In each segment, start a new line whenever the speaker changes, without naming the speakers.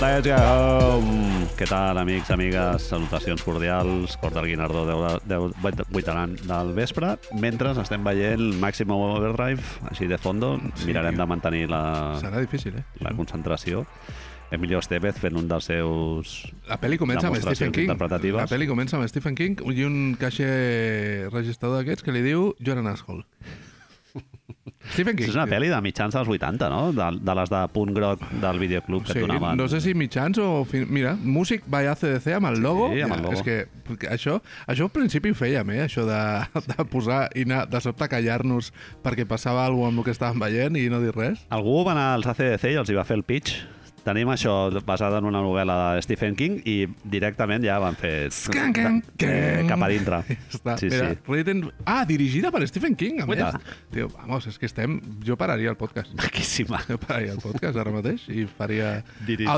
Let's go home. Què tal, amics, amigues? Salutacions cordials. Cor del Guinardó, 10, 10, 8 del vespre. Mentre estem veient Maximum Overdrive, així de fondo,
Sí.
mirarem de mantenir la,
Serà difícil, eh?
la concentració. Emilio Estevez fent un dels seus...
La pel·li comença amb
Demostracions
Stephen King.
interpretatives.
La pel·li comença amb Stephen King i un caixer registrador d'aquests que li diu You're an asshole. Stephen King.
És una pel·li de mitjans dels 80, no? De, de les de punt groc del videoclub que
Sí,
donaven.
no sé si mitjans o... Fin... Mira, Music by ACDC amb el logo.
amb el logo.
És que això, això al principi ho fèiem, eh? Això de, de posar i anar, de sobte callar-nos perquè passava alguna cosa amb el que estàvem veient i no dir res.
Algú va anar als ACDC i els hi va fer el pitch. Tenim això basada en una novel·la de Stephen King i directament ja van fer...
Scan, can,
Eh,
can.
cap a dintre.
Ja Està,
Sí,
mira,
sí.
Written... Ah, dirigida per Stephen King, a més.
Guaita.
Tio, vamos, és que estem... Jo pararia el podcast.
Maquíssima.
Jo pararia el podcast ara mateix i faria
Dirigida.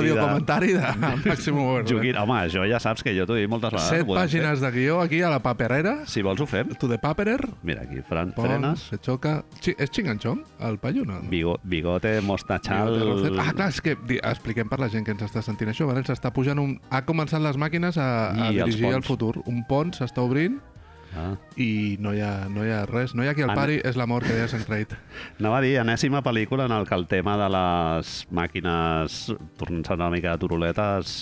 audiocomentari de Maximum Overdrive.
Joguin, home, això ja saps que jo t'ho he dit moltes vegades.
eh? Set
ho podem
pàgines de guió aquí a la paperera.
Fer. Si vols ho fem.
To the paperer.
Mira aquí, Fran
Pon,
Frenes,
se xoca... Xi- és xinganxón, el paio, no?
bigo, Bigote, Mostachal...
Bigote Rosset. Ah, clar, és que di- expliquem per la gent que ens està sentint això. Ara ens està pujant un... Ha començat les màquines a, a
I els
dirigir el
ponts.
futur. Un pont s'està obrint
Ah.
i no hi ha, no hi ha res. No hi ha qui el
An-
pari, és l'amor que deia Sant Traït.
Anava a dir, enèsima pel·lícula en el que el tema de les màquines tornant-se una mica de turuletes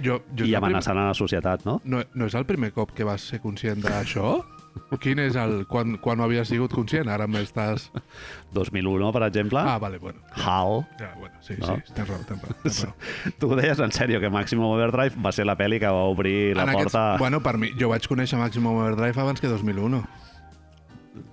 Jo, jo
i
és la prim-
amenaçant a la societat, no?
No, no és el primer cop que vas ser conscient d'això? Quin és el... Quan, quan ho havies sigut conscient? Ara m'estàs...
2001, per exemple.
Ah, vale, bueno.
HAL.
Ja, bueno, sí,
No.
sí, tens raó, tens raó. Tens raó.
Tu ho deies en sèrio, que Maximum Overdrive va ser la pel·li que va obrir la
En aquests-
porta...
Bueno, per mi, jo vaig conèixer Maximum Overdrive abans que 2001.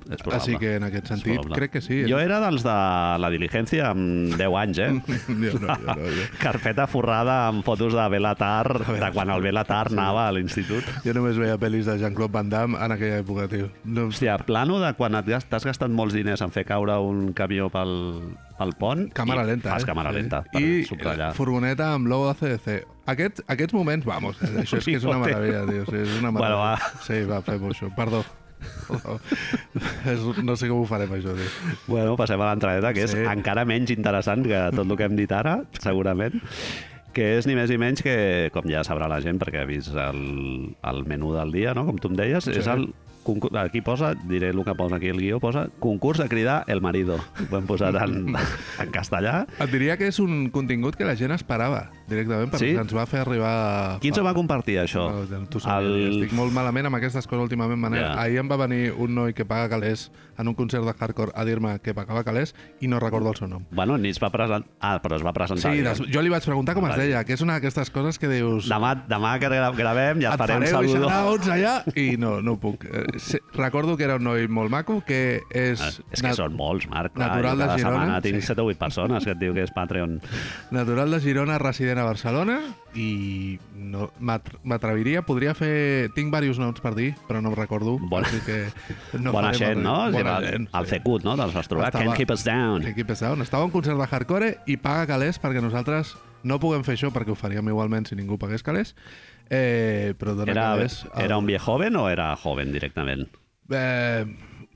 És probable.
Així que en aquest
És
sentit,
probable.
crec que sí. eh?
Jo era dels de la diligencia amb 10 anys, eh?
jo no, jo no, jo.
Carpeta forrada amb fotos de Belatar, de quan el Belatar anava a l'institut.
jo només veia pel·lis de Jean-Claude Van Damme en aquella època, tio. No,
Hòstia, plano de quan et gast- t'has gastat molts diners en fer caure un camió pel, pel pont.
Càmera
i
lenta,
Fas
eh?
càmera lenta, per
I
subratllar.
furgoneta amb logo ACDC. Aquest, aquests moments, vamos, això és que és una
Bigote.
meravella, tio. Sí, és una
Bueno,
meravella.
va.
Sí, va, fem això. Perdó. Perdó. És- No sé com ho farem, això, tio.
Bueno, passem a l'entradeta, que és
Sí.
sí. encara menys interessant que tot el que hem dit ara, segurament, que és ni més ni menys que, com ja sabrà la gent, perquè ha vist el, el menú del dia, no? com tu em deies,
Sí.
sí. és el concurs, aquí posa, diré el que posa aquí el guió, posa concurs de cridar el marido. Ho hem posat en, en castellà.
Et diria que és un contingut que la gent esperava directament, perquè
Sí?
ens va fer arribar...
Qui ens ho va compartir, això?
Tu sabies, el... estic molt malament amb aquestes coses últimament. Manel.
Ja.
Yeah. Ahir em va venir un noi que paga calés en un concert de hardcore a dir-me que pagava calés i no recordo el seu nom.
Bueno, ni es va presentar... Ah, però es va presentar.
Sí,
ja.
des... jo li vaig preguntar com es
Vale.
deia, que és una d'aquestes coses que dius...
Demà, demà que gra- gravem ja
et
et faré un
fareu i
saludo.
serà 11 allà i no, no ho puc. Eh, sí, Recordo que era un noi molt maco, que és,
Ah, És que
nat-
són molts, Marc. Clar,
natural
jo
de
cada
Girona,
setmana tinc
sí.
7 o 8 persones que et diu que és Patreon.
natural de Girona, resident a Barcelona i no, m'at- m'atreviria, podria fer... Tinc diversos noms per dir, però no em recordo.
Bona-
així que
No Bona
faré
gent, no?
mal-
O sigui,
Bona
el-
gent,
El
sí.
fecut, no? Doncs Dels Astrobat.
Estava-
Can't keep us down.
Que equip és down. Estava en concert de hardcore i paga calés perquè nosaltres no puguem fer això perquè ho faríem igualment si ningú pagués calés. Eh, però dona
Era,
calés... al-
era un viejo joven o era joven directament?
Eh,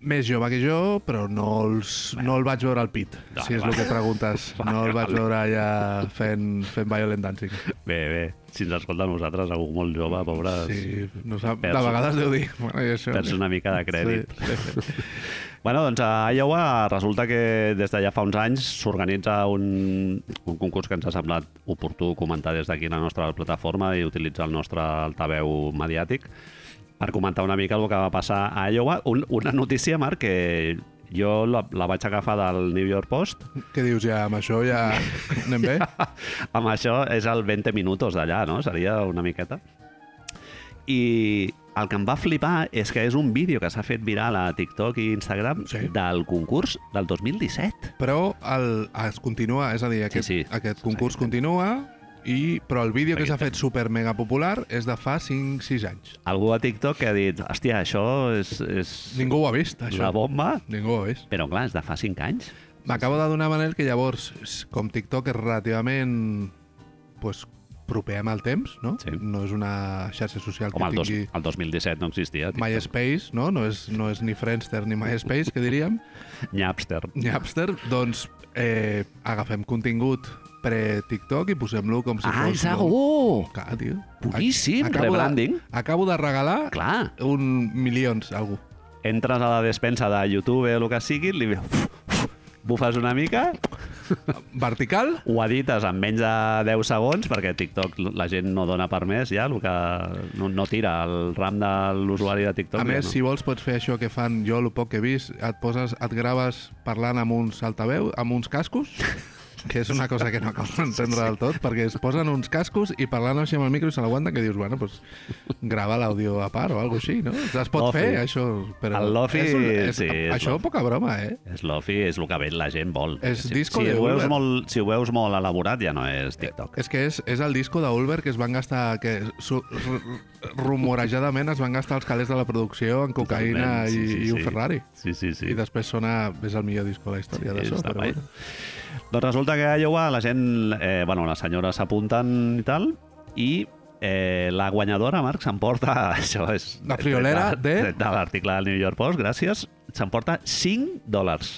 més jove que jo, però no, els, no el vaig veure al pit,
Vale,
si és
vale.
el que preguntes. No el vaig
Vale,
veure allà fent, fent violent dancing.
Bé, bé, si ens escolta a nosaltres, algú molt jove, pobre, sí.
Sí, no sap, de
Perds-
vegades deu dir... Bueno, i això,
perds una mica de crèdit. Sí.
Sí, sí, sí.
Bueno, doncs a Iowa resulta que des de ja fa uns anys s'organitza un, un concurs que ens ha semblat oportú comentar des d'aquí la nostra plataforma i utilitzar el nostre altaveu mediàtic per comentar una mica el que va passar a Iowa. Un, una notícia, Marc, que jo la, la vaig agafar del New York Post
Què dius ja? Amb això ja anem bé?
amb això és el 20 minutos d'allà, no? Seria una miqueta. I el que em va flipar és que és un vídeo que s'ha fet viral a TikTok i Instagram
Sí.
sí. del concurs del 2017.
Però el, es continua, és a dir, aquest,
sí.
sí, sí. aquest concurs continua, i, però el vídeo que s'ha fet super mega popular és de fa 5-6 anys.
Algú a TikTok que ha dit, hòstia, això és, és
Ningú ho ha vist,
la
això.
bomba,
Ningú ho ha vist.
però clar, és de fa 5 anys.
M'acabo de donar, Manel, que llavors, s- com TikTok és relativament pues, proper amb el temps, no?
Sí.
No és una xarxa social
Com el,
que
dos,
tingui
el 2017 no existia. TikTok.
MySpace, no? No és, no és ni Friendster ni MySpace, que diríem,
Napster.
ni Napster. Doncs eh, agafem contingut pre-TikTok i posem-lo com si
ah,
fos...
segur!
Clar, tio.
Boníssim, rebranding.
De, acabo de regalar
Clar.
un milions, algú.
Entres a la despensa de YouTube o el que sigui, li bufes una mica,
Vertical?
ho edites en menys de 10 segons, perquè TikTok la gent no dona per més ja, el que no, no tira el ram de l'usuari de TikTok.
A
ja
més,
no.
si vols, pots fer això que fan jo, el poc que he vist, et poses, et graves parlant amb uns altaveu, amb uns cascos, que és una cosa que no acabo d'entendre del tot, perquè es posen uns cascos i parlant així amb el micro i se l'aguanten, que dius, bueno, doncs grava l'àudio a part o alguna així, no? Es pot
Lofi.
fer, això. Però
El Lofi,
és, un- és,
sí, és
Això,
Lofi.
poca broma, eh?
És lofi, és el que ve la gent vol.
És
si,
disco
si,
de
ho veus
Uber.
molt, si ho veus molt elaborat, ja no és TikTok.
És que és, és el disco d'Ulver que es van gastar, que su, r- rumorejadament es van gastar els calés de la producció en cocaïna
Totalment,
i,
sí, sí,
i un
sí.
Ferrari.
Sí, sí, sí.
I després sona, és el millor disco de la història
Sí,
d'això,
està
però
guai.
bueno.
Doncs resulta que a Iowa la gent, eh, bueno, les senyores s'apunten i tal, i eh, la guanyadora, Marc, s'emporta, això és...
La friolera
tret
de-
tret De l'article del New York Post, gràcies, s'emporta 5 dòlars.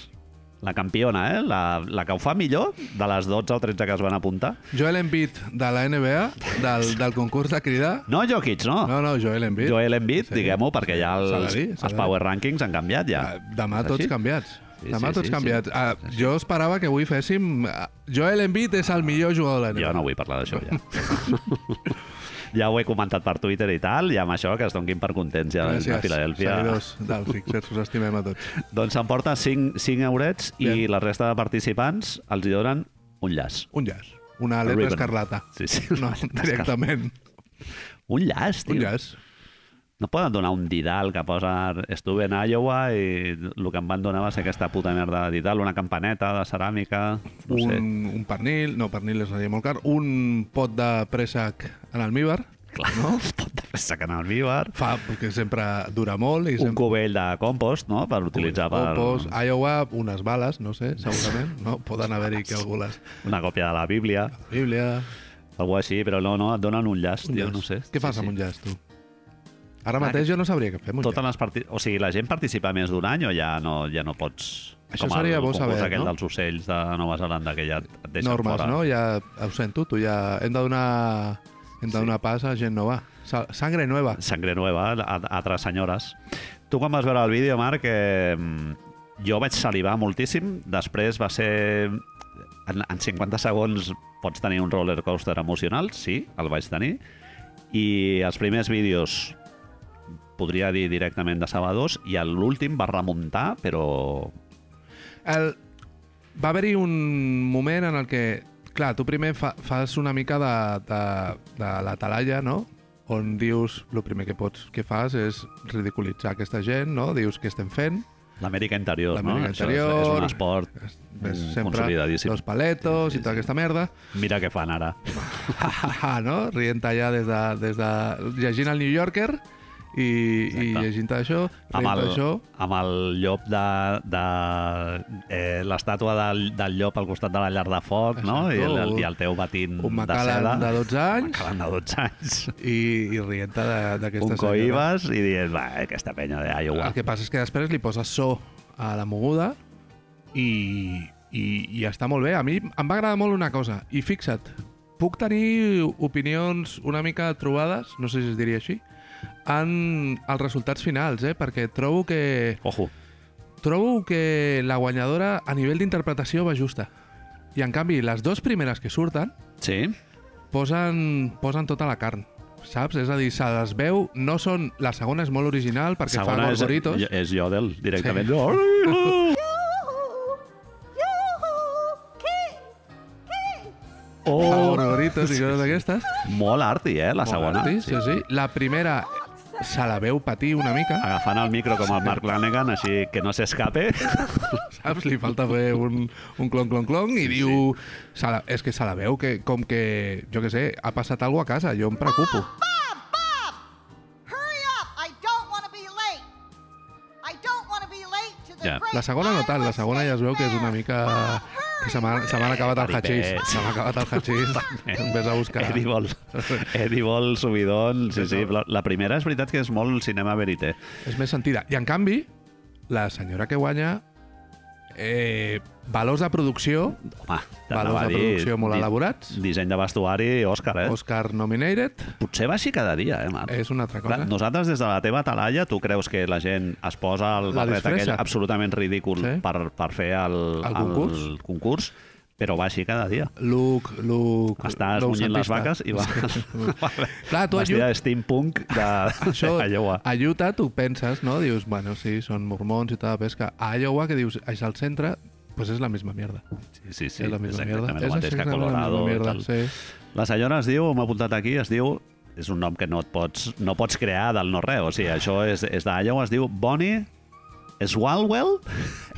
La campiona, eh? La, la que ho fa millor de les 12 o 13 que es van apuntar.
Joel Embiid, de la NBA, del, del concurs de cridar...
No Jokic, no. no
No, no, Joel Embiid.
Joel Embiid,
Sí.
diguem-ho, perquè ja
S'ha de
els,
dir, s'ha de
els
dir.
power rankings han canviat ja.
Ah, Demà
És
tots
així?
canviats.
Sí,
Demà
sí,
tots
sí,
canviats.
sí.
Ah, jo esperava que avui féssim... ah, Joel Embiid és el millor jugador de la NBA.
Jo no vull parlar d'això ja. ja ho he comentat per Twitter i tal, i amb això que es donguin per contents ja Gràcies, a Filadèlfia.
seguidors del Sixers, us estimem a tots.
Doncs s'emporta 5, 5 eurets i
Bien.
la resta de participants els hi donen un llaç.
Un llaç, una
A
letra
ribbon.
escarlata.
Sí, sí.
No, directament.
Un llaç, tio.
Un llaç.
No poden donar un didal que posa estuve en Iowa i el que em van donar va ser aquesta puta merda de didal, una campaneta de ceràmica, no
un,
sé.
un pernil, no, pernil és una llei molt car, un pot de préssec en almíbar,
Clar, no? pot de pressa que anar al Bíbar.
fa, que sempre dura molt. I
Un
sempre...
cubell de compost, no?, per utilitzar per
Compos, Iowa, unes bales, no sé, segurament. No? Poden haver-hi que algú les...
una còpia de la Bíblia.
Bíblia...
Algú així, però no, no, et donen un llaç,
Un
tio,
llaç.
no sé.
Què fas
sí, tota
amb un
sí.
llaç, tu? Ara
Clar,
mateix jo no sabria què fer amb un
Totes
llaç.
les parti... O sigui, la gent participa més d'un any o ja no, ja no pots...
Això seria
el
bo
concurs
saber,
aquell
no?
dels ocells de Nova Zelanda, que ja et et deixen
Normes,
fora.
no? Ja ho sento, tu ja... Hem de donar, hem de donar pas a gent nova. Sa sangre nova.
Sangre Nueva, a- altres senyores. Tu quan vas veure el vídeo, Marc, que jo vaig salivar moltíssim, després va ser... En, en 50 segons pots tenir un roller coaster emocional, sí, el vaig tenir, i els primers vídeos podria dir directament de Sabadors, i a l'últim va remuntar, però...
El... Va haver-hi un moment en el que, clar, tu primer fa, fas una mica de, de, de la talaia, no? On dius, el primer que pots que fas és ridiculitzar aquesta gent, no? Dius què estem fent,
L'Amèrica Interior, no?
L'Amèrica
Això és- És,
Interior.
un esport
és,
Mm,
és sempre
consolidadíssim.
los paletos
Sí, sí,
i tota
sí.
aquesta merda,
Mira què fan ara.
no? Rient allà des de, des de... llegint el New Yorker i, i
Exacte.
llegint això,
Amb
rient
el,
d'això...
amb el llop de... de eh, L'estàtua del, del llop al costat de la llar de foc, no? I el, el, i el teu batint
Un
de seda.
Macallan de 12 anys
Macallan de 12 anys.
i, i rient d'aquesta
Un
senyora.
coibes i dient, va, eh, aquesta penya de Iowa.
El que passa és que després li poses so a la moguda i, i, i està molt bé. A mi em va agradar molt una cosa. I fixa't, puc tenir opinions una mica trobades, no sé si es diria així, en els resultats finals, eh? perquè trobo que,
Ojo,
trobo que la guanyadora a nivell d'interpretació va justa. I en canvi, les dues primeres que surten
sí?
posen, posen tota la carn. Saps? És a dir, se les veu, no són... La segona és molt original perquè fa
és,
gorgoritos.
jo- és Jodel, directament.
Sí.
Sí. Oh,
favoritos i coses d'aquestes.
molt arti, eh, la segona.
Sí, sí, sí. La primera se la veu patir una mica,
Agafant el micro com el Mark Lanegan, així que no s'escape.
saps? Li falta fer un, un clon, clon, clon i diu... Se la, és que se la veu que, com que, jo que sé, ha passat alguna cosa a casa, jo em preocupo.
Bob, Bob! Hurry up! I don't want to be late. I don't want to be late to the
Ja.
great Ah,
La segona no tant, la segona ja es veu que és una mica... Que se m'ha se m'han acabat el hachís.
Paripé.
Se m'ha acabat el hachís. Vés a buscar.
Eddie vol, Eddie vol subidon. Sí, sí. La, la primera és veritat que és molt cinema verité.
És més sentida. I en canvi, la senyora que guanya eh, valors de producció,
Home,
valors
t'anava a
de
dir,
producció molt
di-
elaborats,
Disseny de vestuari, Òscar, eh?
Oscar nominated,
Potser va així cada dia, eh, Marc?
és una altra
Clar,
cosa.
nosaltres, des de la teva talalla, tu creus que la gent es posa el
La
barret
disfressa.
aquell absolutament ridícul
Sí.
per, per fer el,
El concurs.
el concurs, però va així cada dia.
Luc, Luc...
Està esmunyint les vaques i va...
Clar, tu a
Vestida
Utah,
de steampunk de,
això,
de Iowa.
a Utah tu penses, no? Dius, bueno, sí, són mormons i tal, però és que a Iowa, que dius, és al centre, pues és la misma mierda.
Sí, sí, sí.
és la misma mierda.
exactament el mateix que a
exactament la
Colorado.
misma
La,
mierda,
tal.
sí.
la senyora es diu, m'ha apuntat aquí, es diu és un nom que no et pots, no pots crear del no-res. O sigui, això és, és d'Iowa, es diu Bonnie Swalwell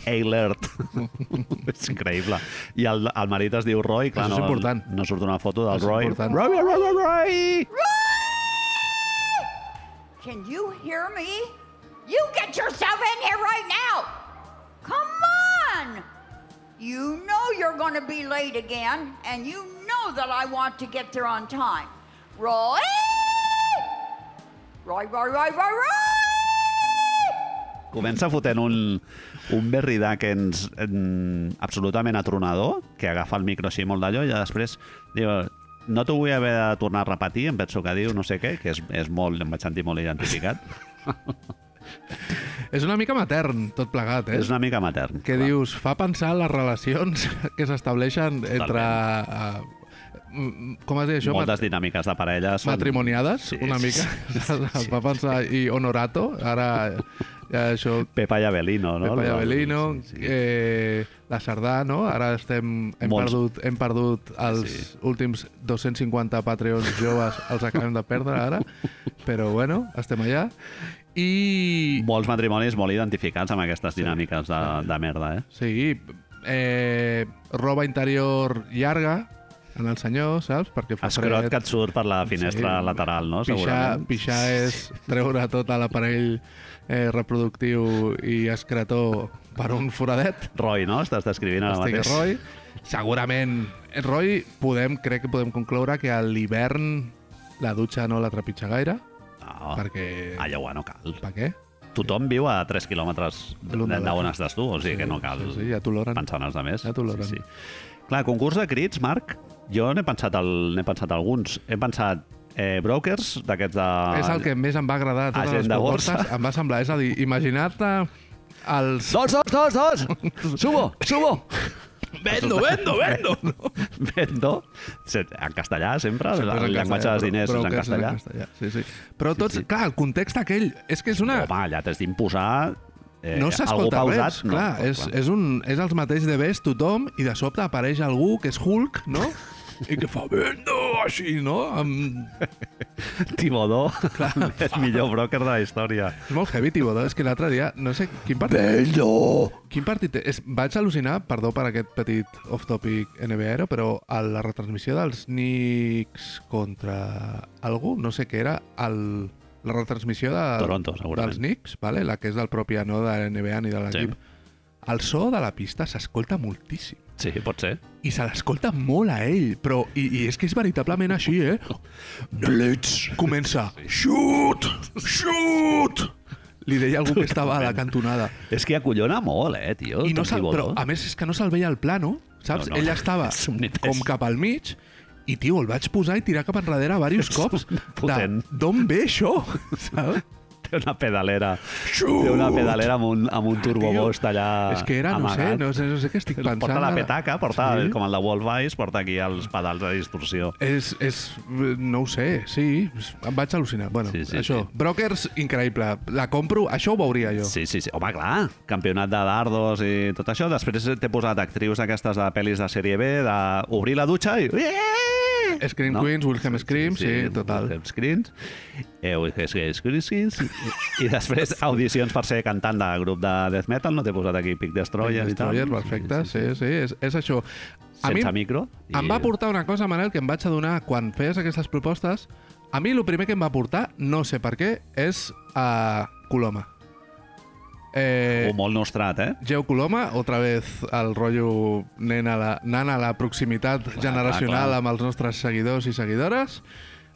Eilert. és increïble. I el, el marit es diu Roy. Clar,
Això és
no,
important.
No surt una foto del
Això és
Roy.
important.
Roy, Roy, Roy, Roy, Roy!
Can you hear me? You get yourself in here right now! Come on! You know you're gonna be late again, and you know that I want to get there on time. Roy! Roy, Roy, Roy, Roy, Roy!
Comença fotent un, un Berry Dakens mm, absolutament atronador, que agafa el micro així molt d'allò i després diu no t'ho vull haver de tornar a repetir, em penso que diu no sé què, que és, és molt, em vaig sentir molt identificat.
És una mica matern, tot plegat, eh?
és una mica matern.
que
clar.
dius, fa pensar en les relacions que s'estableixen entre... eh, mm, com es diu això?
Moltes dinàmiques de parella són...
matrimoniades, sí, una
sí,
mica.
sí, sí, sí.
Va pensar, i Honorato, ara ja això...
Pepa i Avelino, no?
No, Pepa Iavelino,
Sí, sí.
eh, la Sardà, no? Ara estem, hem,
Molts.
perdut, hem perdut els
Sí.
últims 250 Patreons joves, els acabem de perdre ara, però bueno, estem allà. I,
Molts matrimonis molt identificats amb aquestes dinàmiques de, de merda, eh?
Sí, eh, roba interior llarga en el senyor, saps? Perquè fa
Escrot que et surt per la finestra
Sí.
lateral, no?
Pixar,
Segurament.
pixar és treure tot l'aparell eh, reproductiu i excretor per un foradet.
Roy, no? Estàs descrivint ara
Estic
mateix.
Roy. Segurament, eh, Roy, podem, crec que podem concloure que a l'hivern la dutxa no la trepitja gaire,
No.
perquè...
A Iowa no cal.
Per què?
Tothom viu a 3 quilòmetres de-
L'un de
de
l'altre.
on estàs tu, o sigui que no cal
Sí, sí, ja t'oloren.
pensar en els altres.
Ja t'oloren.
Clar, concurs de crits, Marc, jo n'he pensat, el, n'he pensat alguns. He pensat eh, brokers d'aquests de...
és el que més em va agradar de totes
Ah, Agent
les
de
propostes.
borsa.
Em va semblar, és a dir, imagina't els...
Dos, dos, dos, dos! Subo, subo!
Vendo, vendo, vendo! No?
Vendo. Se- En castellà, sempre.
Sempre és
el
en
llenguatge
castellà,
dels diners
però-
és
però
en
que
castellà.
Sí, sí. Però tots, clar, el context aquell, és que és una...
Home, allà t'has d'imposar... Eh,
no
algú
s'escolta
pausat,
res, clar,
no,
és, és, un, és els mateixos de best tothom i de sobte apareix algú que és Hulk, no? I que fa vendo, així, no? Amb...
Tibodó, és millor broker de la història.
És molt heavy, Tibodó, és que l'altre dia, no sé quin partit...
Vendo!
Quin partit és? Vaig al·lucinar, perdó per aquest petit off-topic NBA, però a la retransmissió dels Knicks contra algú, no sé què era, el, la retransmissió de,
Toronto, segurament.
dels Knicks, vale? la que és del propi no de la NBA ni de l'equip, el so de la pista s'escolta moltíssim.
Sí, pot ser.
I se l'escolta molt a ell, però... I, I és que és veritablement així, eh? Blitz! Comença. Shoot! Shoot! Li deia algú que estava a la cantonada.
És que acollona molt, eh, tio.
I no
Tom
se'l-
Thibodeau.
però, a més, és que no se'l veia al plano, saps?
No,
No,
no.
no. Ell estava
És un nitès.
com cap al mig i, tio, el vaig posar i tirar cap enrere diversos cops.
potent.
De, D'on ve això? Saps?
Té una pedalera.
Xut! Ah,
Té una pedalera amb un, amb un turbobost allà
és que era, no sé,
Ah, amagat.
no sé, no sé què estic pensant.
Porta la
ara.
petaca, porta,
Sí.
sí? com el de Wolf Ice, porta aquí els pedals de distorsió.
És, és, no ho sé, sí, em vaig al·lucinar. Bueno,
Sí,
sí,
sí,
sí, això,
sí.
Brokers, increïble. La compro, això ho veuria jo.
Sí, sí, sí. Home, clar, campionat de dardos i tot això. Després t'he posat actrius aquestes de pel·lis de sèrie B, d'obrir la dutxa i...
Scream Queens, Wilhelm Scream, sí, total.
Wilhelm Screams. Eh, Wilhelm Screams. I- I després audicions per ser cantant de grup de death metal. No t'he posat aquí Pic Destroyer,
Destroyer,
i tal.
perfecte, sí, sí, és, és això. A mi
Sense micro.
Em va portar una cosa, Manel, que em vaig adonar quan feies aquestes propostes. A mi el primer que em va portar, no sé per què, és a Coloma. Eh,
O molt nostrat, eh?
Geu Coloma, otra vez el rotllo nen a la, nan a la proximitat generacional
clar.
amb els nostres seguidors i seguidores.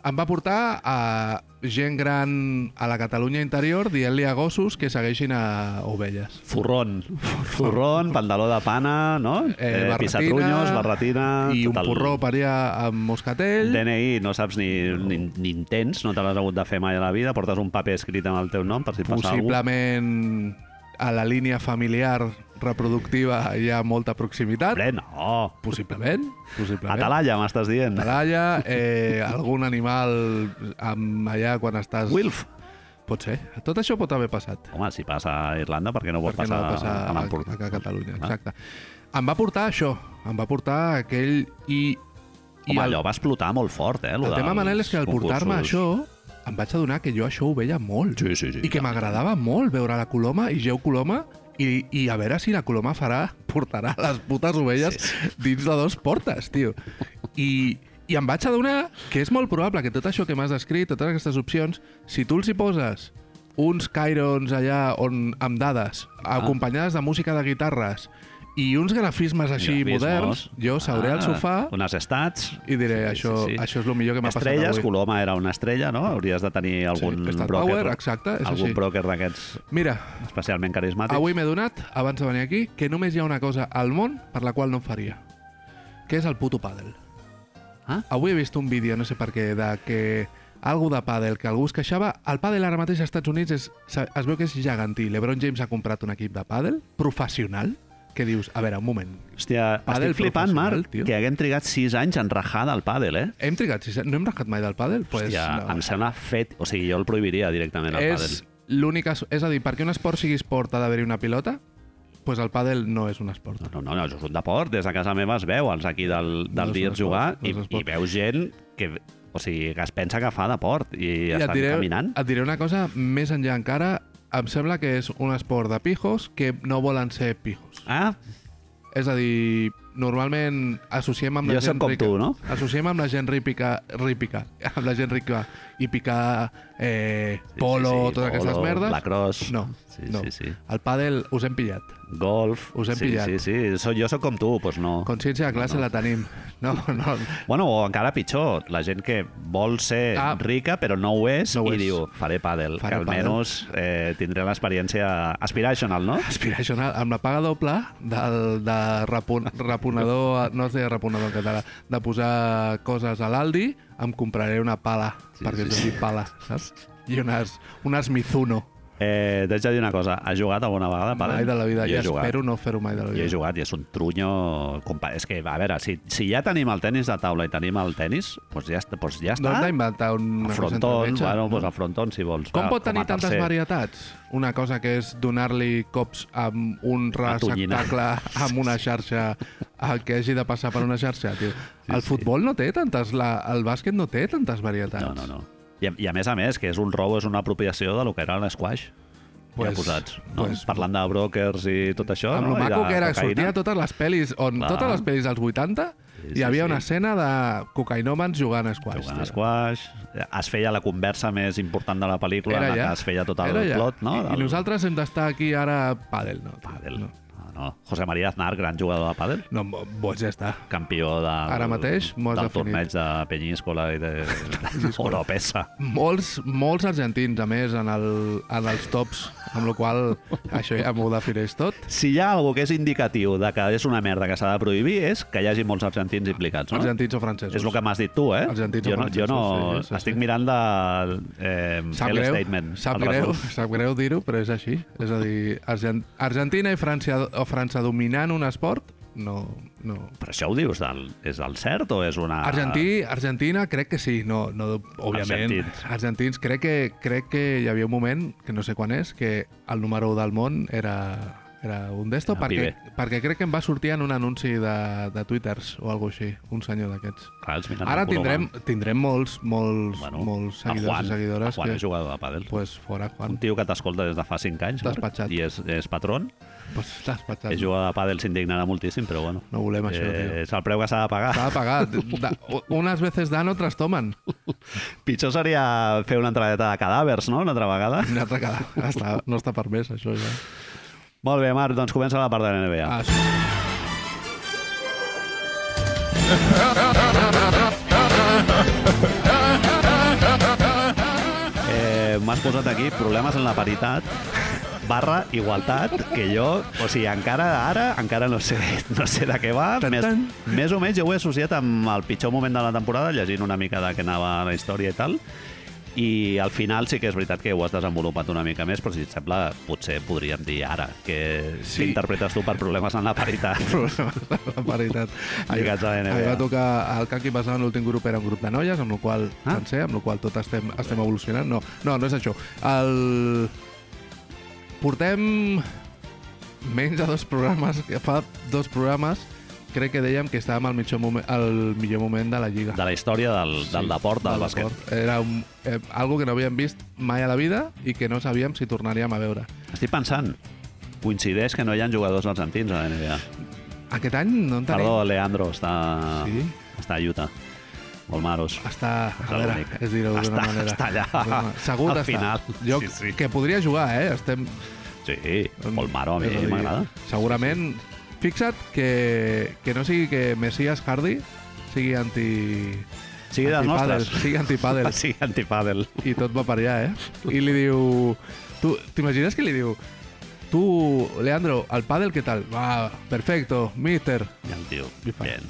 em va portar a gent gran a la Catalunya interior dient-li a gossos que segueixin a ovelles.
Furrón. Furrón, pantaló de pana, no? Eh, eh pisatrunyos, barretina...
I un
tot el-
porró per allà amb moscatell.
DNI, no saps ni, ni, ni intents, no te l'has hagut de fer mai a la vida, portes un paper escrit amb el teu nom per si et passa alguna
possiblement a la línia familiar reproductiva hi ha molta proximitat.
cosa. no.
Possiblement. possiblement.
Atalaya, m'estàs dient.
Atalaya, eh, algun animal amb allà quan estàs...
Wilf.
Pot ser. Tot això pot haver passat.
Home, si passa a Irlanda, per què no pot
perquè
passar,
no va passar
a
a,
l'Empordà? Ah.
a, a Catalunya.
Clar.
Exacte. Em va portar això. Em va portar aquell... I, i
Home,
el,
allò va explotar molt fort, eh?
el tema, Manel, és que al portar-me això em vaig adonar que jo això ho veia molt.
Sí, sí, sí.
I que m'agradava molt veure la Coloma i Geu Coloma i, i a veure si la Coloma farà, portarà les putes ovelles sí, sí. dins de dos portes, tio. I, I em vaig adonar que és molt probable que tot això que m'has descrit, totes aquestes opcions, si tu els hi poses uns cairons allà on, amb dades,
Ah.
acompanyades de música de guitarres i uns grafismes així
Grafismos. Ah.
moderns, jo seuré al sofà
Unes estats...
i diré, això, això és el millor que m'ha passat
Estrelles,
avui.
Coloma era una estrella, no? Hauries de tenir algun
Star
broker,
Power, exacte, és
algun
així.
broker d'aquests
Mira,
especialment carismàtics.
Avui m'he donat, abans de venir aquí, que només hi ha una cosa al món per la qual no em faria, que és el puto pàdel.
Ah?
Avui he vist un vídeo, no sé per què, de que algú de pàdel que algú es queixava. El pàdel ara mateix als Estats Units és, se- es veu que és gegantí. L'Ebron James ha comprat un equip de pàdel professional que dius, a veure, un moment,
Hòstia,
Pàdel
estic flipant,
professional,
Marc,
tio.
que haguem trigat 6 anys en rajar del pàdel, eh?
hem trigat, sis- no hem rajat mai del pàdel? Pues,
Hòstia,
no.
em sembla fet... O sigui, jo el prohibiria directament, el pàdel.
és l'única... És a dir, perquè un esport sigui esport ha d'haver-hi una pilota? Pues el pàdel no és un esport.
No, no, no, és un deport. Des de casa meva es veu els aquí del, del no
No és un
dia
esport,
jugar
no és
i,
un
i
esport.
veu gent que, o sigui, que es pensa que fa deport i, I
et
estan diré... caminant.
Et diré una cosa més enllà encara. Em sembla que és un esport de pijos que no volen ser pijos.
Ah,
És a dir, normalment associem amb la
Jo soc
gent
com
rica.
tu, no?
Associem amb la gent ripica, ripica, amb la gent rica i picar eh, polo,
sí, sí,
totes aquestes
polo,
merdes.
lacrosse.
No,
Sí,
no.
sí, sí.
El pàdel us hem pillat.
golf...
Us hem
sí,
pillat.
Sí, sí, so, jo sóc com tu, doncs no.
Consciència de classe
No.
la tenim. No, no.
Bueno, o encara pitjor, la gent que vol ser
Ah.
ah, rica però no ho és
No ho
i
és.
diu, faré pàdel,
Faré
que
pàdel.
almenys eh, tindré l'experiència aspirational, no?
Aspirational, amb la paga doble del, de rapon, raponador, no es deia raponador en català, de posar coses a l'Aldi, em compraré una pala, sí, perquè sí, es digui pala, saps? I unes, unes Mizuno,
Eh, T'haig de dir una cosa, has jugat alguna vegada a pàdel?
mai de la vida,
Ah, Jo
i
he jugat.
espero no fer-ho mai de la
Jo he
vida.
jugat i és un trunyo... compa- És que, a veure, si, si ja tenim el tennis de taula i tenim el tennis, doncs ja, est- doncs ja
No
està.
hem d'inventar una
el
cosa entre
fronton,
metges,
bueno,
no?
doncs el fronton, si vols.
Com
va,
pot tenir
Ah, a
tantes
tercer.
varietats? Una cosa que és donar-li cops amb un
tonyina.
receptacle, amb una xarxa, el que hagi de passar per una xarxa, tio. El
sí.
futbol no té tantes... La, el bàsquet no té tantes varietats.
No, no, no. I, a- I a més a més, que és un robo, és una apropiació de lo que era l'esquaix. Pues, ja
Pues-
posats. No?
pues-
Parlant de brokers i tot això.
Amb
no?
lo
I de
maco que era,
cocaïna.
sortia a totes les pel·lis, on
Clar.
totes les pel·lis dels 80
Sí,
hi
sí, sí.
havia una escena de cocainòmans jugant a squash.
Jugant
tio.
a squash, es feia la conversa més important de la pel·lícula,
Era
en la
allà.
que es feia tot el
Era allà.
plot, no?
I,
Del
I nosaltres hem d'estar aquí ara a pàdel, no? tio,
Pàdel.
No,
No, Ah, no. José María Aznar, gran jugador de pàdel.
no bo- boig ja està.
campió del,
Ara mateix m'ho has
del
definit.
torneig de Penyíscola i de Oropesa.
Molts, molts argentins, a més, en, el, en els tops, amb la qual cosa això ja m'ho defineix tot.
Si hi ha algú que és indicatiu de que és una merda que s'ha de prohibir és que hi hagi molts argentins implicats, no?
Argentins o francesos.
Ah. És el que m'has dit tu, eh?
Argentins o
jo no, jo no
francesos, sí, sí,
estic
sí.
mirant de, eh, fer
Sap greu,
l'statement.
sap
el
greu,
resum.
sap greu dir-ho, però és així. És a dir, Argent Argentina i França, o França dominant un esport, no, no,
Però això ho dius, del, és del cert o és una...
Argentí, Argentina crec que sí, no, no òbviament.
Argentins.
Argentins. Argentins crec que, crec que hi havia un moment, que no sé quan és, que el número 1 del món era, era un d'esto,
Era
perquè, perquè crec que em va sortir en un anunci de, de Twitters o alguna així, un senyor d'aquests.
Clar, els miren
Ara
amb color
tindrem, tindrem molts, molts,
blanc.
molts
el
seguidors
Juan,
i seguidores
el Juan
que...
és jugador de pàdel.
Pues fora, Juan.
Un tio que t'escolta des de fa 5 anys Marc,
Despatxat.
i és, és patron.
Pues t'has passat.
És jugador de pàdel, s'indignarà moltíssim, però bueno. Eh,
No volem això, tio.
és el preu que s'ha de pagar.
S'ha de pagar. Da- Unes veces dan, otras toman.
Pitjor seria fer una entradeta de cadàvers, no?, una altra vegada.
Una altra cada. Està, no està permès, això ja.
Molt bé, Marc, doncs comença la part de la NBA.
Ah,
Eh, m'has posat aquí problemes en la paritat barra igualtat, que jo, o sigui, encara ara, encara no sé, no sé de què va.
Tan,
Més,
tan.
més o menys jo ho he associat amb el pitjor moment de la temporada, llegint una mica de què anava la història i tal, i al final sí que és veritat que ho has desenvolupat una mica més, però si et sembla, potser podríem dir ara que
Sí.
sí. interpretes tu per problemes en la paritat.
la paritat.
Lligats a la NBA.
ahir va tocar el Kanki Basar, l'últim grup era un grup de noies, amb el qual
Ah.
ah? sencer, amb el qual tot estem, estem evolucionant. No, no, no és això. El... Portem menys de dos programes, que fa dos programes, crec que dèiem que estàvem al millor moment, al millor moment de la Lliga.
De la història del, del deport, del, bàsquet.
bàsquet. Era un, eh, algo que no havíem vist mai a la vida i que no sabíem si tornaríem a veure.
Estic pensant, coincideix que no hi ha jugadors argentins a la NBA.
Aquest any no en tenim.
Perdó, Leandro, està,
Sí? Ah.
està a Utah. O el Maros.
Està, a
Està
veure,
bonic.
és dir-ho d'una
Està-
manera.
està allà,
D'una- Segur
al
que
final.
Està. Lloc
Sí, sí.
que podria jugar, eh? Estem...
Sí, o el Maro, a
és
mi
dir,
m'agrada.
Segurament, fixa't que, que no sigui que Messias Hardy sigui anti...
Sigui dels
antipàdel,
nostres.
Sigui antipàdel.
Sí, antipàdel.
I tot va per allà, eh? I li diu... Tu, t'imagines que li diu... Tu, Leandro, al pàdel què tal? Va, perfecto, mister.
I el tio,
I fa-
bien.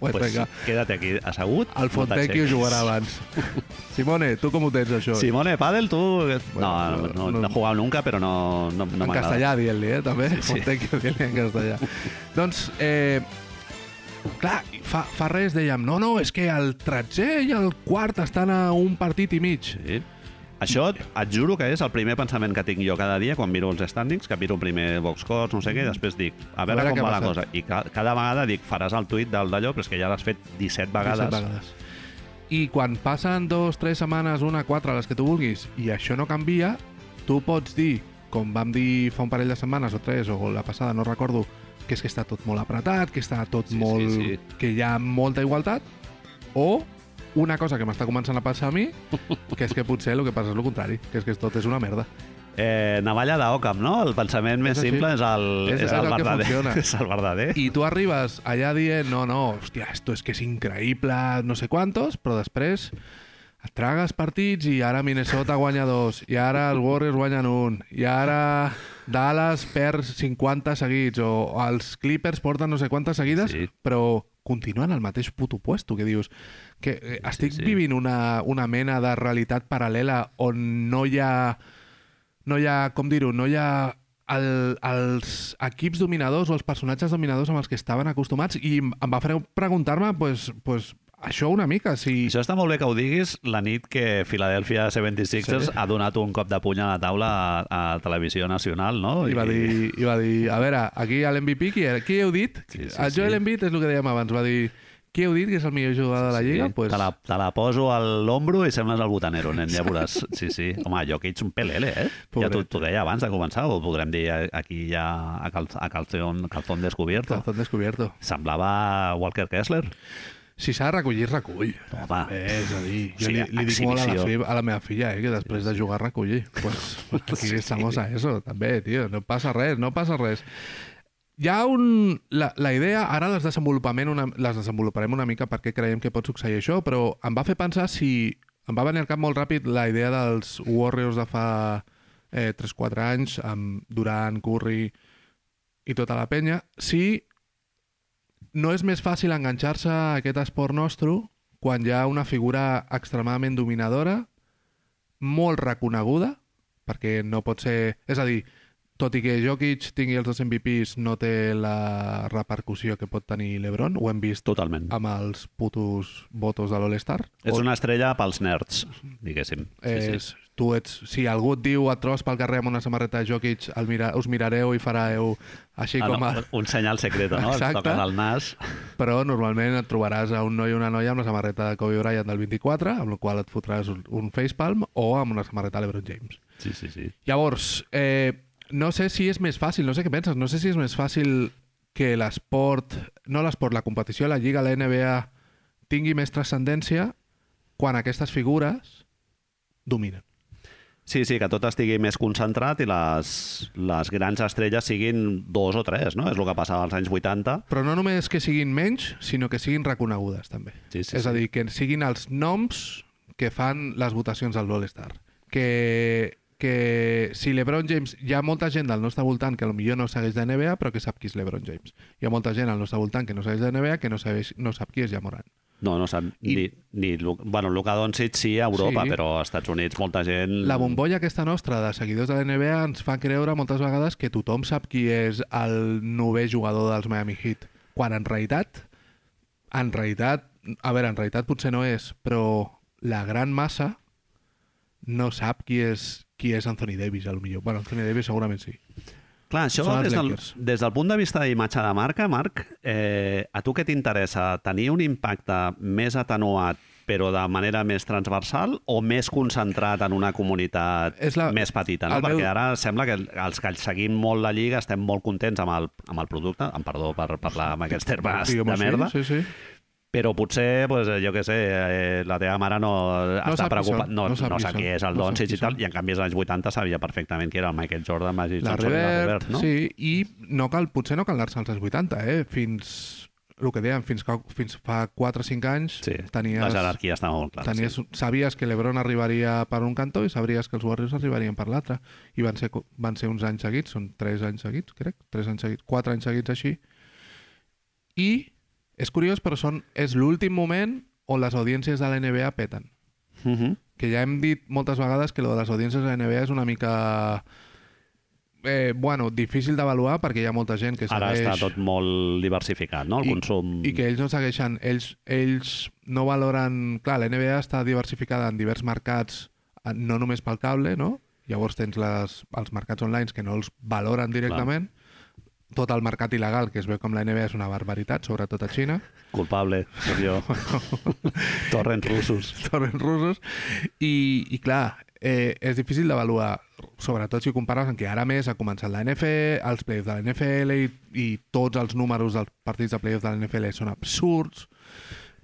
Pues,
Pues
pues
sí,
venga,
quédate aquí assegut.
el
no
Fontecchi ho
t'aixequis.
jugarà abans. Simone, tu com ho tens, això?
Simone, pàdel, tu...
Bueno,
no, no, no,
no-
no he jugat nunca, però no, no, no
en
m'agrada.
castellà dient-li, eh, també. Sí,
sí.
sí. Fontecchio dient-li en castellà. doncs, eh, clar, fa, fa res dèiem, no, no, és que el 13 i el quart estan a un partit i mig.
Sí. Això et, et juro que és el primer pensament que tinc jo cada dia quan miro els standings, que miro primer box scores, no sé què, i després dic, a veure,
veure
com
què
va
ha
la cosa.
passat.
I ca cada vegada dic, faràs el tuit del d'allò, però és que ja l'has fet 17 vegades.
17 vegades. I quan passen dos, tres setmanes, una, quatre, les que tu vulguis, i això no canvia, tu pots dir, com vam dir fa un parell de setmanes o tres, o la passada, no recordo, que és que està tot molt apretat, que està tot
Sí, sí,
molt...
sí.
que hi ha molta igualtat, o una cosa que m'està començant a passar a mi, que és que potser el que passa és el contrari, que és que tot és una merda.
Eh, navalla d'Ockham, no? El pensament més
És així.
simple és el,
És-
és,
és
el,
el que
verdader.
funciona.
És el verdader.
I tu arribes allà dient, no, no, hòstia, esto es que és increïble, no sé quantos, però després et tragues partits i ara Minnesota guanya dos, i ara els Warriors guanyen un, i ara Dallas perd 50 seguits, o els Clippers porten no sé quantes seguides,
Sí.
sí. però continuen al mateix puto puesto, que dius que eh, estic
sí.
sí, sí. vivint una, una mena de realitat paral·lela on no hi ha no hi ha, com dir-ho, no hi ha el, els equips dominadors o els personatges dominadors amb els que estaven acostumats i em em va fer preguntar-me pues, pues, això una mica, si...
Això està molt bé que ho diguis la nit que Philadelphia 76ers
Sí.
ha donat un cop de puny a la taula a, a Televisió Nacional, no?
I va, dir, I va dir, a veure, aquí a l'MVP, qui, era? qui heu dit?
Sí,
Sí,
sí,
sí, el Joel
sí.
Embiid és el que dèiem abans, va dir, qui heu dit que és el millor jugador de la Lliga?
Sí,
pues,
te, la, te la poso a l'ombro i sembles el botanero, nen, ja veuràs. Sí, sí. Home, Jokic un pelele, eh?
Pobret.
Ja t'ho- t'ho deia abans de començar, ho podrem dir eh, aquí ja a, cal, a calzón, calzón descubierto.
Calzón descubierto.
Semblava Walker Kessler.
Si s'ha de recollir, es recull.
Home.
Bé, Eh, és a dir, jo
Sí,
li, li dic molt a la,
exhibició.
fi, a la meva filla, eh, que després de jugar recollir. Pues, pues aquí
Sí, sí.
estamos a eso, també, tio. No passa res, no passa res. Hi ha un... La, la idea, ara les, desenvolupament una, les desenvoluparem una mica perquè creiem que pot succeir això, però em va fer pensar si... Em va venir al cap molt ràpid la idea dels Warriors de fa eh, 3-4 anys, amb Durant, Curry i tota la penya, si no és més fàcil enganxar-se a aquest esport nostre quan hi ha una figura extremadament dominadora, molt reconeguda, perquè no pot ser... És a dir, tot i que Jokic tingui els dos MVPs, no té la repercussió que pot tenir l'Ebron. Ho hem vist
Totalment.
amb els putos votos de l'All-Star.
És
On
una estrella pels nerds, diguéssim. Sí,
És,
sí.
tu ets, si algú et diu et trobes pel carrer amb una samarreta de Jokic, el mira, us mirareu i fareu així
Ah,
com...
no,
a...
un senyal secret, no? Et
Exacte.
toques el nas.
però normalment et trobaràs a un noi o una noia amb la samarreta de Kobe Bryant del 24, amb la qual et fotràs un- un facepalm, o amb una samarreta de LeBron James.
Sí, sí, sí.
Llavors, eh, no sé si és més fàcil, no sé què penses, no sé si és més fàcil que l'esport, no l'esport, la competició, la Lliga, la NBA, tingui més transcendència quan aquestes figures dominen.
Sí, sí, que tot estigui més concentrat i les, les grans estrelles siguin dos o tres, no? És el que passava als anys 80.
Però no només que siguin menys, sinó que siguin reconegudes, també.
Sí, sí,
és a
sí.
dir, que siguin els noms que fan les votacions al All-Star. Que, que si LeBron James... Hi ha molta gent del nostre voltant que potser no segueix de NBA, però que sap qui és LeBron James. Hi ha molta gent al nostre voltant que no segueix de NBA que no, segueix, no sap qui és Jamoran.
No, no sap I... ni... ni Lu- bueno, Luka Doncic sí a Europa,
Sí.
sí. però als Estats Units molta gent...
La bombolla aquesta nostra de seguidors de la NBA ens fa creure moltes vegades que tothom sap qui és el novè jugador dels Miami Heat, quan en realitat, en realitat, a veure, en realitat potser no és, però la gran massa no sap qui és, qui és Anthony Davis, a lo millor. Bueno, Anthony Davis segurament sí.
Clar, això
Són els
des del,
Lakers.
des del punt de vista d'imatge de marca, Marc, eh, a tu què t'interessa? Tenir un impacte més atenuat però de manera més transversal o més concentrat en una comunitat
És la-
la... més petita, no?
el meu-
Perquè ara sembla que els que seguim molt la Lliga estem molt contents amb el, amb el producte, em perdó per parlar amb aquests termes de
Diguem-ho així,
merda,
Sí, sí.
però potser, pues, eh, jo què sé, eh, la teva mare no, està
sap qui
preocupada,
són,
no, no,
no sap qui
sap qui
són,
és el
no
no
sap
Doncic
qui
i tal,
són.
i en canvi als anys 80 sabia perfectament qui era el Michael Jordan, Magic
La
Johnson i la
Revert,
Revert, no?
sí, i no cal, potser no cal anar-se als anys 80, eh? Fins, el que dèiem, fins, ca- fins fa 4 o 5 anys
Sí,
tenies...
la jerarquia estava molt clara.
Tenies,
sí.
Sabies que l'Ebron arribaria per un cantó i sabries que els Warriors arribarien per l'altre. I van ser, co- van ser uns anys seguits, són tres anys seguits, crec, tres anys seguits, quatre anys seguits així. I és curiós, però són, és l'últim moment on les audiències de la NBA peten.
Uh -huh.
Que ja hem dit moltes vegades que lo de les audiències de la NBA és una mica... Eh, bueno, difícil d'avaluar perquè hi ha molta gent que
Ara
segueix...
està tot molt diversificat, no? El
I-
consum...
I que ells no segueixen, ells, ells no valoren... Clar, la NBA està diversificada en divers mercats, eh, no només pel cable, no? Llavors tens les, els mercats online que no els valoren directament. Tot el mercat il·legal, que es veu com la NBA és una barbaritat, sobretot a Xina,
Culpable, sóc jo. Torrents russos.
torrents russos, i, i clar, eh, és difícil d'avaluar, sobretot si ho compares amb que ara més ha començat la NFL, els playoffs de la NFL, i, i tots els números dels partits de playoffs de la NFL són absurds,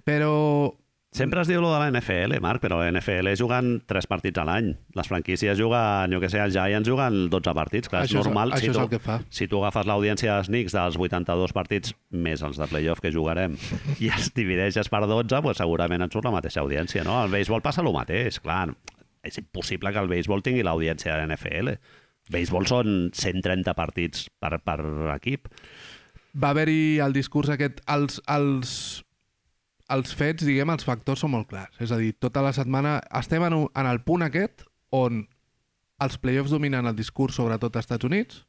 però
Sempre es diu lo de la NFL, Marc, però la NFL juguen tres partits a l'any. Les franquícies juguen, jo que sé, els Giants juguen 12 partits. Clar, és
Això és-
normal.
això és el que fa.
Si tu agafes l'audiència dels Knicks dels 82 partits, més els de playoff que jugarem, i els divideixes per 12, pues segurament et surt la mateixa audiència, no? Al béisbol passa el mateix, clar. És impossible que el béisbol tingui l'audiència de la NFL. Béisbol són 130 partits per, per equip.
va haver-hi el discurs aquest... Els, els, els fets, diguem, els factors són molt clars. És a dir, tota la setmana estem en, un, en el punt aquest on els playoffs dominen el discurs, sobretot als Estats Units,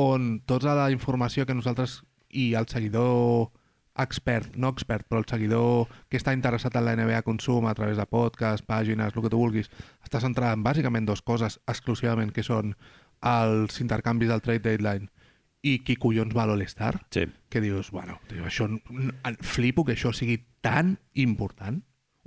on tota la informació que nosaltres i el seguidor expert, no expert, però el seguidor que està interessat en la NBA consum a través de podcast, pàgines, el que tu vulguis, està centrat en bàsicament dues coses exclusivament, que són els intercanvis del trade deadline i qui collons va a l'All-Star,
Sí.
que dius, bueno, tio, això, n- n- flipo que això sigui tan important,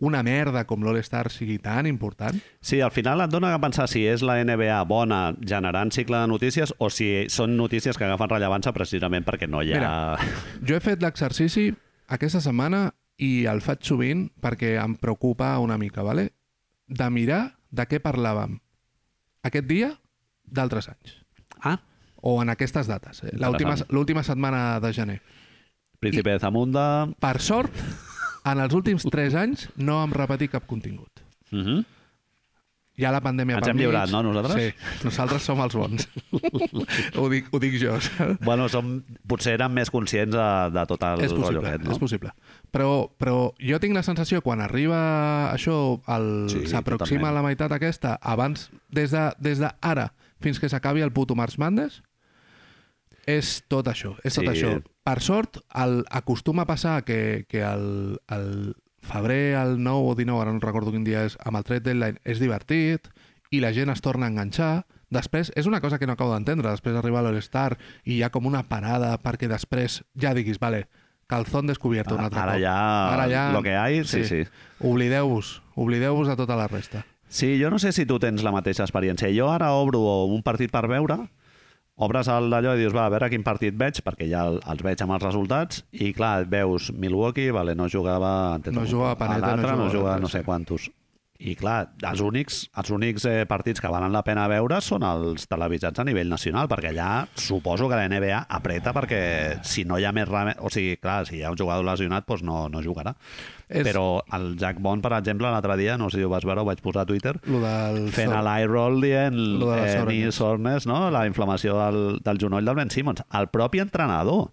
una merda com l'All-Star sigui tan important.
Sí, al final et dona a pensar si és la NBA bona generant cicle de notícies o si són notícies que agafen rellevància precisament perquè no hi ha... Mira.
Jo he fet l'exercici aquesta setmana i el faig sovint perquè em preocupa una mica, vale? de mirar de què parlàvem aquest dia d'altres anys,
Ah,
o en aquestes dates, eh? l'última
Interessant.
l'última setmana de gener.
Príncipe de Zamunda...
Per sort, en els últims 3 anys no em repetí cap contingut.
Uh -huh.
Hi ha la pandèmia
Ens
pel
hem
mig.
lliurat, no, nosaltres?
Sí, nosaltres som els bons. ho, dic, ho dic jo. saps?
Bueno, som, potser érem més conscients de, de tot el
és possible,
rotllo aquest,
no?
no?
és possible. Però, però jo tinc la sensació, quan arriba això, el-
Sí,
s'aproxima
totalment.
sí, la meitat aquesta, abans, des de, des de ara fins que s'acabi el puto March Madness, és tot això, és tot
Sí.
això. Per sort, el, acostuma a passar que, que el, el febrer, el 9 o 19, ara no recordo quin dia és, amb el trade deadline, és divertit i la gent es torna a enganxar. Després, és una cosa que no acabo d'entendre, després arriba l'All-Star i hi ha com una parada perquè després ja diguis, vale, calzón descobert un
Ara-
altre
Ah, ara
cop.
ja lo que hay, sí, sí.
Oblideu-vos, oblideu-vos de tota la resta.
Sí, jo no sé si tu tens la mateixa experiència. Jo ara obro un partit per veure, obres el d'allò i dius, va, a veure quin partit veig, perquè ja el- els veig amb els resultats, i clar, et veus Milwaukee, vale, no jugava... Antetokounmpo.
No jugava Panetta,
A l'altre no,
no jugava
jugava
l'altre,
no sé
sí.
quantos. I clar, els únics, els únics eh, partits que valen la pena veure són els televisats a nivell nacional, perquè allà suposo que la NBA apreta perquè si no hi ha més rame... O sigui, clar, si hi ha un jugador lesionat, doncs no, no jugarà.
És-
És... Però el Jack Bond, per exemple, l'altre dia, no sé si ho vas veure, ho vaig posar a Twitter,
Lo del
fent
sol.
l'eye roll dient
Lo de la
eh,
Sornes.
ni Sornes, no? la inflamació del, del genoll del Ben Simmons. El propi entrenador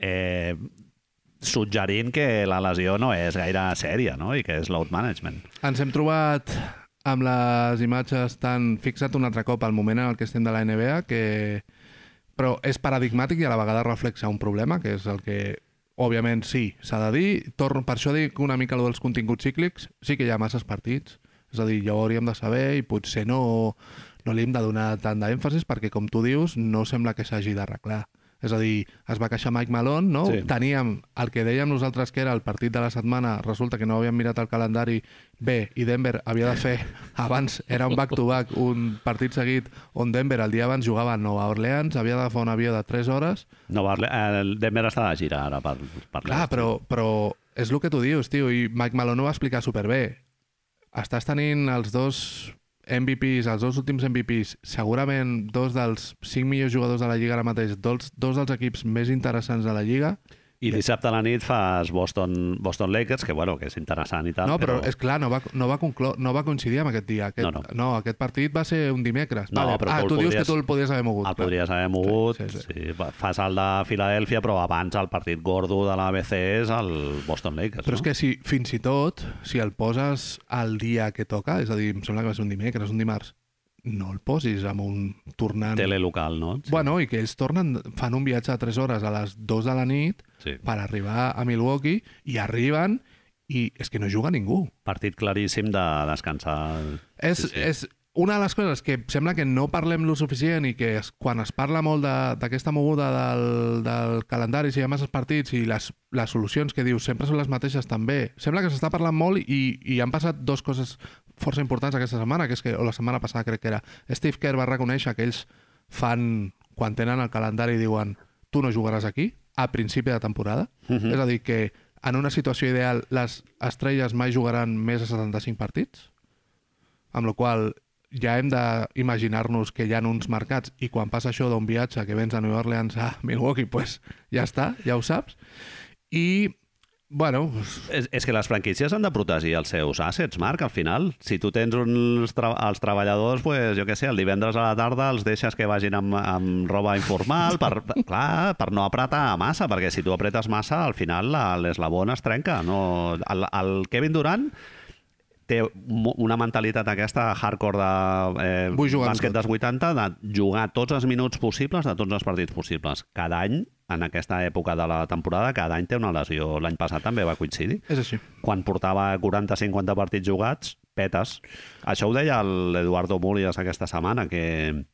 eh, suggerint que la lesió no és gaire sèria no? i que és load management.
Ens hem trobat amb les imatges tan fixat un altre cop al moment en el que estem de la NBA que però és paradigmàtic i a la vegada reflexa un problema, que és el que òbviament sí, s'ha de dir. Torno, per això dic una mica el dels continguts cíclics, sí que hi ha masses partits, és a dir, ja ho hauríem de saber i potser no, no li hem de donar tant d'èmfasis perquè, com tu dius, no sembla que s'hagi d'arreglar. És a dir, es va queixar Mike Malone, no?
Sí.
Teníem el que dèiem nosaltres que era el partit de la setmana, resulta que no havíem mirat el calendari bé i Denver havia de fer abans, era un back-to-back, un partit seguit on Denver el dia abans jugava a Nova Orleans, havia d'agafar un avió de 3 hores
No, Barle- el Denver està de gira ara per, per
Clar,
l'est.
però, però és el que tu dius, tio, i Mike Malone ho va explicar superbé. Estàs tenint els dos MVPs, els dos últims MVPs, segurament dos dels cinc millors jugadors de la Lliga ara mateix, dos, dos dels equips més interessants de la Lliga.
I dissabte a la nit fas Boston, Boston Lakers, que bueno, que és interessant i tal,
no, però, és clar, no va, no, va conclo, no va coincidir amb aquest dia. Aquest,
No, no.
aquest partit va ser un dimecres.
No,
vale.
però
ah,
tu el
tu dius que
podries-
tu el podies haver mogut.
el
clar.
podries haver mogut.
Sí,
Sí,
sí, sí.
Fas el de Filadèlfia, però abans el partit gordo de l'ABC és el Boston Lakers.
Però
no?
és que si, fins i tot, si el poses al dia que toca, és a dir, em sembla que va ser un dimecres, un dimarts, no el posis amb un tornant...
Tele local, no? Sí.
Bueno, i que ells tornen, fan un viatge de 3 hores a les 2 de la nit
sí.
per arribar a Milwaukee i arriben i és que no juga ningú.
Partit claríssim de descansar.
És,
Sí, sí.
sí, sí. és una de les coses que sembla que no parlem lo suficient i que es, quan es parla molt de- d'aquesta moguda del, del calendari, si hi ha masses partits i les, les solucions que dius sempre són les mateixes també, sembla que s'està parlant molt i, i han passat dues coses força importants aquesta setmana, que és que, o la setmana passada crec que era, Steve Kerr va reconèixer que ells fan, quan tenen el calendari diuen, tu no jugaràs aquí a principi de temporada,
Mhm.
és a dir que en una situació ideal les estrelles mai jugaran més de 75 partits amb la qual cosa ja hem d'imaginar-nos que hi ha uns mercats i quan passa això d'un viatge que vens a New Orleans a Milwaukee, pues, ja està, ja ho saps. I, bueno, pues,
És, és que les franquícies han de protegir els seus assets, Marc, al final. Si tu tens uns tra els treballadors, pues, jo què sé, el divendres a la tarda els deixes que vagin amb, amb roba informal per, clar, per no apretar massa, perquè si tu apretes massa, al final la- l'eslabó es trenca. No? El, el Kevin Durant té mo- una mentalitat aquesta hardcore de eh,
Vull jugar amb
bàsquet
tot.
dels 80 de jugar tots els minuts possibles de tots els partits possibles. Cada any, en aquesta època de la temporada, cada any té una lesió. L'any passat també va coincidir
és així.
quan portava 40-50 partits jugats, petes. Això ho deia el- l'Eduardo Múlies aquesta setmana, que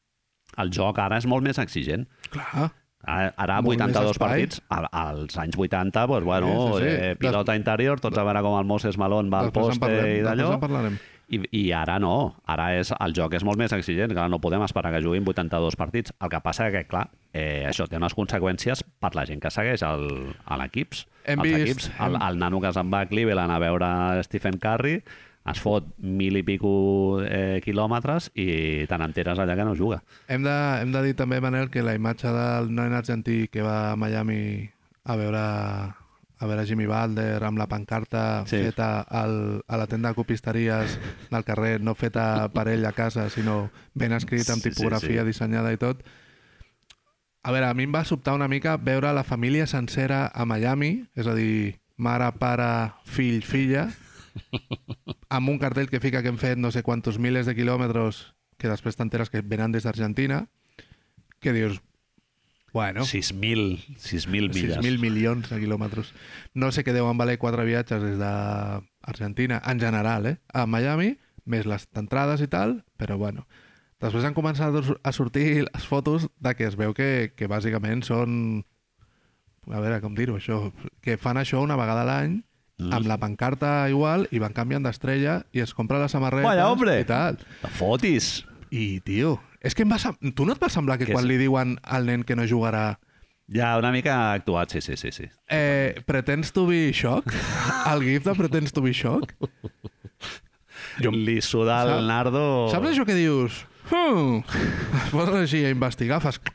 el joc ara és molt més exigent.
Clar.
Ara, ara
Molt
82
més espai.
partits, a- als anys 80, doncs, bueno,
Sí,
sí,
sí,
sí,
sí.
Eh, pilota interior, tots a veure com el Moses Malone va al
Després en
poste
parlem,
i
després en
d'allò.
parlarem.
I, I ara no, ara és, el joc és molt més exigent, clar, no podem esperar que juguin 82 partits. El que passa que, clar, eh, això té unes conseqüències per la gent que segueix el, a l'equips.
Hem
als
vist-
equips. El, el nano que se'n va a Cleveland a veure Stephen Curry es fot mil i pico eh, quilòmetres i te n'enteres allà que no juga.
Hem de, hem de dir també, Manel, que la imatge del noi argentí que va a Miami a veure a veure Jimmy Balder amb la pancarta sí.
Sí.
feta al, a la tenda de copisteries del carrer, no feta per ell a casa, sinó ben escrit amb
Sí, sí,
tipografia
sí.
dissenyada i tot. A veure, a mi em va sobtar una mica veure la família sencera a Miami, és a dir, mare, pare, fill, filla, amb un cartell que fica que hem fet no sé quantos miles de quilòmetres que després t'enteres que venen des d'Argentina, que dius, bueno,
6.000 6.000 milles.
6.000 milions de quilòmetres. No sé què deuen valer quatre viatges des d'Argentina, en general, eh? A Miami, més les entrades i tal, però bueno. Després han començat a sur- a sortir les fotos de que es veu que, que bàsicament són... A veure, com dir-ho, això? Que fan això una vegada a l'any,
Mm.
amb la pancarta igual, i van canviant d'estrella i es compra la samarreta
Vaya, hombre!
i tal.
Te fotis!
I, tio, és que em va sem- tu no et va semblar que,
Que
quan
sí.
li diuen al nen que no jugarà
Ja, una mica actuat, sí, sí, sí. sí.
Eh, pretens to be shock? El gif de pretens to be shock? Jo-
Li suda
Saps-
el nardo...
Saps això que dius? Hmm. Es poses així a investigar, fas... clic,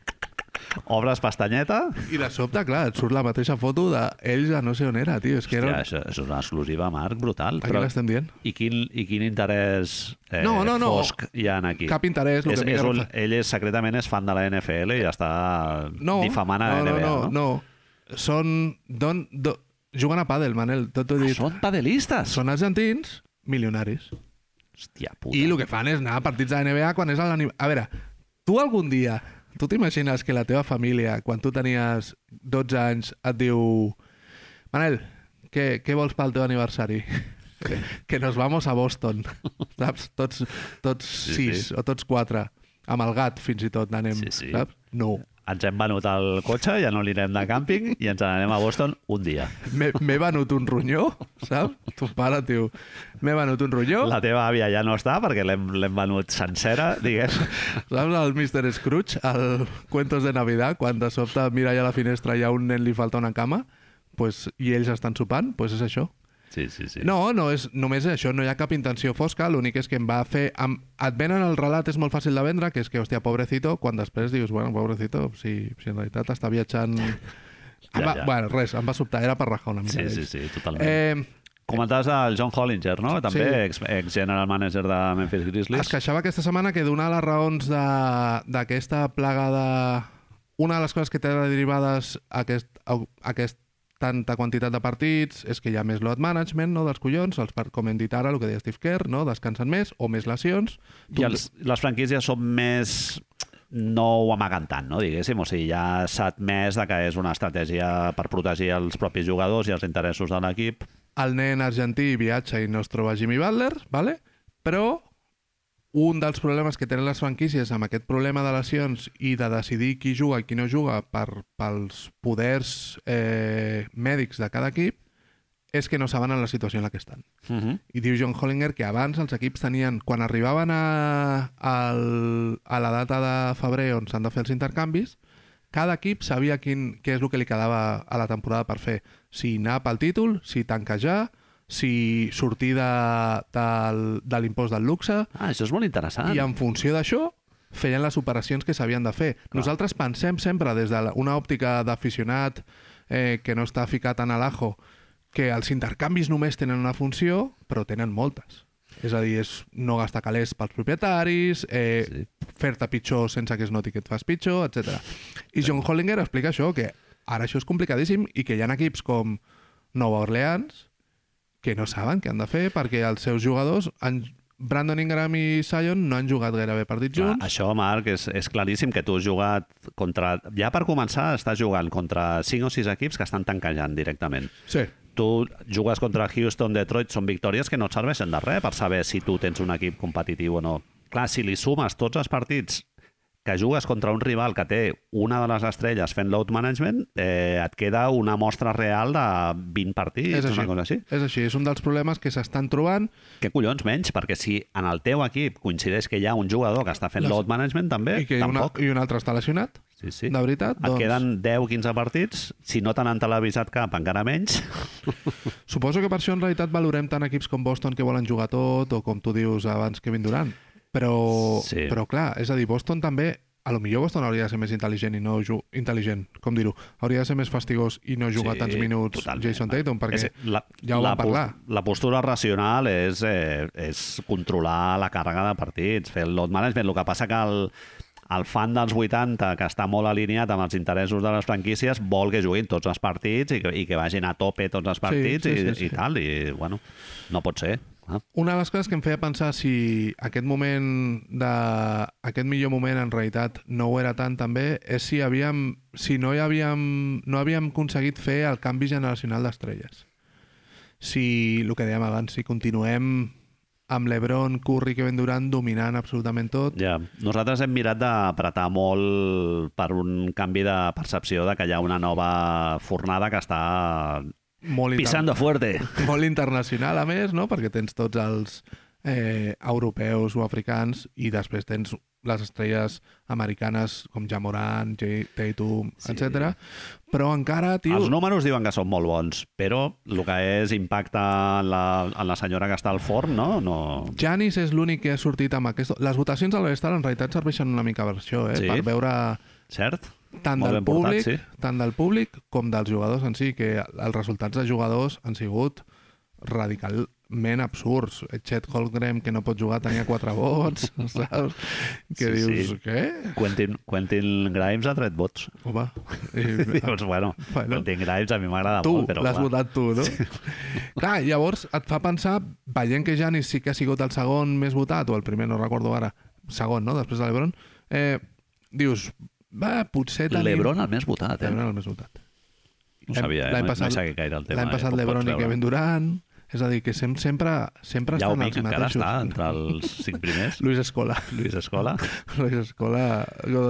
Obres pestanyeta?
I de sobte, clar, et surt la mateixa foto d'ells a no sé on era, tio. És que
Hòstia,
era...
això, això és una exclusiva, Marc, brutal.
Aquí l'estem dient.
I quin, I quin interès eh,
No, no, no.
fosc hi ha aquí?
Cap interès, lo
és,
que
és
pica
un,
no fa.
Ell és, secretament és fan de la NFL i està
No,
difamant a la
no,
NBA,
no,
no?
no, no. Són... Don, do, juguen a pàdel, Manel. Tot t'ho he
Ah,
dit.
són padelistes?
Són argentins milionaris.
Hòstia puta.
I el que fan és anar a partits de NBA quan és a l'animal... A veure, tu algun dia, tu t'imagines que la teva família, quan tu tenies 12 anys, et diu... Manel, què, què vols pel teu aniversari? que nos vamos a Boston, saps? Tots, tots sí, sis
sí.
o tots quatre. Amb el gat, fins i tot, anem,
Sí, sí.
saps? No.
Ens hem venut el cotxe, ja no li anem de càmping i ens n'anem a Boston un dia.
M'he m'he venut un ronyó, saps? Ton pare, tio. M'he venut un ronyó.
La teva àvia ja no està perquè l'hem l'hem venut sencera, diguem.
Saps el Mr. Scrooge, al Cuentos de Navidad, quan de sobte mira allà a la finestra i a un nen li falta una cama, pues, i ells estan sopant, pues és això.
Sí, sí, sí.
No, no és només això, no hi ha cap intenció fosca, l'únic és que em va fer... Em, et venen el relat, és molt fàcil de vendre, que és que, hòstia, pobrecito, quan després dius, bueno, pobrecito, si, si en realitat està viatjant... Em va,
Ja, ja.
Bueno, res, em va sobtar, era per rajar una mica
Sí, sí,
d'ells.
sí, totalment. Eh...
Eh,
Comentaves el John Hollinger, no? També,
Sí.
ex, ex general manager de Memphis Grizzlies.
Es queixava aquesta setmana que d'una de les raons de- d'aquesta plaga de... Una de les coses que té de derivades aquest, au- aquest tanta quantitat de partits és que hi ha més load management no, dels collons, els, par- com hem dit ara, el que deia Steve Kerr, no, descansen més o més lesions.
I els, les franquícies són més no ho amaguen tant, no, diguéssim. O sigui, ja s'ha admès de que és una estratègia per protegir els propis jugadors i els interessos de l'equip.
el nen argentí viatja i no es troba Jimmy Butler, vale? però un dels problemes que tenen les franquícies amb aquest problema de lesions i de decidir qui juga i qui no juga per, pels poders eh, mèdics de cada equip és que no saben en la situació en la que estan.
Uh -huh.
I diu John Hollinger que abans els equips tenien, quan arribaven a, al, a la data de febrer on s'han de fer els intercanvis, cada equip sabia quin, què és el que li quedava a la temporada per fer. Si anar pel títol, si tancar ja, si sortir de, del, de l'impost del luxe,
Ah, això és molt interessant.
i en funció d'això feien les operacions que s'havien de fer. Nosaltres pensem sempre des d'una òptica d'aficionat eh, que no està ficat en l'ajo que els intercanvis només tenen una funció, però tenen moltes. És a dir, és no gastar calés pels propietaris, eh,
Sí.
fer-te pitjor sense que es noti que et fas pitjor, etc. I John Hollinger explica això, que ara això és complicadíssim i que hi ha equips com Nova Orleans que no saben què han de fer perquè els seus jugadors, han... Brandon Ingram i Sion, no han jugat gairebé partits
Clar,
junts.
això, Marc, és, és claríssim que tu has jugat contra... Ja per començar, estàs jugant contra 5 o 6 equips que estan tanquejant directament.
Sí.
tu jugues contra Houston, Detroit, són victòries que no et serveixen de res per saber si tu tens un equip competitiu o no. Clar, si li sumes tots els partits que jugues contra un rival que té una de les estrelles fent load management, eh, et queda una mostra real de 20 partits,
És així.
una cosa així.
És així, és un dels problemes que s'estan trobant.
Que collons menys, perquè si en el teu equip coincideix que hi ha un jugador que està fent
Les-
load management, també,
I que una,
tampoc.
i un altre està lesionat.
Sí, sí.
de veritat,
Et
doncs-
queden 10-15 partits, si no te n'han televisat cap, encara menys.
Suposo que per això en realitat valorem tant equips com Boston que volen jugar tot o com tu dius abans Kevin Durant. Però,
Sí.
sí. però clar, és a dir, Boston també a lo millor Boston hauria de ser més intel·ligent i no ju- intel·ligent, com dir-ho, hauria de ser més fastigós i no jugar sí, tants minuts
totalment.
Jason Tatum, perquè
És- la,
ja ho
la
vam
pos-
parlar.
La postura racional és, eh, és controlar la càrrega de partits, fer el load management. El que passa que el, el fan dels 80, que està molt alineat amb els interessos de les franquícies, vol que juguin tots els partits i que, i que vagin a tope tots els partits sí, sí, i, sí, sí. i tal. I, bueno, no pot ser. clar.
Una de les coses que em feia pensar si aquest moment de... aquest millor moment en realitat no ho era tant també, és si havíem, si no hi havíem, no havíem aconseguit fer el canvi generacional d'estrelles. Si, el que dèiem abans, si continuem amb l'Ebron, Curry, Kevin Durant dominant absolutament tot,
Ja. Nosaltres hem mirat d'apretar molt per un canvi de percepció de que hi ha una nova fornada que està
molt, inter...
pisando fuerte.
molt internacional a més, no? perquè tens tots els eh, europeus o africans i després tens les estrelles americanes com Jamoran, Jay Tatum,
Sí.
sí. etc. Però encara, tio...
Els números diuen que són molt bons, però el que és impacte en la, en la senyora que està al forn, no? no...
Janis és l'únic que ha sortit amb aquest... Les votacions a l'All-Star en realitat serveixen una mica per això, eh?
Sí.
Sí. per veure
Cert?
tant
Molt
del,
ben portat,
públic,
sí.
tant del públic com dels jugadors en si, que els resultats de jugadors han sigut radicalment absurds. Chet Holmgren, que no pot jugar, tenia quatre vots, saps? Que
Sí,
sí, dius,
sí.
sí. què?
Quentin, Quentin Grimes ha tret vots.
Home, i,
Dius, bueno,
Bueno.
Quentin Grimes a mi m'agrada
tu,
molt, "Ah, però
l'has
clar.
votat tu, no? Clar, llavors et fa pensar, veient que Janis sí que ha sigut el segon més votat, o el primer, no recordo ara, segon, no?, després de l'Ebron, eh, dius, va, potser tenim...
L'Ebron el més votat, eh?
L'Ebron el més votat.
No sabia, eh? No-
L'any
no he
passat-
seguit gaire el tema,
L'any
eh?
passat
Com pots
l'Ebron i
veure.
Kevin Durant, és a dir, que sem sempre, sempre
Ja ho
estan
vinc,
els
encara
mateixos.
està entre els cinc primers.
Luis Escola.
Luis Escola.
Luis Escola,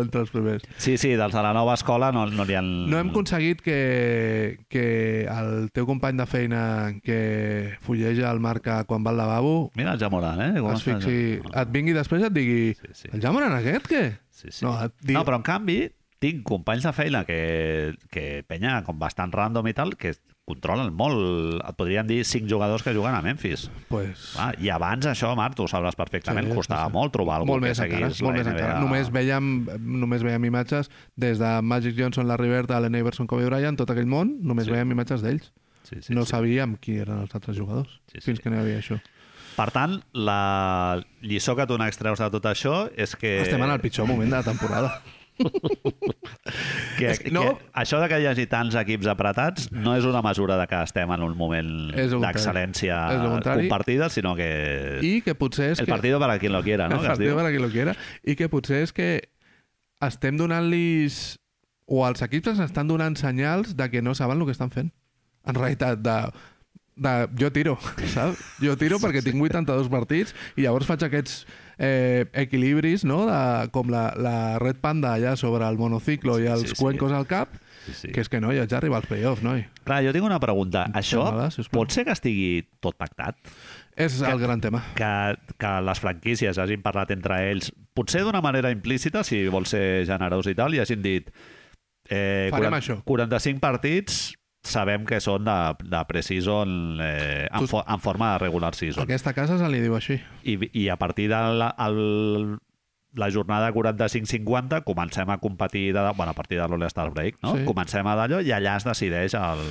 entre els primers.
Sí, sí, dels de la nova escola no, no li han...
No hem aconseguit que, que el teu company de feina que fulleja el marca quan va al lavabo
Mira el Jamoran, eh? Com
es
està?
fixi,
No.
et vingui després i et digui
Sí, sí.
el Jamoran aquest, què?
Sí, sí.
No, eh,
No,
et di-
no, però en canvi tinc companys de feina que, que penya com bastant random i tal, que controlen molt, et podríem dir, cinc jugadors que juguen a Memphis.
Pues,
Ah, I abans això, Marc, tu ho sabràs perfectament,
Sí,
sí,
sí,
costava
sí.
sí. molt trobar algú
molt
que
més encara,
seguís
molt
la
més
NBA.
encara. Només veiem, només veiem imatges des de Magic Johnson, Larry Bird, Allen Iverson, Kobe Bryant, tot aquell món, només
Sí.
sí. veiem imatges d'ells.
Sí, sí,
Sí, no
sí.
sabíem qui eren els altres jugadors,
Sí, sí.
fins que no hi havia això.
Per tant, la lliçó que tu n'extreus de tot això és que...
Eh... Estem en el pitjor moment de la temporada.
Que,
És que
no.
no.
que això de que hi hagi tants equips apretats no és una mesura de que estem en un moment
És el contrari.
d'excel·lència
És el contrari.
compartida, sinó que...
I que potser és
eh, el
que...
partido para quien lo quiera,
no,
no?
el
Que es
partit
diu.
per a qui lo quiera. I que potser és que estem donant-los... O els equips ens estan donant senyals de que no saben el que estan fent. En realitat, de... de jo tiro, saps? Jo tiro perquè tinc 82 partits i llavors faig aquests eh, equilibris, no? De, com la, la Red Panda allà sobre el monociclo sí, i els
sí,
sí,
sí.
cuencos al cap,
Sí, sí.
sí. que és que, noi, haig d'arribar als playoffs, noi.
Clar, jo tinc una pregunta. Això
Fem-la, sisplau.
pot ser que estigui tot pactat?
És
Que-
el gran tema.
Que, que les franquícies hagin parlat entre ells, potser d'una manera implícita, si vol ser generós i tal, i hagin dit eh,
Farem això.
45 partits sabem que són de, de pre-season eh, en,
Tu-
fo en forma de regular season.
Aquesta casa se li diu així.
I, i a partir de la, el, la jornada 45-50 comencem a competir de, bueno, a partir de l'All-Star Break, no? Sí.
Sí.
Comencem a d'allò i allà es decideix el...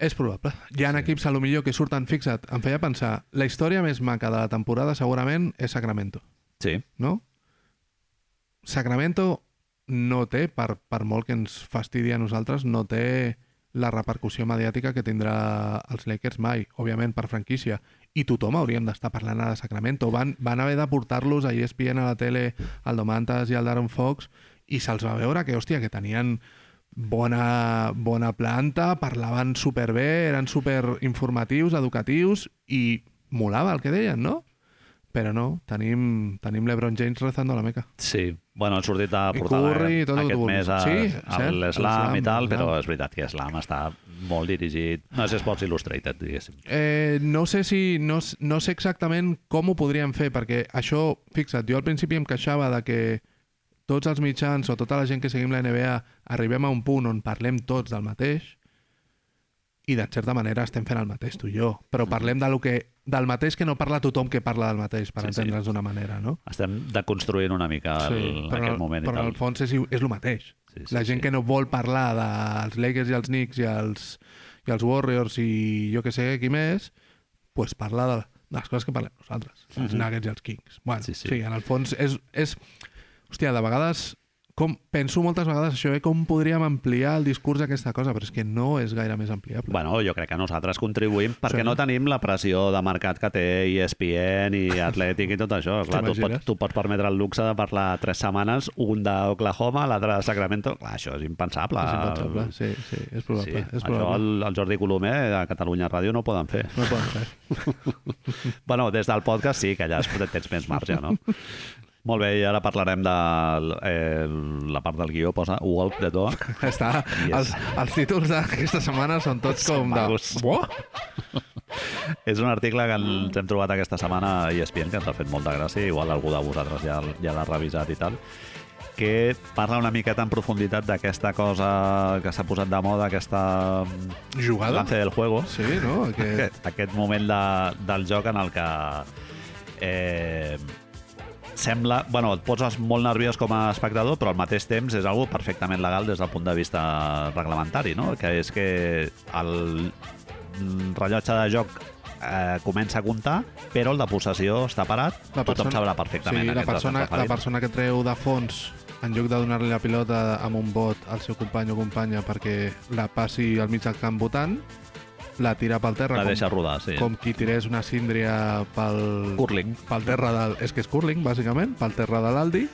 És probable. Hi ha sí. equips, a lo millor, que surten, fixa't, em feia pensar, la història més maca de la temporada segurament és Sacramento,
Sí,
no? Sacramento no té, per, per molt que ens fastidi a nosaltres, no té la repercussió mediàtica que tindrà els Lakers mai, òbviament per franquícia. I tothom hauríem d'estar parlant ara de Sacramento. Van, van haver de portar-los a E ESPN a la tele, al Domantas i al Darren Fox, i se'ls va veure que, hòstia, que tenien bona, bona planta, parlaven superbé, eren superinformatius, educatius, i molava el que deien, no? Però no, tenim, tenim l'Ebron James rezando la meca.
sí. Bueno, han sortit a
I
portar
Curry i tot el que
aquest
vulguis.
mes a,
Sí,
sí,
cert,
l'Islam i
l'Slam,
tal, però
l'Slam.
és veritat que Islam està molt dirigit. No és Sports Illustrated, diguéssim.
Eh, no sé si no, s- no sé exactament com ho podríem fer, perquè això, fixa't, jo al principi em queixava de que tots els mitjans o tota la gent que seguim la NBA arribem a un punt on parlem tots del mateix i de certa manera estem fent el mateix tu i jo, però parlem de lo que, del mateix que no parla tothom que parla del mateix,
Sí,
per sí,
sí.
entendre's d'una manera, no?
Estem deconstruint una mica el, sí,
però,
aquest moment
però
i
al
tal.
fons és, és el mateix.
Sí,
Sí,
sí,
sí, la
sí.
gent sí. que no vol parlar dels Lakers i els Knicks i els, i els Warriors i jo que sé qui més, pues parla de, de les coses que parlem nosaltres, els Nuggets i els Kings. Bueno,
Mhm. Sí, sí.
sí, sí. sí, en el fons és... és hòstia, de vegades... Com, penso moltes vegades això, eh? com podríem ampliar el discurs d'aquesta cosa, però és que no és gaire més ampliable.
Bueno, jo crec que nosaltres contribuïm perquè
Sí.
no tenim la pressió de mercat que té E ESPN i Atlètic i tot això. Clar, tu, pot,
T'imagines?
tu pots permetre el luxe de parlar tres setmanes, un d'Oklahoma, l'altre de Sacramento. Clar, això és impensable.
és impensable, sí, sí, és
Sí,
probable. és
això
probable.
el, el Jordi Colomer a Catalunya Ràdio no ho poden fer.
No poden fer.
bueno, des del podcast sí, que allà es- tens més marge, no? Molt bé, i ara parlarem de eh, la part del guió, posa Walk the Dog.
Està,
Yes.
yes. els, els títols d'aquesta setmana són tots
Són
com de...
magos.
Buah!
És un article que ens hem trobat aquesta setmana a E ESPN, que ens ha fet molta gràcia, igual algú de vosaltres ja, ja l'ha revisat i tal, que parla una miqueta en profunditat d'aquesta cosa que s'ha posat de moda, aquesta
Jugada?
lance del juego,
Sí, no? Aquest...
aquest, aquest moment de, del joc en el que eh, sembla... Bueno, et poses molt nerviós com a espectador, però al mateix temps és algo perfectament legal des del punt de vista reglamentari, no? Que és que el rellotge de joc eh, comença a comptar, però el de possessió està parat, tothom sabrà perfectament.
Sí,
a
la
què ens estem
persona, la
referint.
persona que treu de fons en lloc de donar-li la pilota amb un bot al seu company o companya perquè la passi al mig del camp votant, la tira pel terra
La
com,
deixa rodar, sí.
com qui tirés una síndria pel,
Curling.
pel terra del... És que és curling, bàsicament, pel terra de l'Aldi.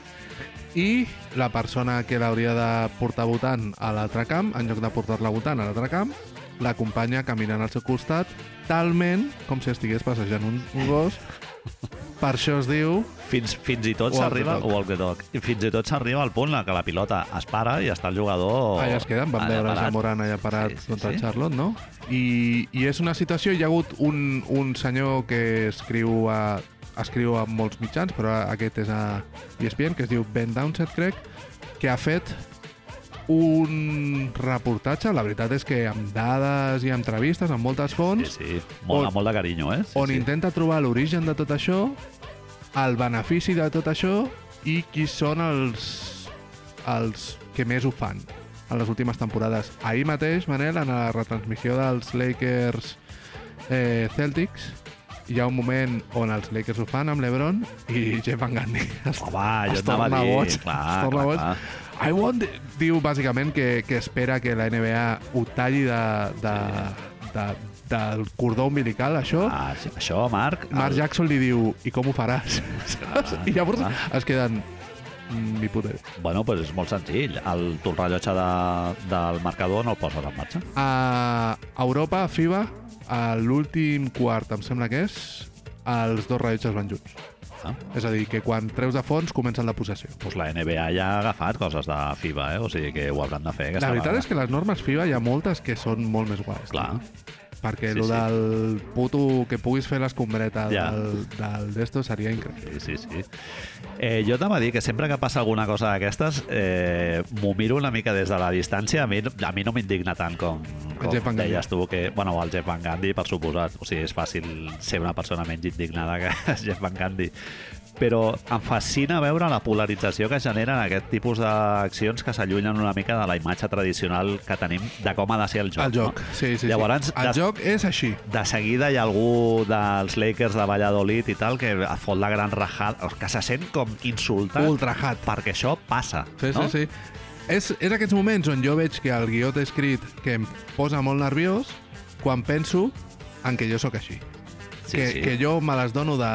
I la persona que l'hauria de portar votant a l'altre camp, en lloc de portar-la votant a l'altre camp, l'acompanya caminant al seu costat, talment com si estigués passejant un, un gos. Per això es diu...
Fins, fins i tot
Walk the
s'arriba
dog.
walk the dog. I fins i tot s'arriba al punt en què la pilota es para i està el jugador...
Allà es queden, vam
allà
veure
parat.
ja Moran allà parat sí, sí, contra sí. Charlotte, no? I, I és una situació... Hi ha hagut un, un senyor que escriu a, escriu a molts mitjans, però aquest és a E ESPN, que es diu Ben Downset, crec, que ha fet un reportatge, la veritat és que amb dades i entrevistes, amb moltes
Sí,
fonts,
sí. Mola,
On-
molt de carinyo, eh? Sí,
on
sí.
intenta trobar l'origen de tot això, el benefici de tot això i qui són els, els que més ho fan en les últimes temporades. Ahir mateix, Manel, en la retransmissió dels Lakers eh, Celtics, hi ha un moment on els Lakers ho fan amb l'Ebron i Jeff Van Gundy es,
Home, jo anava a
torna
dir,
boig,
clar,
es torna
clar,
boig.
clar.
I want... the- Diu, bàsicament, que, que espera que la NBA ho talli de, de, de, del cordó umbilical, això,
Ah, sí. Això, Marc...
Mark
el-
Jackson li diu, i com ho faràs? Saps? I llavors
Ah, clar.
es queden... "Mm, Ni puta idea."
Bueno, doncs és molt senzill. El, tu el rellotge de, del marcador no el poses en marxa.
A Europa, a FIBA, a l'últim quart, em sembla que és, els dos rellotges van junts.
Ah.
És a dir, que quan treus de fons comencen la possessió.
Pues la NBA ja ha agafat coses de FIBA, eh? O sigui que ho hauran de fer.
La veritat és que les normes FIBA hi ha moltes que són molt més guais.
Clar.
Perquè
Sí,
sí, lo
sí.
del puto que puguis fer l'escombreta
Ja.
yeah. del, del d'esto seria increïble.
Sí, sí, sí. Eh, jo t'anava a dir que sempre que passa alguna cosa d'aquestes eh, m'ho miro una mica des de la distància. A mi, a mi no m'indigna tant com, com
Jeff Van Gundy.
deies tu. Que, bueno, el Jeff Van Gundy, per suposat. O sigui, és fàcil ser una persona menys indignada que el Jeff Van Gundy. Però em fascina veure la polarització que generen aquest tipus d'accions que s'allunyen una mica de la imatge tradicional que tenim de com ha de ser el joc.
El joc,
no?
sí, sí.
Llavors,
sí. El
des-
joc és així.
de seguida hi ha algú dels Lakers de Valladolid i tal que et fot la gran rajada, que se sent com insultat
Ultrajat.
perquè això passa.
Sí,
no?
sí, sí. És, és aquests moments on jo veig que el guió té escrit que em posa molt nerviós quan penso en que jo sóc així.
Sí,
que,
sí.
que jo me les dono de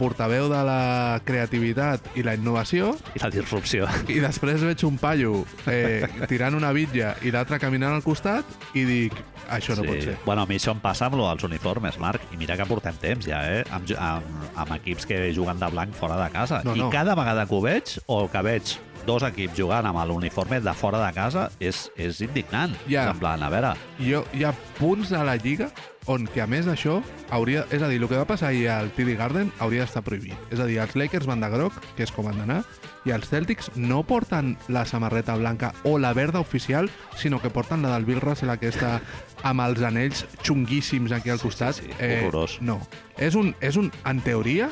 portaveu de la creativitat i la innovació
I la disrupció.
i després veig un paio eh, tirant una bitlla i l'altre caminant al costat i dic, això no
sí.
pot ser.
Bueno, a mi això em passa amb els uniformes, Marc, i mira que portem temps ja, eh? Amb, amb, amb equips que juguen de blanc fora de casa.
No,
I
no.
cada vegada que ho veig, o que veig dos equips jugant amb l'uniforme de fora de casa, és, és indignant.
Ja.
És en plan, a veure,
Jo, hi ha punts de la lliga on que a més d'això hauria... És a dir, el que va passar ahir al TD Garden hauria d'estar prohibit. És a dir, els Lakers van de groc, que és com han d'anar, i els Celtics no porten la samarreta blanca o la verda oficial, sinó que porten la del Bill Russell aquesta amb els anells xunguíssims aquí al costat. Eh,
sí, horrorós.
No. És un, és un... En teoria,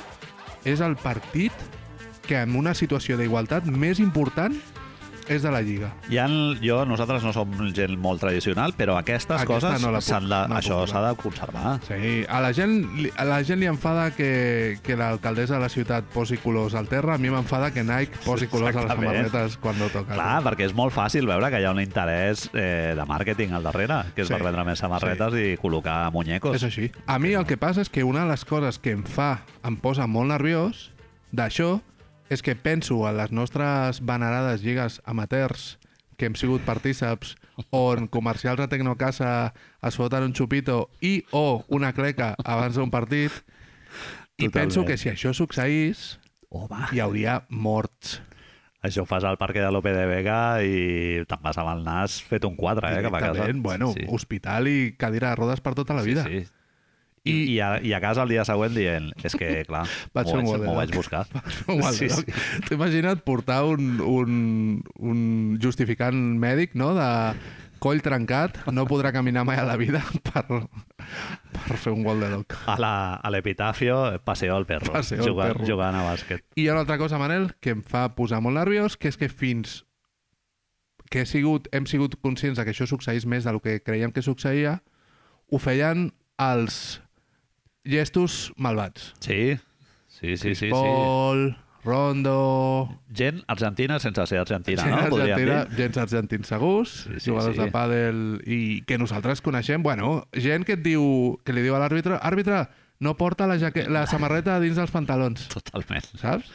és el partit que en una situació d'igualtat més important és de la Lliga.
Hi ha, jo, nosaltres no som gent molt tradicional, però aquestes
Aquesta
coses,
no la
no
puc-
de,
no la
això
puc
s'ha de conservar.
Sí, a la gent, li- a la gent li enfada que, que l'alcaldessa de la ciutat posi colors al terra, a mi m'enfada que Nike posi colors a les
Exactament.
samarretes quan no toca.
Clar, perquè és molt fàcil veure que hi ha un interès eh, de màrqueting al darrere, que és
Sí.
per vendre més samarretes i col·locar muñecos.
És així. A mi el que passa és que una de les coses que em fa, em posa molt nerviós d'això, és que penso en les nostres venerades lligues amateurs que hem sigut partíceps, on comercials de Tecnocasa es foten un xupito i o una cleca abans d'un partit, i
Totalment.
penso que si això succeís
Home,
hi hauria morts.
això ho fas al parc de Lope de Vega i te'n vas amb el nas fet un quadre, eh, cap a casa.
Directament, bueno,
sí, sí.
hospital i cadira de rodes per tota la vida.
Sí, sí. I, I, a, I a casa el dia següent dient, és que, clar,
Vaig
m'ho
fer un eh.
vaig,
Walderock.
m'ho vaig buscar.
Igual,
Sí,
sí,
sí.
T'ho imagina't portar un, un, un justificant mèdic, no?, de coll trencat, no podrà caminar mai a la vida per, per fer un gol de doc.
A la- a l'epitafio, paseo al perro,
Paseo al
jugant,
perro.
jugant a bàsquet.
I hi ha una altra cosa, Manel, que em fa posar molt nerviós, que és que fins que he sigut, hem sigut conscients de que això succeís més del que creiem que succeïa, ho feien els gestos malvats.
Sí, sí, sí, sí. sí.
Pol, Rondo...
Gent argentina sense ser argentina,
Gent
no? Podríem
argentina,
dir.
gens argentins segurs, sí,
sí,
sí, jugadors
sí.
sí. de pàdel i que nosaltres coneixem, bueno, gent que et diu, que li diu a l'àrbitre, àrbitre, no porta la, jaque la samarreta dins dels pantalons,
Totalment,
saps?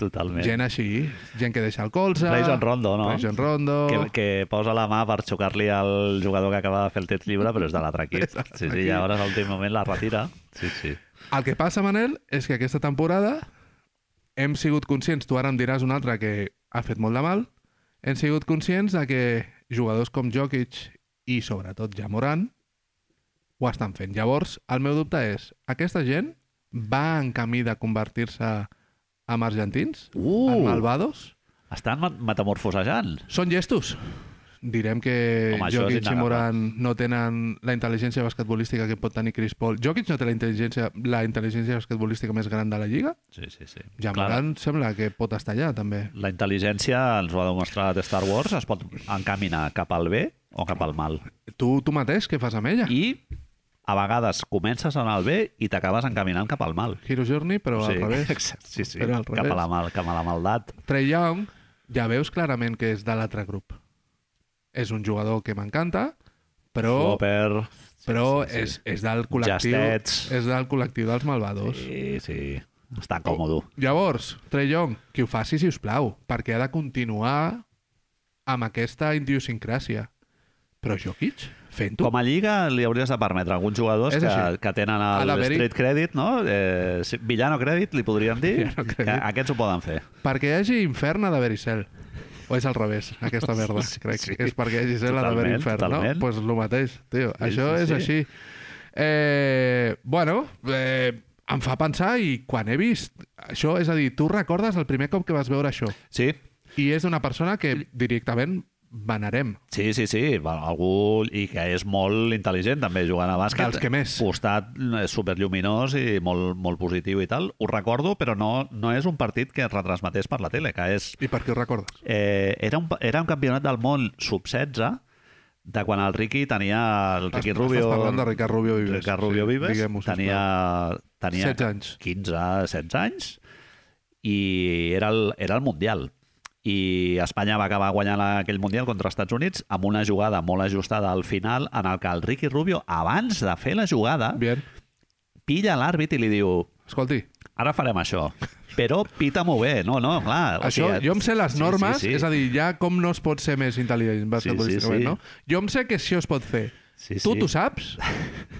totalment.
Gent així, gent que deixa el colze...
Grayson Rondo, no?
Grayson Rondo...
que, que posa la mà per xocar-li al jugador que acaba de fer el temps lliure, però és de l'altre equip.
És de l'altre
Sí, sí,
equip.
i llavors a l'últim moment la retira. Sí, sí.
El que passa, Manel, és que aquesta temporada hem sigut conscients, tu ara em diràs un altre que ha fet molt de mal, hem sigut conscients de que jugadors com Jokic i sobretot ja Morant ho estan fent. Llavors, el meu dubte és, aquesta gent va en camí de convertir-se en argentins? En
Uh!
malvados?
Estan ma- metamorfosejant.
Són gestos. Direm que
Home,
Home,
això és
Jokic i
innegable.
Morant no tenen la intel·ligència basquetbolística que pot tenir Chris Paul. Jokic no té la intel·ligència, la intel·ligència basquetbolística més gran de la Lliga?
Sí, sí, sí.
Ja
Clar,
Morant sembla que pot estar allà, també.
La intel·ligència, ens ho ha demostrat Star Wars, es pot encaminar cap al bé o cap al mal.
Tu, tu mateix, què fas amb ella? I...
I a vegades comences en el bé i t'acabes encaminant cap al mal.
Hero Journey, però sí. al revés.
exacte. Sí, sí.
Però al
Cap a,
revés.
la mal, cap a la maldat.
Trey Young, ja veus clarament que és de l'altre grup. És un jugador que m'encanta, però,
Flopper.
però és, és del col·lectiu
Justets.
és del col·lectiu dels malvados. Sí.
Sí, sí. Està còmodo.
Llavors, Trey Young, que ho faci, si us plau, perquè ha de continuar amb aquesta idiosincràsia. Però Jokic, fent-ho.
Com a lliga li hauries de permetre a alguns jugadors
És
que,
així.
que tenen
Ha
el
d'haver-hi-
street credit, no? Eh, sí, Villano credit, li podríem dir.
Villano credit.
Que aquests ho poden fer.
Perquè hi hagi infern ha d'haver-hi cel. O és al revés, aquesta merda,
Sí,
sí, crec.
sí.
Sí. És perquè hi hagi cel ha d'haver
Totalment,
infern,
totalment.
no? Doncs pues el mateix, tio.
Sí,
Sí, Això
sí,
sí, és
sí.
així. Eh, bueno, eh, em fa pensar i quan he vist això, és a dir, tu recordes el primer cop que vas veure això
Sí,
i és d'una persona que directament venerem.
Sí, sí, sí. Bueno, Algú i que és molt intel·ligent també jugant a bàsquet.
Dels que més.
Costat eh, superlluminós i molt, molt positiu i tal. Ho recordo, però no, no és un partit que es retransmetés per la tele, que és...
I per què ho recordes?
Eh, era, un, era un campionat del món sub-16 de quan el Ricky tenia... El Ricky
Estàs
Rubio...
parlant de Ricard Rubio Vives.
Ricard Rubio
Sí,
Vives
diguem-ho, sisplau.
tenia, tenia
16 anys.
15, 16 anys i era el, era el Mundial i Espanya va acabar guanyant aquell Mundial contra els Estats Units amb una jugada molt ajustada al final en el que el Ricky Rubio, abans de fer la jugada,
Bien.
pilla l'àrbit i li diu
Escolti,
ara farem això, però pita-m'ho bé. No, no, clar. o
Això,
sigui,
jo em sé les
sí,
normes, sí, sí, sí. és a dir, ja com no es pot ser més intel·ligent basquetbolísticament,
sí.
sí, sí, sí. no? Jo em sé que això es pot fer.
Sí, sí.
tu
Ah,
t'ho saps?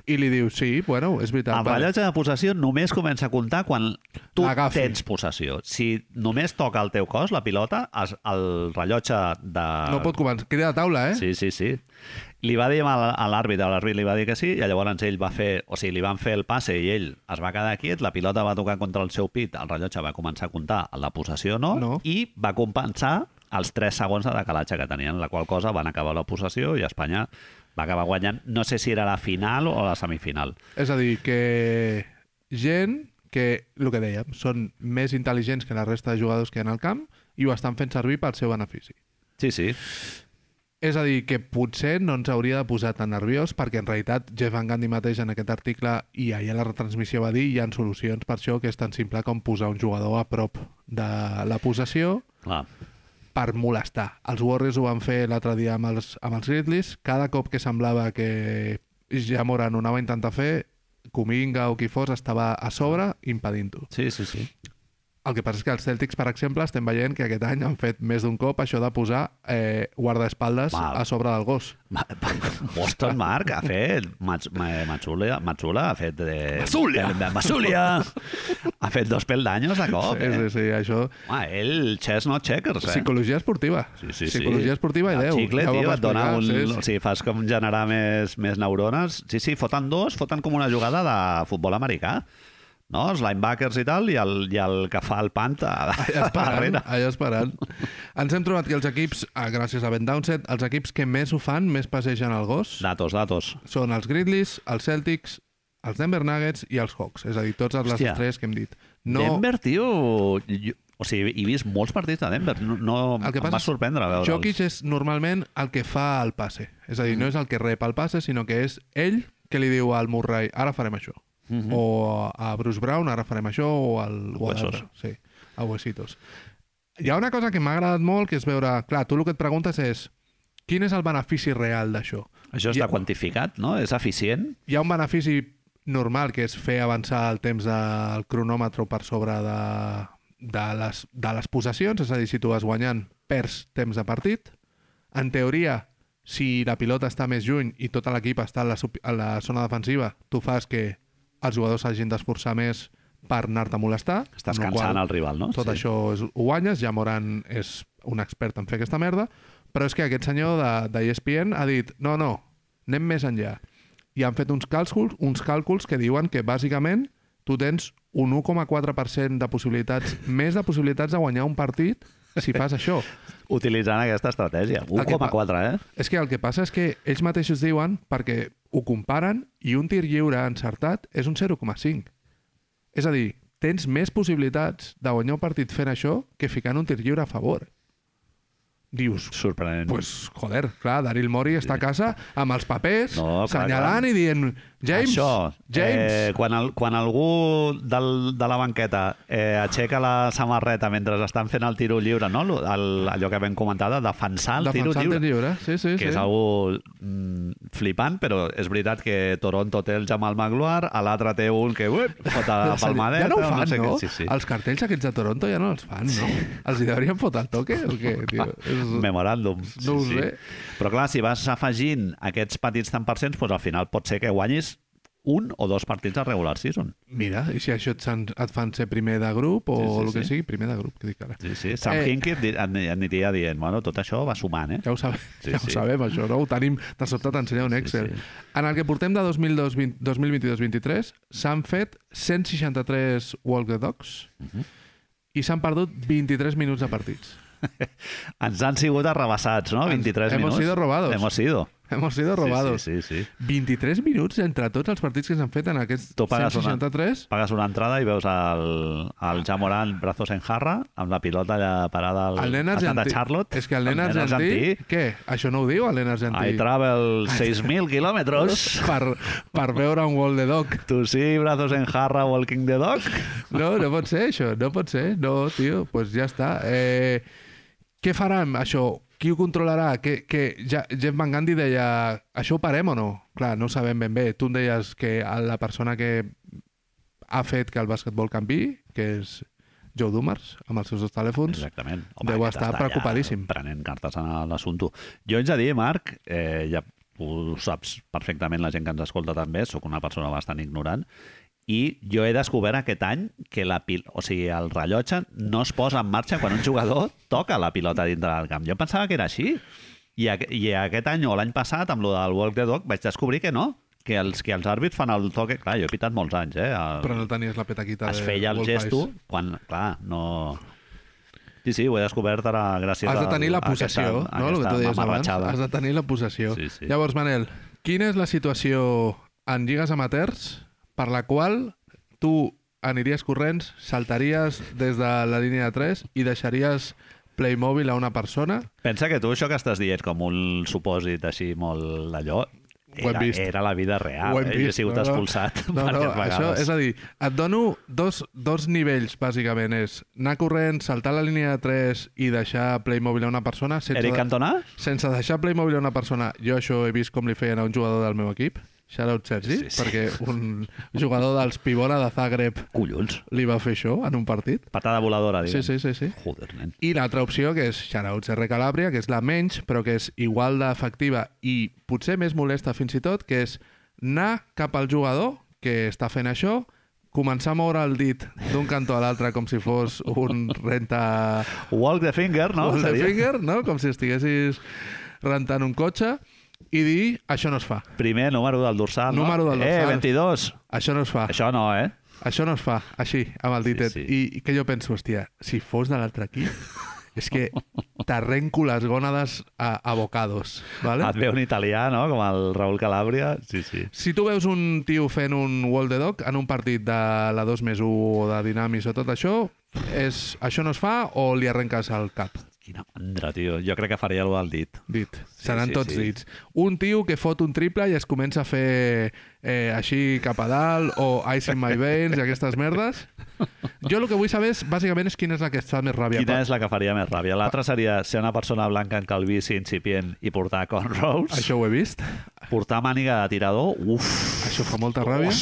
I li dius, sí, bueno, és veritat.
El rellotge de possessió només comença a comptar quan tu
L'agafi.
tens possessió. Si només toca el teu cos, la pilota, es, el rellotge de...
No pot començar. Queda a taula, eh?
Sí, sí, sí. Li va dir mal a l'àrbitre, l'àrbit li va dir que sí, i llavors ell va fer... O sigui, li van fer el passe i ell es va quedar quiet, la pilota va tocar contra el seu pit, el rellotge va començar a comptar la possessió no,
No.
i va compensar els 3 segons de decalatge que tenien, la qual cosa van acabar la possessió i Espanya va acabar guanyant, no sé si era la final o la semifinal.
És a dir, que gent que, el que dèiem, són més intel·ligents que la resta de jugadors que hi ha al camp i ho estan fent servir pel seu benefici.
Sí, sí,
És a dir, que potser no ens hauria de posar tan nerviós perquè en realitat Jeff Van Gundy mateix en aquest article i ahir a la retransmissió va dir hi ha solucions per això que és tan simple com posar un jugador a prop de la possessió
clar.
per molestar. Els Warriors ho van fer l'altre dia amb els, amb els Grizzlies. Cada cop que semblava que ja Moran ho anava a intentar fer, Cominga o qui fos estava a sobre impedint-ho.
Sí, sí, sí.
El que passa és que els Celtics, per exemple, estem veient que aquest any han fet més d'un cop això de posar eh, guardaespaldes
Val.
a sobre del gos.
Ma- Boston Marc ha fet Mats, ma- Matsula, Matsula ha fet de...
Matsulia!
de- de Matsulia! ha fet dos peldaños de cop
Sí, sí,
eh?
sí, això...
Home, ell chess no checkers eh?
Psicologia esportiva.
Sí, sí, sí.
Psicologia esportiva i
El
Déu.
xicle,
ja ho vam
tio, et dona un...
explicar,
O sigui, fas com generar més, més neurones. Sí, sí, foten dos, foten com una jugada de futbol americà. No? Els linebackers i tal, i el, i el que fa el pant a,
Allà
a
esperant,
darrere.
allà esperant. Ens hem trobat que els equips, ah, gràcies a Ben Downset, els equips que més ho fan, més passegen el gos,
Datos, datos.
són els Grizzlies, els Celtics, els Denver Nuggets i els Hawks. És a dir, totes les
Hòstia.
tres que hem dit.
No. Denver, tio... Jo, o sigui, he vist molts partits de Denver. No, no
El que
em
passa
va
és-
sorprendre veure'ls.
Jokic és normalment el que fa el passe. És a dir, no és el que rep el passe, sinó que és ell que li diu al Murray, ara farem això.
Mhm.
O a Bruce Brown, ara farem això, o al... o a
Huesos.
l'altre. Sí, a Huesitos. Hi ha una cosa que m'ha agradat molt, que és veure... Clar, tu el que et preguntes és quin és el benefici real d'això?
Això
Hi ha-
està quantificat, no? És eficient?
hi ha un benefici normal que és fer avançar el temps del cronòmetre per sobre de, de, les, de les possessions, és a dir, si tu vas guanyant, perds temps de partit. En teoria, si la pilota està més lluny i tot l'equip està en la, sup- en la zona defensiva, tu fas que els jugadors s'hagin d'esforçar més per anar-te a molestar.
Estàs
amb la
cansant
qual
el rival, no?
Tot
Sí.
això és, ho guanyes, ja Moran és un expert en fer aquesta merda, però és que aquest senyor de, E de ESPN ha dit no, no, anem més enllà. I han fet uns càlculs, uns càlculs que diuen que bàsicament tu tens un 1,4% de possibilitats, més de possibilitats de guanyar un partit si fas això.
Utilitzant aquesta estratègia.
El que pa-
1,4, eh?
És que el que passa és que ells mateixos diuen perquè ho comparen i un tir lliure encertat és un 0,5. És a dir, tens més possibilitats de guanyar un partit fent això que ficant un tir lliure a favor. Dius,
Sorprenent.
pues, joder, clar, Daryl Mori està a casa amb els papers,
No, clar,
senyalant
clar.
i dient James,
Això,
James.
Eh, quan, el, quan algú del, de la banqueta eh, aixeca la samarreta mentre estan fent el tiro lliure, no? Lo- El, allò que vam comentar de defensar el
defensar
tiro lliure.
el tir lliure. Sí, sí,
que
sí.
és algo mm, flipant, però és veritat que Toronto té el Jamal Magluar, a l'altre té un que uep, fot a la palmadeta.
ja no ho fan, no?
sé què.
no?
Sí, sí.
Els cartells aquests de Toronto ja no els fan, no? Els hi deurien fotre el toque o què, tio? És...
Memoràndum.
No ho sé.
Però clar, si vas afegint aquests petits tant percents, doncs al final pot ser que guanyis un o dos partits a regular season.
Mira, i si això et, san, et fan ser primer de grup o sí, sí, el que sí. sigui, primer de grup, que dic ara.
Sí, sí. Sam
Eh.
eh... Hinkie et aniria dient, bueno, tot això va sumant, eh?
Ja ho, sabem,
Sí,
sí, ja ho
sí.
sabem, això, no? Ho tenim, de sobte t'ensenyar un Excel. Sí,
sí.
sí. En el que portem de 2022-23 s'han fet 163 walk the dogs uh
Mhm.
-huh. i s'han perdut 23 minuts de partits.
Ens han sigut arrabassats, no?
Ens-
23
hemos
minuts.
sido robados.
Hemos sido.
Hemos sido robados.
Sí, sí, sí. sí.
23 minuts entre tots els partits que s'han fet en aquests
Tu pagues una-
163
Pagues una entrada i veus el, el Ja Morant brazos en jarra amb la pilota allà parada al,
El nen
al camp
argentí.
de Charlotte.
És que el nen argentí... Què? Això no ho diu, el nen argentí?
I travel 6.000 quilòmetres.
per, per veure un wall the dog.
Tu sí, brazos en jarra, walking the dog.
No, no pot ser això, no pot ser. No, tio, doncs pues ja està. Eh, què faran, això? Qui ho controlarà? Que, que ja, Jeff Van Gundy deia això ho parem o no? Clar, no ho sabem ben bé. Tu em deies que a la persona que ha fet que el bàsquetbol canvi, que és Joe Dumars, amb els seus dos telèfons,
Exactament.
deu
aquest
estar
està allà
preocupadíssim.
Prenent cartes en l'assumpte. Jo haig de dir, Marc, eh, ja ho saps perfectament la gent que ens escolta també, sóc una persona bastant ignorant, i jo he descobert aquest any que la pil... o sigui, el rellotge no es posa en marxa quan un jugador toca la pilota dintre del camp. Jo em pensava que era així. I, aqu i aquest any o l'any passat, amb lo del Walk the Dog, vaig descobrir que no, que els, que els àrbits fan el toque... Clar, jo he pitat molts anys, eh? El
però no tenies la petaquita
es
de
feia el
Wolf
gesto
Eyes.
quan, clar, no... Sí, sí, ho he descobert ara gràcies
Has de tenir la
al- a
possessió,
aquesta,
no? El que
aquesta
tu deies abans.
mamarratxada.
Has de tenir la possessió.
Sí, sí.
Llavors, Manel, quina és la situació en lligues amateurs per la qual tu aniries corrents, saltaries des de la línia de 3 i deixaries Playmobil a una persona?
Pensa que tu això que estàs dient com un supòsit així molt d'allò,
Ho hem
era,
vist.
era la vida real. eh? Jo he sigut expulsat
No, no,
diverses
això,
vegades.
és a dir, et dono dos, dos nivells, bàsicament. És anar corrent, saltar la línia de 3 i deixar Playmobil a una persona sense,
Eric
de-
Cantona?
Sense deixar Playmobil a una persona, jo això he vist com li feien a un jugador del meu equip. Shoutout Sergi,
Sí, sí.
perquè un jugador dels Pivona de Zagreb
Collons.
li va fer això en un partit.
Patada voladora,
Sí,
diguem.
sí, sí, sí.
Joder, nen.
I l'altra opció, que és Xarauts R. Calàbria, que és la menys, però que és igual d'efectiva i potser més molesta fins i tot, que és anar cap al jugador que està fent això, començar a moure el dit d'un cantó a l'altre com si fos un renta...
Walk the finger, no?
on the
Seria?
finger, no? Com si estiguessis rentant un cotxe i dir, això no es fa,
Primer número del dorsal,
Número
no?
del
Eh,
dorsal. Ah.
22.
això no es fa.
Això no, eh?
Això no es fa, així, amb el ditet.
Sí,
Sí,
sí.
sí. I que jo penso, hòstia, si fos de l'altre equip, és que t'arrenco les gònades a, a bocados, vale?
Et ve un italià, no? Com el Raül Calàbria. Sí, sí.
Si tu veus un tio fent un wall the dog en un partit de la 2 més 1 o de dinamis o tot això, és, això no es fa o li arrenques el cap?
Quina mandra, tio. Jo crec que faria allò del dit.
Dit.
Sí,
Seran
sí,
tots
sí.
dits. Un tio que fot un triple i es comença a fer eh, així cap a dalt o Ice in my veins i aquestes merdes. Jo el que vull saber és, bàsicament, és quina és la que està més ràbia.
Quina és la que faria més ràbia? L'altra seria ser una persona blanca en calvície incipient i portar cornrows.
Això ho he vist.
Portar màniga de tirador. Uf.
Això fa molta ràbia.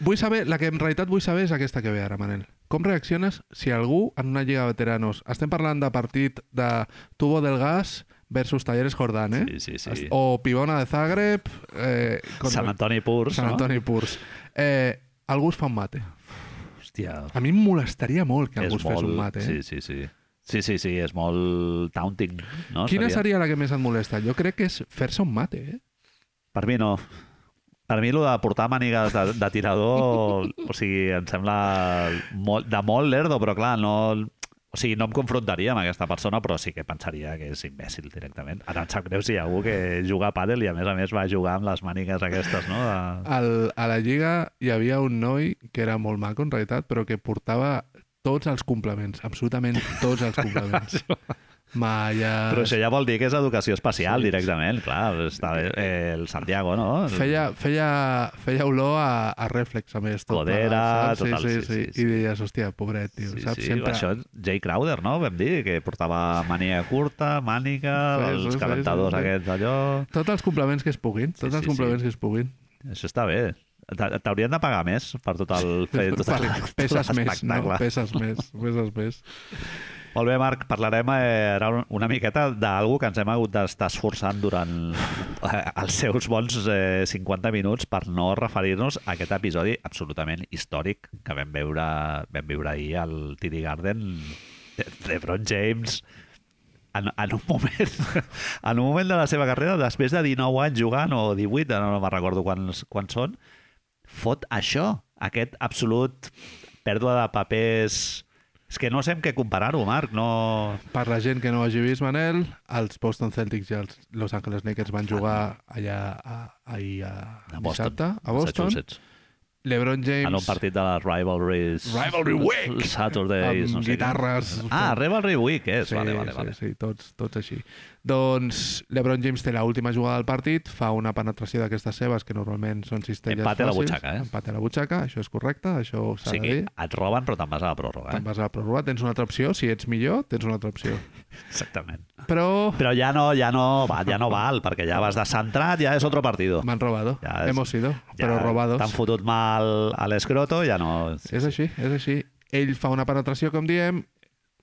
Vull saber, la que en realitat vull saber és aquesta que ve ara, Manel. Com reacciones si algú en una lliga de veteranos... Estem parlant de partit de Tubo del Gas versus Talleres Jordán, eh?
Sí, sí, sí.
Est- O Pibona de Zagreb... Eh, contra-
Sant Antoni Purs,
Sant Antoni Purs. Eh, algú es fa un mate.
no? Hòstia.
A mi em molestaria molt que algú es fes un mate. Eh?
Sí, sí, sí. Sí, sí, sí, és molt taunting, no?
Quina seria la que més et molesta? Jo crec que és fer-se un mate, eh?
Per mi no. Per mi, el de portar mànigues de, de tirador, o sigui, em sembla molt, de molt lerdo, però clar, no... O sigui, no em confrontaria amb aquesta persona, però sí que pensaria que és imbècil directament. Ara em sap greu si hi ha algú que juga a pàdel i a més a més va jugar amb les mànigues aquestes, no? De...
Al, a la Lliga hi havia un noi que era molt maco, en realitat, però que portava tots els complements, absolutament tots els complements. Malles...
Però això ja vol dir que és educació espacial directament, clar. Està bé. Eh, el Santiago, no?
Feia, feia, feia olor a, a reflex, a més. Tot
Codera,
plegat, saps?
total,
sí,
sí,
sí, sí,
sí,
I deies, hòstia, pobret, tio,
Sí,
saps?
sí, Sempre...
Sempre...
això Jay Crowder, no? Vam dir que portava màniga curta, màniga,
Sí, sí,
els
sí,
calentadors
sí, sí.
aquests, allò...
Tots els complements que es puguin,
sí,
tots els
sí.
complements que es puguin.
Això està bé. T'a- T'haurien de pagar més per tot el... Fer, tot el
Vale, peses
tot
més, no?
l'espectacle.
Peses més, peses més.
Molt bé, Marc, parlarem eh, ara un- una miqueta d'algú que ens hem hagut d'estar esforçant durant eh, els seus bons eh, 50 minuts per no referir-nos a aquest episodi absolutament històric que vam veure, vam viure ahir al TD Garden de LeBron James en, en un moment en un moment de la seva carrera, després de 19 anys jugant o 18, ara no me'n recordo quants, quants són, fot això, aquest absolut pèrdua de papers... És que no sé amb què comparar-ho, Marc, no...
Per la gent que no ho hagi vist, Manel, els Boston Celtics i els Los Angeles Lakers van jugar allà a, ahir a,
A Boston.
dissabte, a Boston.
Massachusetts. Ah,
LeBron James
En un partit de les Rivalries...
Rivalry Week!
Saturdays, eh,
amb
no sé
guitarres...
Què. Ah, Rivalry Week és.
Sí,
vale, vale, vale.
sí, sí, tots, tots així. Doncs LeBron James té l'última jugada del partit, fa una penetració d'aquestes seves, que normalment són cistelles
Empate a la
fàcils.
butxaca, eh?
Empate a la butxaca, això és correcte, això
O
s'ha
sigui,
de dir.
et roben però te'n vas a la pròrroga.
Te'n
Eh?
vas a la pròrroga, tens una altra opció, si ets millor, tens una altra opció.
Exactament.
Però
Però ja no, ja no, va, ja no val, perquè ja vas descentrat, ja és otro partido.
m'han robat,
Ja és-
hemos sido,
Ja
però robados.
T'han fotut mal a l'escroto, ja no...
És així, és així. Ell fa una penetració, com diem,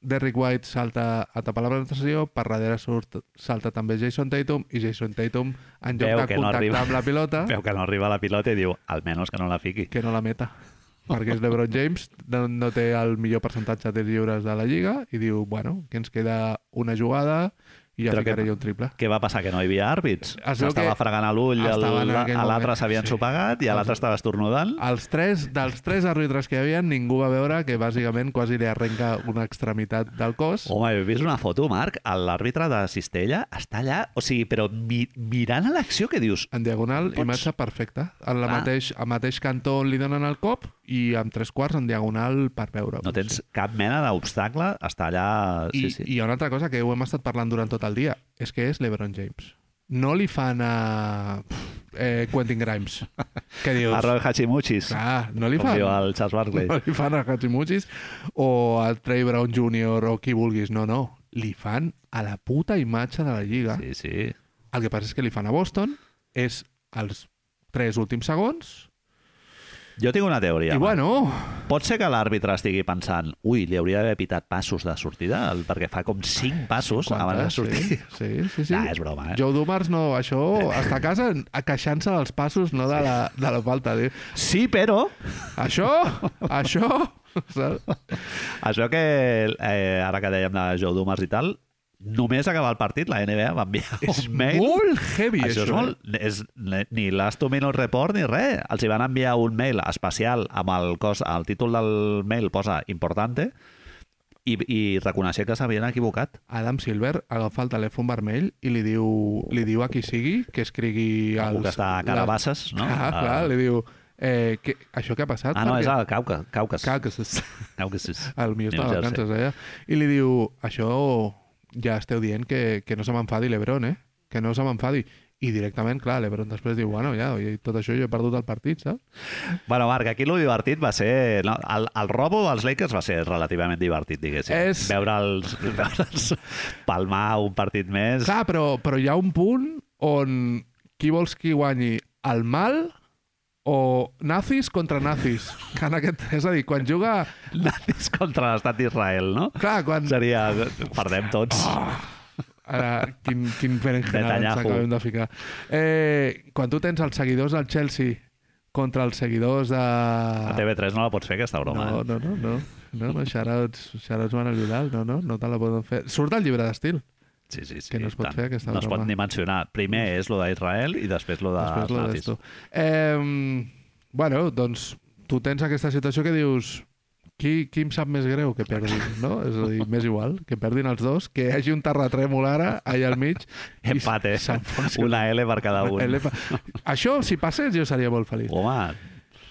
Derrick White salta a tapar la penetració, per darrere surt, salta també Jason Tatum, i Jason Tatum, en lloc
Veu
de
que no
contactar
arriba.
amb la pilota,
Veu que no arriba la pilota i diu, almenys que no la fiqui.
que no la meta. Perquè és LeBron James, no, no té el millor percentatge de tirs lliures de la Lliga, i diu, bueno, que ens queda una jugada i ja
Però que-
ficaré jo un triple.
Què va passar? Que no hi havia àrbits?
Es veu
S'estava
que
fregant a l'ull, el-
estava en aquell
a l'altre
moment,
s'havia
sí.
ensopegat i a l'altre estava estornudant.
Els tres, dels tres àrbitres que hi havia, ningú va veure que bàsicament quasi li arrenca una extremitat del cos.
Home, he vist una foto, Marc, l'àrbitre de Cistella està allà, o sigui, però mi, mirant a l'acció que dius,
En diagonal,
Pots-
Pots... imatge perfecta. En la
Ah.
mateix, al mateix cantó on li donen el cop i amb tres quarts en diagonal per veure.
no tens cap mena d'obstacle, està allà...
I,
Sí, sí.
I hi ha una altra cosa que ho hem estat parlant durant tot el dia, és que és l'Ebron James. No li fan a eh, Quentin Grimes. Què dius?
A Roy Hachimuchis,
Ah, no li
com
fan.
diu el Charles Barkley.
No li fan a Hachimuchis o a Trey Brown Jr. o qui vulguis. No, no. Li fan a la puta imatge de la Lliga.
Sí, sí.
El que passa és que li fan a Boston és els tres últims segons
Jo tinc una teoria.
i
home.
bueno,
Pot ser que l'àrbitre estigui pensant ui, li hauria d'haver pitat passos de sortida el- perquè fa com 5 passos abans de sortir.
Sí, sí, sí. sí.
Nah, és broma, eh?
Joe Dumars no, això, està a casa queixant-se dels passos, no de la, de la falta. Diu,
Sí, però
això, això... Saps?
es veu que, eh, ara que dèiem de Joe Dumas i tal, només acabar el partit la NBA va enviar un
És
mail.
molt heavy,
això
això. eh?
és molt, és, ni last two minute report ni res. Els hi van enviar un mail especial amb el, cos, el títol del mail posa importante i, i reconeixer que s'havien equivocat.
Adam Silver agafa el telèfon vermell i li diu, li diu a qui sigui que escrigui...
Algú que està a Calabasses, no?
Ah,
Ah.
clar, li diu... Eh, que, això que ha passat?
Ah, no, és
Perquè-
el Cauca, Caucas.
Clar, que s'està-
Caucasus.
El millor està
New
de
Jersey.
vacances allà. I li diu, això ja esteu dient que, que no se m'enfadi l'Ebron, eh? Que no se m'enfadi. I directament, clar, l'Ebron després diu, bueno, ja, i tot això jo he perdut el partit, saps?
Bueno, Marc, aquí lo divertit va ser... No, el, el robo dels Lakers va ser relativament divertit, diguéssim.
És-
Veure els, veure els palmar un partit més...
Clar, però, però hi ha un punt on qui vols que guanyi, el mal o nazis contra nazis. Que en aquest, és a dir, quan juga...
Nazis contra l'estat d'Israel, no?
Clar, quan...
Seria... Perdem tots.
Ah. Ara, quin, quin berenjenal ens
Netanyahu.
acabem de ficar. Eh, quan tu tens els seguidors del Chelsea contra els seguidors de...
A TV3 no la pots fer, aquesta broma.
No,
eh?
no, no, no. No, no, shoutouts, shoutouts Manuel Vidal, no, no, no te la poden fer. Surt al llibre d'estil.
Sí, sí, sí.
que no es pot
tant.
fer aquesta
No es pot
broma.
ni mencionar. Primer és lo d'Israel i després lo de
Després lo
nazis.
d'esto. Eh, bueno, doncs tu tens aquesta situació que dius qui, qui em sap més greu que perdin, no? És a dir, més igual, que perdin els dos, que hi hagi un terratrèmol ara, allà al mig... i
Empat, eh?
s'enfonsi.
Una L per cada un. Oh.
L'epa. Això, si passés, jo seria molt feliç.
Home,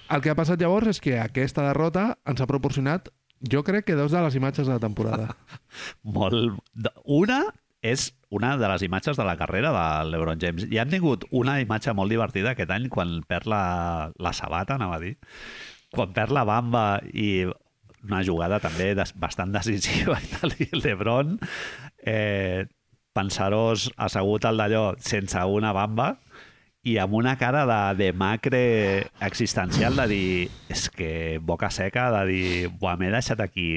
El que ha passat llavors és que aquesta derrota ens ha proporcionat, jo crec que dos de les imatges de la temporada.
molt... de- Una és una de les imatges de la carrera de l'Ebron James. I han tingut una imatge molt divertida aquest any quan perd la, la sabata, anava a dir, quan perd la bamba i una jugada també des, bastant decisiva i tal, i l'Ebron eh, pensarós assegut al d'allò sense una bamba i amb una cara de, de macre existencial de dir és que boca seca, de dir buah, m'he deixat aquí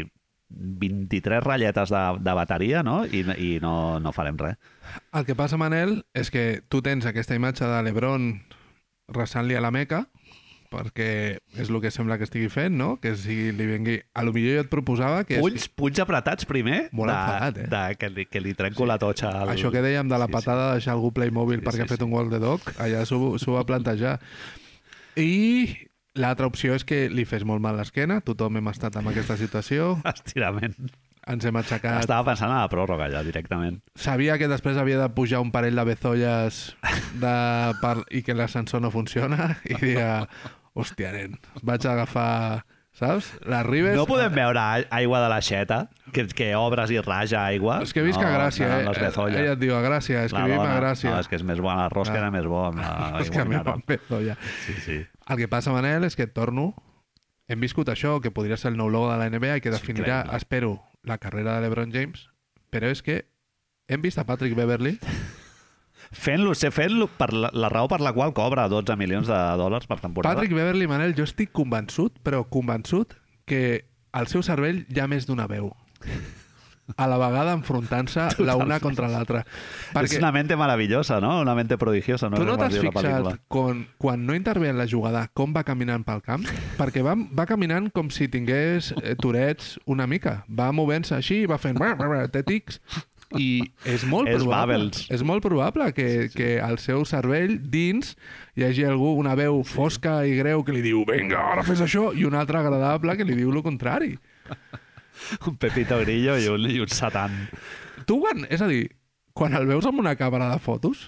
23 ratlletes de, de bateria no? I, i no, no farem res.
El que passa, Manel, és que tu tens aquesta imatge de l'Ebron resant-li a la meca, perquè és el que sembla que estigui fent, no? Que si li vengui... A lo millor jo et proposava que... és-
Punys, punys apretats primer
Molt
de,
enfadat, eh?
de, que, li, que li trenco la totxa al...
Això que dèiem de la
Sí, sí.
patada de deixar algú Playmobil
Sí, sí,
perquè ha fet
sí.
un gol de doc, allà s'ho s'ho va plantejar. I l'altra opció és que li fes molt mal l'esquena, tothom hem estat en aquesta situació,
Estirament.
ens hem aixecat...
Estava pensant a la pròrroga ja directament.
Sabia que després havia de pujar un parell de bezolles de... Per... i que l'ascensor no funciona i dia, hòstia, nen, vaig agafar, saps? Les ribes...
No podem veure a- aigua de l'aixeta, que, que obres i raja aigua.
És que visc a
No,
Gràcia,
no,
eh?
no, les bezolles.
Ella et diu a Gràcia,
La
escrivim
dona.
a Gràcia.
No, és que és més bona, l'arròs que
Ah.
era més bo amb
Ah, és que
l'aigua.
a mi
mineral.
em bezolla.
Sí, sí.
El que passa, Manel, és que et torno... Hem viscut això, que podria ser el nou logo de la NBA i que
És
definirà,
increïble.
espero, la carrera de l'Ebron James, però és que hem vist a Patrick Beverly
Fent-lo, sé fent-lo per la, la raó per la qual cobra 12 milions de dòlars per temporada.
Patrick Beverly, Manel, jo estic convençut, però convençut, que al seu cervell hi ha més d'una veu. A la vegada enfrontant-se la una contra l'altra.
És
Perquè
una mente meravellosa, no? Una mente prodigiosa, no?
tu no
Com es
t'has
diu la
fixat
pel·lícula.
quan, quan no intervé en la jugada com va caminant pel camp? Perquè va, va caminant com si tingués eh, Turets una mica. Va movent-se així, va fent brr, brr, brr, tètics i és molt
És
probable
Babels.
és molt probable que, que al seu cervell dins hi hagi algú, una veu fosca i greu que li diu vinga, ara fes això, i una altra agradable que li diu el contrari.
Un Pepito Grillo i un, i un satan.
Tu quan, és a dir, quan el veus amb una càmera de fotos,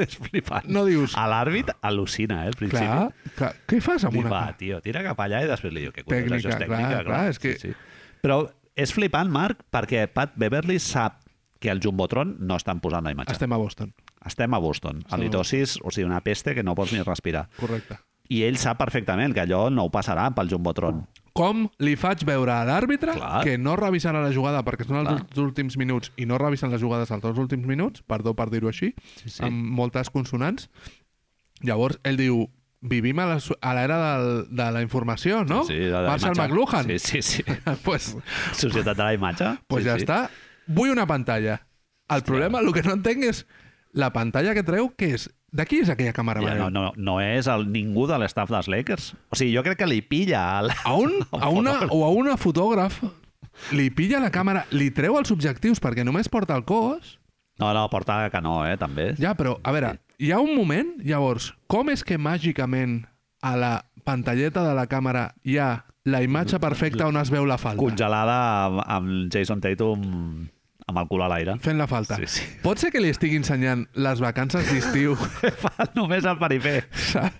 és flipant.
no dius,
A l'àrbit al·lucina, eh, al principi.
clar, que, què fas amb
Li
una
va,
càmera?
tio, tira cap allà i després li diu que collons,
Tècnica,
això és tècnica,
clar,
clar.
clar, és que-
sí, sí. Però és flipant, Marc, perquè Pat Beverly sap que el Jumbotron no estan posant la imatge. Estem,
Estem a Boston,
Estem a Boston,
a
halitosis, o sigui, una peste que no pots ni respirar.
correcte.
I ell sap perfectament que allò no ho passarà pel Jumbotron.
Com li faig veure a l'àrbitre
Clar.
que no revisarà la jugada perquè són els
Clar.
dos últims minuts i no revisen les jugades als dos últims minuts, perdó per dir-ho així,
Sí, sí.
amb moltes consonants, Llavors, ell diu, vivim a la su- a l'era del- de la informació, no?
Sí, la de la
Marshall
imatge.
McLuhan.
Sí, sí, sí.
pues,
Societat de la imatge.
pues
sí,
ja
sí.
està. Vull una pantalla. El problema, el que no entenc és la pantalla que treu, que és... De qui és aquella càmera?
Ja, no,
Manel?
no, no és el, ningú de l'estaf dels Lakers. O sigui, jo crec que li pilla el...
A un, a una, o a una fotògraf li pilla la càmera, li treu els objectius perquè només porta el cos
No, no, porta que no, eh, també.
Ja, però, a veure, hi ha un moment, llavors, com és que màgicament a la pantalleta de la càmera hi ha la imatge perfecta on es veu la falta?
Congelada amb, amb Jason Tatum amb el cul a l'aire.
Fent la falta.
Sí, sí.
Pot ser que li estigui ensenyant les vacances d'estiu?
Fa només el perifer.
saps?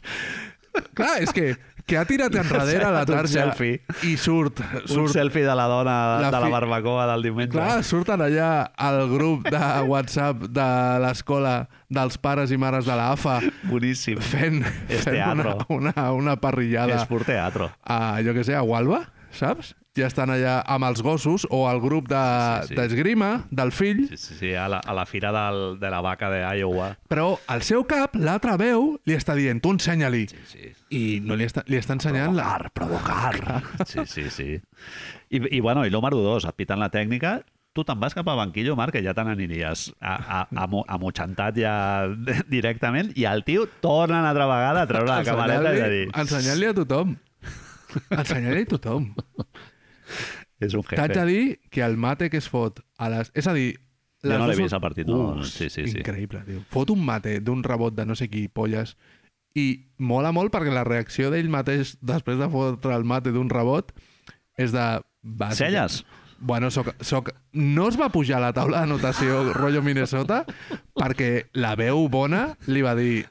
Clar, és que, que ha tirat enrere la
Un
tarja
selfie.
i surt,
Un
surt
selfie de la dona
La
de la
fi-
barbacoa del diumenge.
Clar, surten allà al grup de WhatsApp de l'escola dels pares i mares de l'AFA
Boníssim.
fent,
És
fent una,
teatro.
una, una parrillada.
És pur teatro.
a, jo que sé, a Gualba, saps? Ja estan allà amb els gossos o al grup de-
Sí, sí.
d'esgrima de, sí, del fill,
Sí, sí, sí, a la, a la fira del, de la vaca d'Iowa.
però al seu cap l'altra veu li està dient, tu ensenya-li.
Sí.
I no li està, li està ensenyant la...
provocar. Sí, sí, sí. I, i bueno, i l'Omar Dudós, et piten la tècnica, tu te'n vas cap a banquillo, Marc, que ja te n'aniries a- a- amo- amotxantat ja directament, i el tio torna una altra vegada a treure la camareta i a dir...
Ensenyant-li ensenyant-li a tothom. Ensenyant-li a tothom.
És un
T'haig de
jefe.
dir que el mate que es fot a les... És a dir...
Jo
les
no l'he
dues-
vist el partit, no. Sí, sí, sí.
Increïble, tio. Fot un mate d'un rebot de no sé qui, polles, i mola molt perquè la reacció d'ell mateix després de fotre el mate d'un rebot és de... Bàsic.
Celles?
Bueno, soc, soc... no es va pujar a la taula d'anotació rotllo Minnesota perquè la veu bona li va dir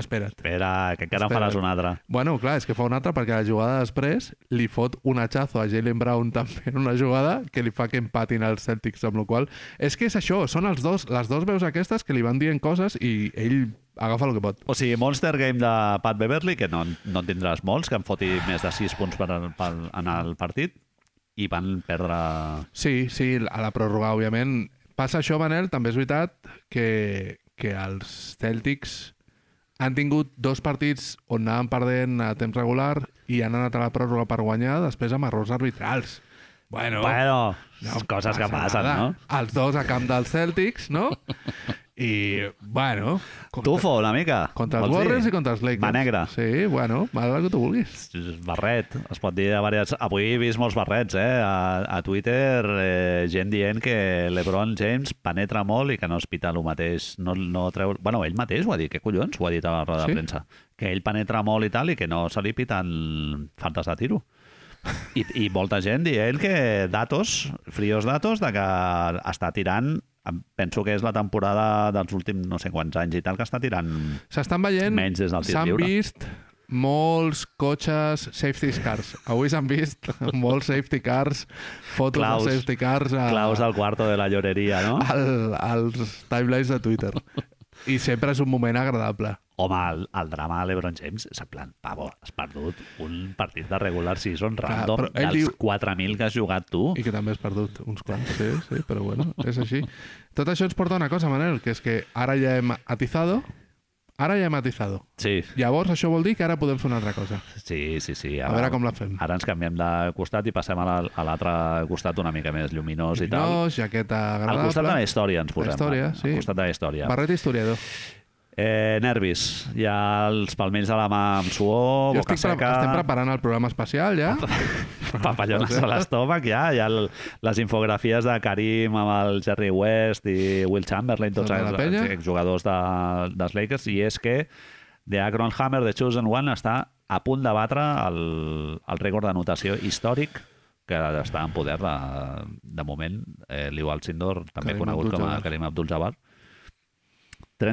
espera't.
Espera, que encara en
Espera.
faràs una altra.
Bueno, clar, és que fa una altra perquè la jugada després li fot un hachazo a Jalen Brown també en una jugada que li fa que empatin els Celtics, amb la qual és que és això, són els dos, les dos veus aquestes que li van dient coses i ell agafa el que pot.
O sigui, Monster Game de Pat Beverly, que no, no en tindràs molts, que en foti més de 6 punts per, per, en el partit, i van perdre...
Sí, sí, a la pròrroga, òbviament. Passa això, Manel, també és veritat que, que els Celtics han tingut dos partits on anaven perdent a temps regular i han anat a la pròrroga per guanyar després amb errors arbitrals. Bueno,
Bueno, coses que passen,
nada.
no?
Els dos a camp dels Celtics, no? I, bueno... Contra,
Tufo, una mica.
Contra els
vols dir?
Warriors i contra els Lakers.
Mà negra.
Sí, bueno, mal que tu vulguis.
barret, es pot dir a diverses... Avui he vist molts barrets, eh? A, a Twitter, eh, gent dient que l'Ebron James penetra molt i que no es pita el mateix, no, no treu... Bueno, ell mateix ho ha dit, que collons, ho ha dit a la roda
Sí?
de premsa. Que ell penetra molt i tal i que no se li piten faltes de tiro. I, i molta gent dient que datos, frios datos, de que està tirant em- penso que és la temporada dels últims no sé quants anys i tal que està tirant
S'estan veient...
Menys des del tir
S'han
lliure.
vist molts cotxes safety cars. Avui s'han vist molts safety cars, fotos
Claus.
de safety cars a,
claus del quarto de la lloreria, no?
al, als timelines de Twitter. I sempre és un moment agradable.
Home, el, el drama de l'Ebron James és en plan, pavo, has perdut un partit de regular season
Clar,
random
però ell
dels
diu-
4.000 que has jugat tu.
I que també has perdut uns quants, sí, sí, però bueno, és així. Tot això ens porta a una cosa, Manel, que és que ara ja hem atizado, ara ja hem atizado.
Sí,
Llavors això vol dir que ara podem fer una altra cosa.
sí, sí. sí
A veure com la fem.
Ara ens canviem de costat i passem a la- a l'altre costat una mica més lluminós i tal.
No, jaqueta
Al
agradable.
costat de la història ens posem.
La història,
va.
sí.
Al costat de la història.
Barret historiador.
Eh, nervis. Hi ha els palmells de la mà amb suor,
jo
boca
estic pre
seca...
estem preparant el programa especial, ja.
papallones a l'estómac, ja, hi ha el, les infografies de Karim amb el Jerry West i Will Chamberlain, tots
Tota la
els,
penya.
els jugadors de, dels Lakers, i és que de Akron Hammer, de Chosen One, està a punt de batre el, el rècord d'anotació històric que està en poder de, de moment, eh, Liu Alcindor, també
Kareem
conegut com a
Abdul-Jabbar.
Karim Abdul-Jabbar.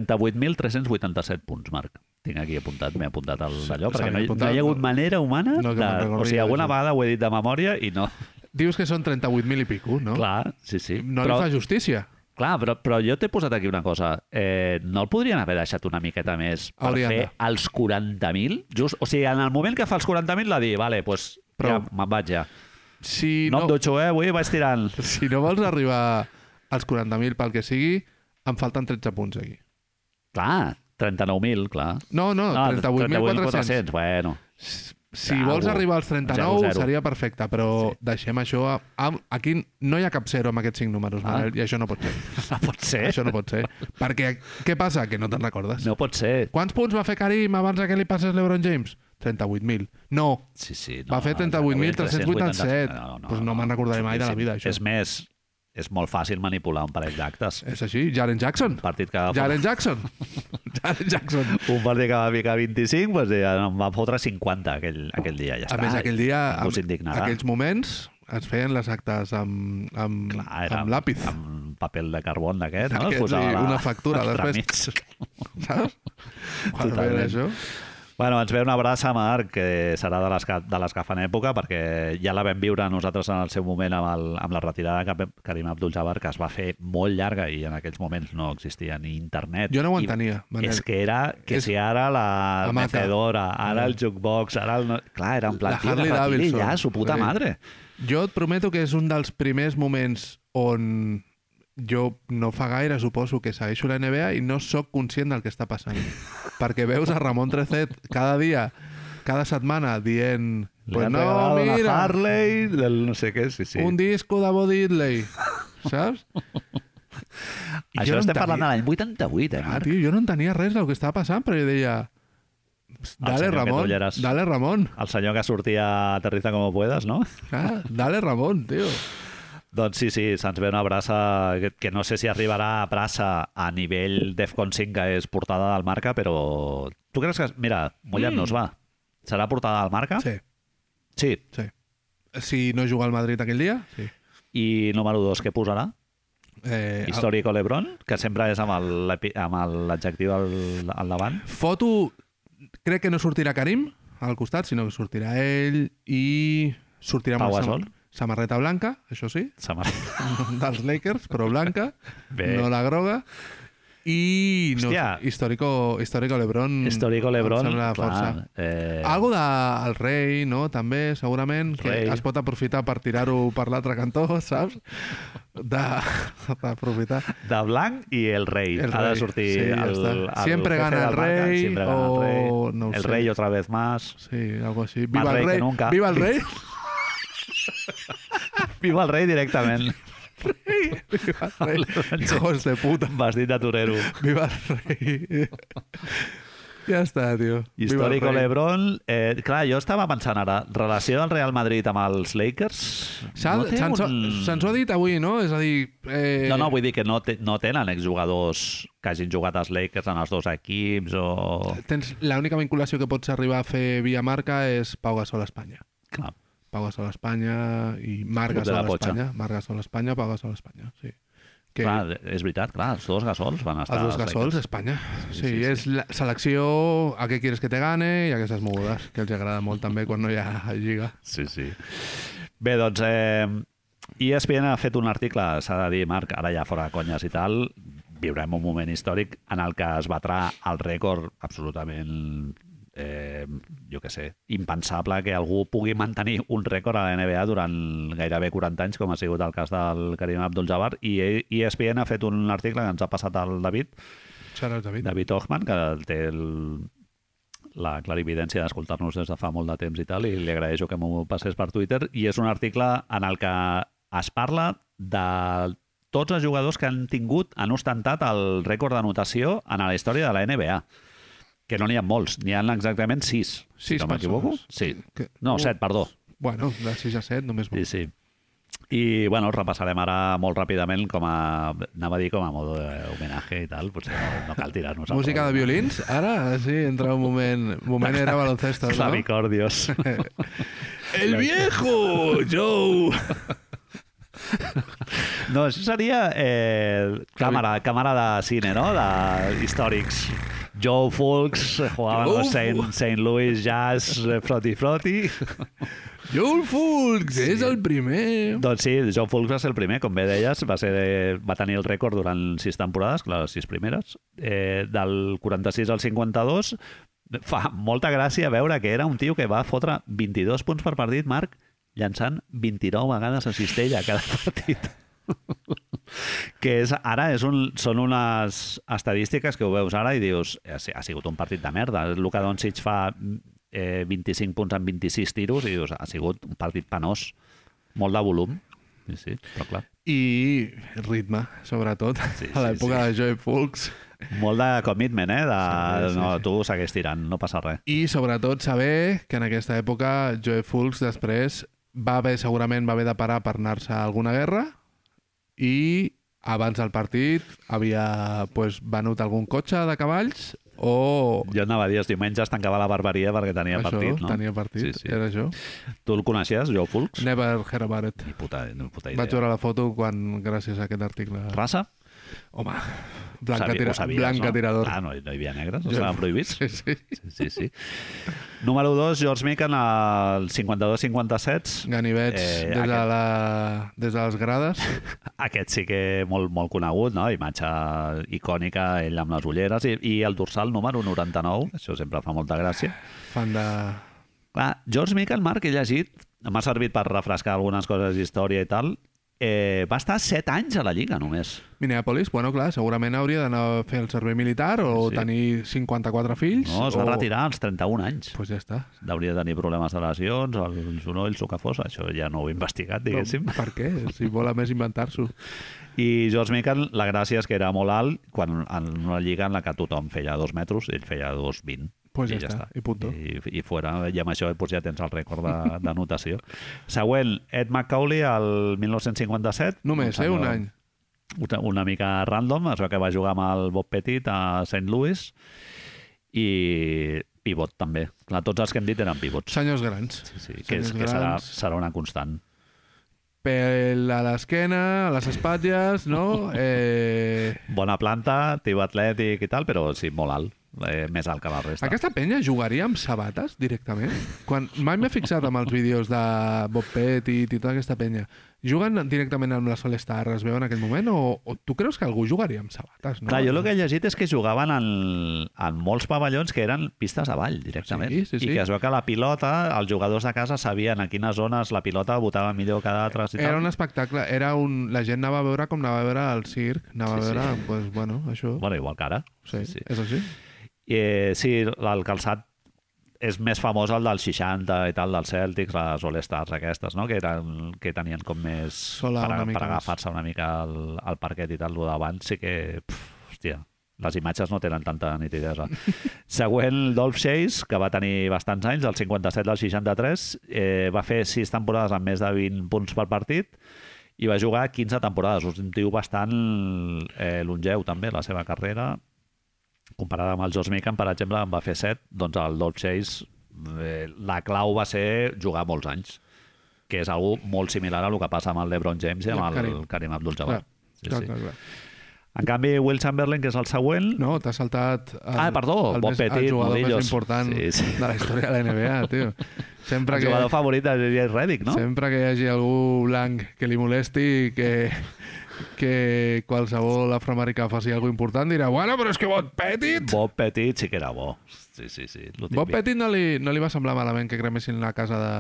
38.387 punts, Marc. Tinc aquí apuntat, m'he apuntat el d'allò,
se
perquè
m'havia
no, hi- no hi
apuntat.
ha hagut manera humana
No, que
de,
me'n recordi
o sigui,
jo,
alguna
sí.
vegada ho he dit de memòria i no.
Dius que són 38.000 i pico, no?
Clar, sí, sí.
No
però,
li fa justícia.
clar, però, però jo t'he posat aquí una cosa. Eh, no el podrien haver deixat una miqueta més per
Haurien de.
fer els 40.000? Just, o sigui, en el moment que fa els 40.000 la di, vale, pues,
Però-
ja, me'n vaig ja.
Si
No,
no,
em dutxo, eh? Avui vaig tirant.
si no vols arribar als 40.000 pel que sigui, em falten 13 punts aquí.
Clar, 39.000, clar.
No, no,
Ah, 38.400
38.400.
Bueno,
Si
Zero.
vols arribar als 39
Zero, zero.
seria perfecte, però deixem això... A, a, aquí no hi ha cap zero amb aquests cinc números,
Ah.
Manel, i això no pot ser.
no pot ser.
Això no pot ser. Perquè què passa? Que no te'n recordes.
No pot ser.
Quants punts va fer Karim abans que li passés l'Ebron James? 38.000. No,
Sí, sí, no,
Va fer 38.387. Pues no me'n recordaré mai de la vida, això.
És més, és molt fàcil manipular un parell d'actes.
és així. Jaren Jackson.
Un partit que va
Jaren Jackson. Jaren Jackson.
un partit que va ficar 25, doncs ja em va fotre 50 aquell, aquell dia, ja
A
està.
més, aquell dia,
Ningú
en
s'indignarà.
aquells moments, es feien les actes amb, amb,
Clar, Ah, era
amb l'àpid,
Amb paper de carbon d'aquest, no?
D'aquests,
Es posava
i
la-
una factura,
al
després.
entremig.
saps? Quan
Totalment.
veia això.
Bueno, ens ve una abraça, Marc, que serà de les que, de les que fan època, perquè ja la vam viure nosaltres en el seu moment amb, el, amb la retirada de Karim- Karim Abdul-Jabbar, que es va fer molt llarga i en aquells moments no existia ni internet.
Jo no ho
I
entenia, Manel.
És que era, que
És-
si ara la
La maca.
mecedora, ara el jukebox, ara el... no- Clar, era en plan,
La
tio,
Harley
que retiri
Davidson.
ja, su puta
Sí.
madre.
Jo et prometo que és un dels primers moments on jo no fa gaire, suposo, que segueixo la NBA i no sóc conscient del que està passant. Perquè veus a Ramon Trecet cada dia, cada setmana, dient...
Li
Pues
han
no,
regalat una
mira,
Harley, del no sé què, sí, sí.
un disco de Bo Diddley, saps? I jo
Això
no
estem parlant de
entenia-
l'any 88, eh,
Ah,
Marc?
tio, jo no entenia res del que estava passant, però jo deia... Dale,
senyor que
Ramon,
t'ulleres.
dale, Ramon.
El senyor que sortia a Aterriza como puedas, no?
Ah, dale, Ramon, tio.
Doncs sí, sí, se'ns ve una brassa que, que no sé si arribarà a brassa a nivell Defcon 5, que és portada del marca, però... Tu creus que... Mira, mullant-nos, va. Serà portada del marca?
Mm. Sí,
Sí.
sí. Si no juga al Madrid aquell dia, sí.
I número 2, què posarà?
Eh, el-
Histórico Lebron, que sempre és amb el l'epi- amb l'adjectiu al, al davant.
Foto, crec que no sortirà Karim al costat, sinó que sortirà ell i sortirà amb
Pau
una
Gasol.
samarreta blanca, això sí,
Se m'ha-
dels Lakers, però blanca,
Bé.
no la groga. I no,
Hòstia.
històrico, històrico Lebron.
Histórico Lebron,
Mm, Em sembla força.
clar. Eh,
Algo del rei, no? També, segurament, que
Rei.
es pot aprofitar per tirar-ho per l'altre cantó, saps? De- D'aprofitar.
de blanc i el rei.
El
ha de
rei,
sortir
sí, ja
el,
està.
el,
Siempre
jefe
gana
del
el
marca,
rei,
siempre gana
o
el rey.
no ho
el
sé.
rey otra vez más.
Sí, algo així. Viva
Más
el
rei que
rei!
nunca.
Viva el rei!
Viva el rei directament.
Viva el rei! Hijos de puta!
Vestit de torero.
Viva el rei. ja està, tio.
Històrico
Viva el rei.
Lebron. Eh, clar, jo estava pensant ara, relació del Real Madrid amb els Lakers...
S'ha-
té
Se'ns
un-
ho- se'ns ho ha dit avui, no? És a dir... Eh,
No, no, vull dir que no, te, no tenen exjugadors que hagin jugat als Lakers en els dos equips o...
Tens l'única vinculació que pots arribar a fer via marca és Pau Gasol a Espanya.
Clar.
Pau Gasol a Espanya i Marc
Club de la
Gasol a
Potxa.
Espanya. Marc Gasol a Espanya, Pau Gasol a Espanya, sí. Que
clar, és veritat, clar, els dos gasols van estar...
els dos
als
Gasols a
Lakers.
Espanya. Sí,
sí, sí.
és la selecció a què quieres que te gane i aquestes mogudes, que els agrada molt també quan no hi ha lliga.
Sí, sí. Bé, doncs, eh, ESPN ha fet un article, s'ha de dir, Marc, ara ja fora de conyes i tal, viurem un moment històric en el que es batrà el rècord absolutament eh, jo que sé, impensable que algú pugui mantenir un rècord a la NBA durant gairebé 40 anys, com ha sigut el cas del Karim Abdul-Jabbar, i E ESPN ha fet un article que ens ha passat al David,
Xarats, David.
David Hochman, que té el, la clarividència d'escoltar-nos des de fa molt de temps i tal, i li agraeixo que m'ho passés per Twitter, i és un article en el que es parla de tots els jugadors que han tingut, han ostentat el rècord d'anotació en la història de la NBA que no n'hi ha molts, n'hi ha exactament sis, si
Sis
no m'equivoco.
persones.
Sí.
Que-
No,
un-
set, perdó.
Bueno, de 6 a 7 només.
Sí, sí. I, bueno, repassarem ara molt ràpidament com a... Anava a dir com a modo d'homenatge i tal, potser no, no cal tirar-nos a
Música de
prou.
violins, ara sí, entra un moment... Moment era baloncesto, no?
Clavicordios.
El viejo, Joe!
No, això seria eh, càmera, càmera de cine, no? De històrics. Joe Fulks, jugaven
Joe
los Saint,
Fulks.
Saint Louis Jazz, eh, Froti Froti.
Joel Fulks, sí. és el primer.
doncs sí, Joe Fulks va ser el primer, com bé deies, va, ser, va tenir el rècord durant sis temporades, clar, les sis primeres, eh, del 46 al 52. Fa molta gràcia veure que era un tio que va fotre 22 punts per partit, Marc, llançant 29 vegades a cistella cada partit. que és, ara és un, són unes estadístiques que ho veus ara i dius, ha, si- ha sigut un partit de merda. Luka Doncic fa eh, 25 punts en 26 tiros i dius, ha sigut un partit penós, molt de volum. Sí, sí, però clar.
I ritme, sobretot,
Sí,
sí, a
sí,
l'època sí. de Joe Fulks.
Molt de commitment, eh? De,
Sí, sí,
no,
sí.
tu segueix tirant, no passa res.
I sobretot saber que en aquesta època Joe Fulks després va haver, segurament va haver de parar per anar-se a alguna guerra i abans del partit havia pues, venut algun cotxe de cavalls o...
Jo anava a dir, els diumenges tancava la barberia perquè tenia
això,
partit, no?
tenia partit,
Sí, sí.
era això.
Tu el coneixies, Joe Fulks?
Never heard about it.
Puta, no puta idea.
Vaig veure la foto quan, gràcies a aquest article...
Raça?
Home, blanca,
Sabia-
tira,
ho sabies, no?
blanca tirador.
Ah, no, no hi havia negres,
Jo-
estaven prohibits.
Sí, sí.
Sí, sí. Número 2, George Mikan, al 52-57.
Ganivets
Eh,
eh, des, de
aquest-
la, des de les grades.
Aquest sí que molt, molt conegut, no? imatge icònica, ell amb les ulleres, i, i el dorsal número 99, això sempre fa molta gràcia.
Fan de...
Clar, George Michael, Marc, he llegit, m'ha servit per refrescar algunes coses d'història i tal, eh, va estar 7 anys a la Lliga només.
Minneapolis, bueno, clar, segurament hauria d'anar a fer el servei militar o
Sí.
sí. tenir 54 fills.
No, es va
o...
retirar als 31 anys.
Pues ja està.
Hauria de tenir problemes de lesions, el genoll, el que fos, això ja no ho he investigat, diguéssim.
No, per què? Si vol a més inventar-s'ho.
I George Michael, la gràcia és que era molt alt quan en una lliga en la que tothom feia dos metres, ell feia dos vint.
Pues ja està, i punto.
I, I fora, i amb això doncs ja tens el rècord de, de notació. Següent, Ed McCauley, el 1957.
Només, eh?
senyor
Un any.
Una, una mica random, es veu que va jugar amb el Bob Petit a St. Louis i pivot també. Clar, tots els que hem dit eren pivots.
Senyors grans.
Sí, sí, que, és,
Senyors
que serà,
grans.
serà una constant.
Pèl a l'esquena, a les espatlles, no? Eh...
Bona planta, tio atlètic i tal, però sí, molt alt. Eh, més alt que la resta.
Aquesta penya jugaria amb sabates directament? Quan mai m'he fixat amb els vídeos de Bob Pettit i tota aquesta penya. Juguen directament amb les All-Star, es veu en aquell moment? O, o tu creus que algú jugaria amb sabates? No?
Clar, jo el que he llegit és que jugaven en, en molts pavellons que eren pistes avall, directament.
Sí, sí, sí.
I que es veu que la pilota, els jugadors de casa sabien a quines zones la pilota votava millor que d'altres i
Era
tal.
un espectacle, era un... la gent anava a veure com anava a veure el circ,
Sí,
anava a
sí.
veure, doncs, pues, bueno, això...
Bueno, igual que ara.
sí,
sí.
És així?
Eh, sí, el calçat és més famós el dels 60 i tal, dels Celtics, les All-Stars aquestes, no? que, eren, que tenien com més...
Sola
per,
una mica
per
més.
agafar-se una mica el, el parquet i tal, lo d'abans sí que... Pf, hòstia, les imatges no tenen tanta nitidesa. Següent, Dolph Chase, que va tenir bastants anys, del 57 al 63, eh, va fer sis temporades amb més de 20 punts per partit i va jugar 15 temporades. Un tio bastant eh, longeu, també, la seva carrera comparada amb el George Mikan, per exemple, en va fer 7, doncs el Dolph Chase, eh, la clau va ser jugar molts anys, que és algú molt similar a el que passa amb el LeBron James i
I el
amb el
Karim.
Karim
Clar,
Abdul-Jabbar. Sí,
clar,
sí.
clar, clar.
En canvi, Will Chamberlain, que és el següent,
No, t'ha saltat... El,
Ah, perdó,
el,
Bob
més,
Pettit,
el jugador
Modillos.
més important
Sí, sí.
de la història de la NBA, tio. Sempre
el
que...
jugador favorit de J.J. Redick, no?
Sempre que hi hagi algú blanc que li molesti i que, que qualsevol afroamericà faci alguna important, dirà, bueno, però és que Bob Petit...
Bob Petit sí que era bo. Sí, sí, sí. lo
Bob
típic.
Petit no li, no li va semblar malament que cremessin la casa de,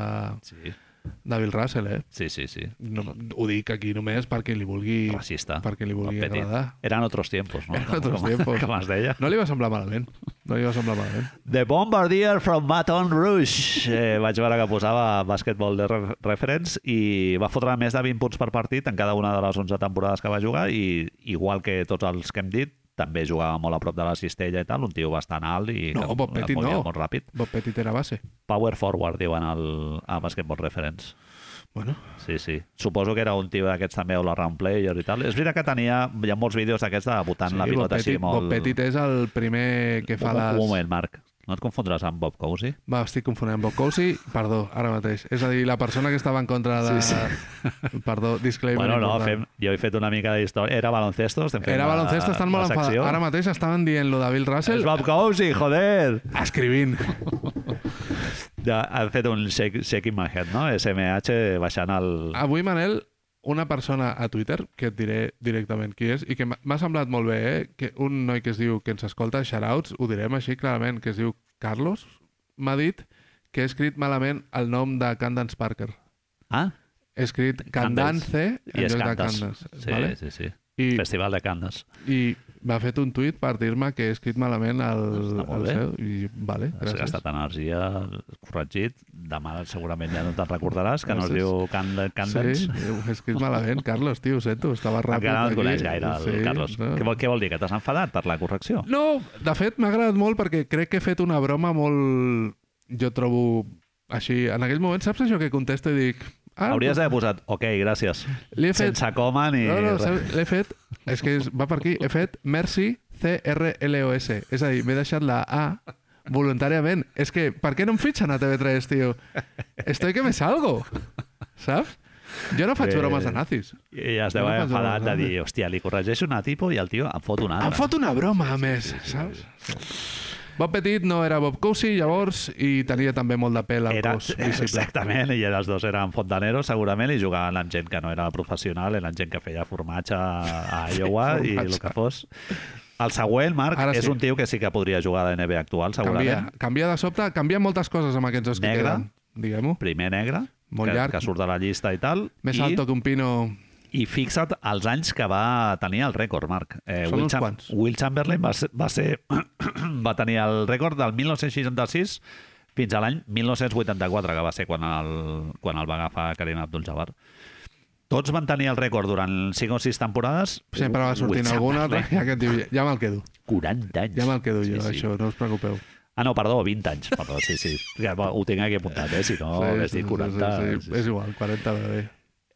Sí,
de Bill Russell, eh?
sí, sí. sí.
No, ho dic aquí només perquè li vulgui...
Racista.
Perquè li
Bob
vulgui
Pettit.
agradar.
Eren otros tiempos, no?
En otros
com,
tiempos.
Com es deia.
No li va semblar malament. No li va semblar malament.
The Bombardier from Baton Rouge. Eh, vaig veure que posava bàsquetbol de re reference i va fotre més de 20 punts per partit en cada una de les 11 temporades que va jugar i igual que tots els que hem dit, també jugava molt a prop de la cistella i tal, un tio bastant alt i
No,
que
Bob
es
Pettit
movia
no.
molt ràpid.
Bob Petit era base.
Power forward, diuen al, a Basketball Reference.
Bueno,
Sí, sí. Suposo que era un tio d'aquests també all around player i tal. És veritat que tenia... Hi ha molts vídeos d'aquests de botant la
sí, Bob,
pilota així
Petit,
molt...
Bob Petit és el primer que fa
un,
les...
un moment, Marc. No et confondràs amb Bob Cousy?
Va, estic confonent amb Bob Cousy, perdó, ara mateix. És a dir, la persona que estava en contra de... Sí, sí. Perdó, disclaimer.
Bueno, no, fem,
important.
jo he fet una mica de història. Era baloncesto, estem fent
Era
la-
baloncesto, estan
la
molt enfadats.
secció.
Ara mateix estaven dient lo de Bill
És
Russell
Bob Cousy, joder!
escrivint.
Ja, han fet un shake, shaking my head, no? SMH baixant el...
Avui, Manel, una persona a Twitter, que et diré directament qui és, i que m'ha- m'ha semblat molt bé, eh? que un noi que es diu, que ens escolta, shoutouts, ho direm així clarament, que es diu Carlos, m'ha dit que he escrit malament el nom de Candance Parker.
Ah,
He escrit
Candace.
Candance en
i es
lloc de
cantes.
Candance.
Sí,
vale?
sí, sí.
I,
Festival de Candes.
I m'ha fet un tuit per dir-me que he escrit malament el,
Està molt
el
bé.
seu. I, vale,
Has
gràcies.
gastat energia, corregit. Demà segurament ja no te'n recordaràs, que no es
Gràcies.
diu Cand- Candens.
Sí, ho he escrit malament, Carlos, tio, ho sento, estava ràpid.
Encara no et
aquí.
coneix gaire, el
Sí,
Carlos.
no.
Què, vol, què vol dir? Que t'has enfadat per la correcció?
No, de fet, m'ha agradat molt perquè crec que he fet una broma molt... Jo trobo així... En aquell moment, saps això que contesto i dic... Ah,
Hauries d'haver posat, ok, gràcies.
Li he fet-
Sense coma ni...
No, no,
res.
saps? l'he fet... És que és- va per aquí. He fet merci C-R-L-O-S. És a dir, m'he deixat la A voluntàriament. És que, per què no em fitxen a TV3, tio? Estoy que me salgo, saps? Jo no faig
Bé.
bromes de nazis.
I es deu
No
haver
passa
enfadat de
res,
dir, hòstia, li corregeixo una tipo i el tio em fot una altra.
Em fot una broma, a més, saps? Bob Petit no era Bob Cousy, llavors, i tenia també molt de pèl al
era,
cos visible.
exactament, i els dos eren fontaneros segurament i jugaven amb gent que no era professional, eren gent que feia formatge a Iowa i
formatge.
el que fos. El següent, Marc,
Ara
Ara és
sí.
un tio que sí que podria jugar a la NBA actual,
Canvia,
segurament. Canvia.
canvia de sobte, canvia moltes coses amb aquests dos que
eh? Negre.
queden, diguem-ho.
Primer negre,
Molt
que,
llarg.
que surt de la llista i tal.
Més
i,
alto que un pino...
I fixa't els anys que va tenir el rècord, Marc. Eh,
Són uns quants.
Will Chamberlain va ser, va, ser, va tenir el rècord del 1966 fins a l'any 1984, que va ser quan el, quan el va agafar Karim Abdul-Jabbar. Tots van tenir el rècord durant 5 o 6 temporades.
Sempre va sortint
Will
algun altre,
Chamberlain,
ja que et diu, ja me'l quedo,
40 anys.
ja me'l quedo jo,
eh? Sí, sí.
això, no us preocupeu.
Ah, no, perdó, 20 anys. Perdó, sí, sí. Ja, va, Ho tinc aquí apuntat, eh? Si no, sí, hauria dit 40.
Sí, sí, sí. És igual, 40 va bé.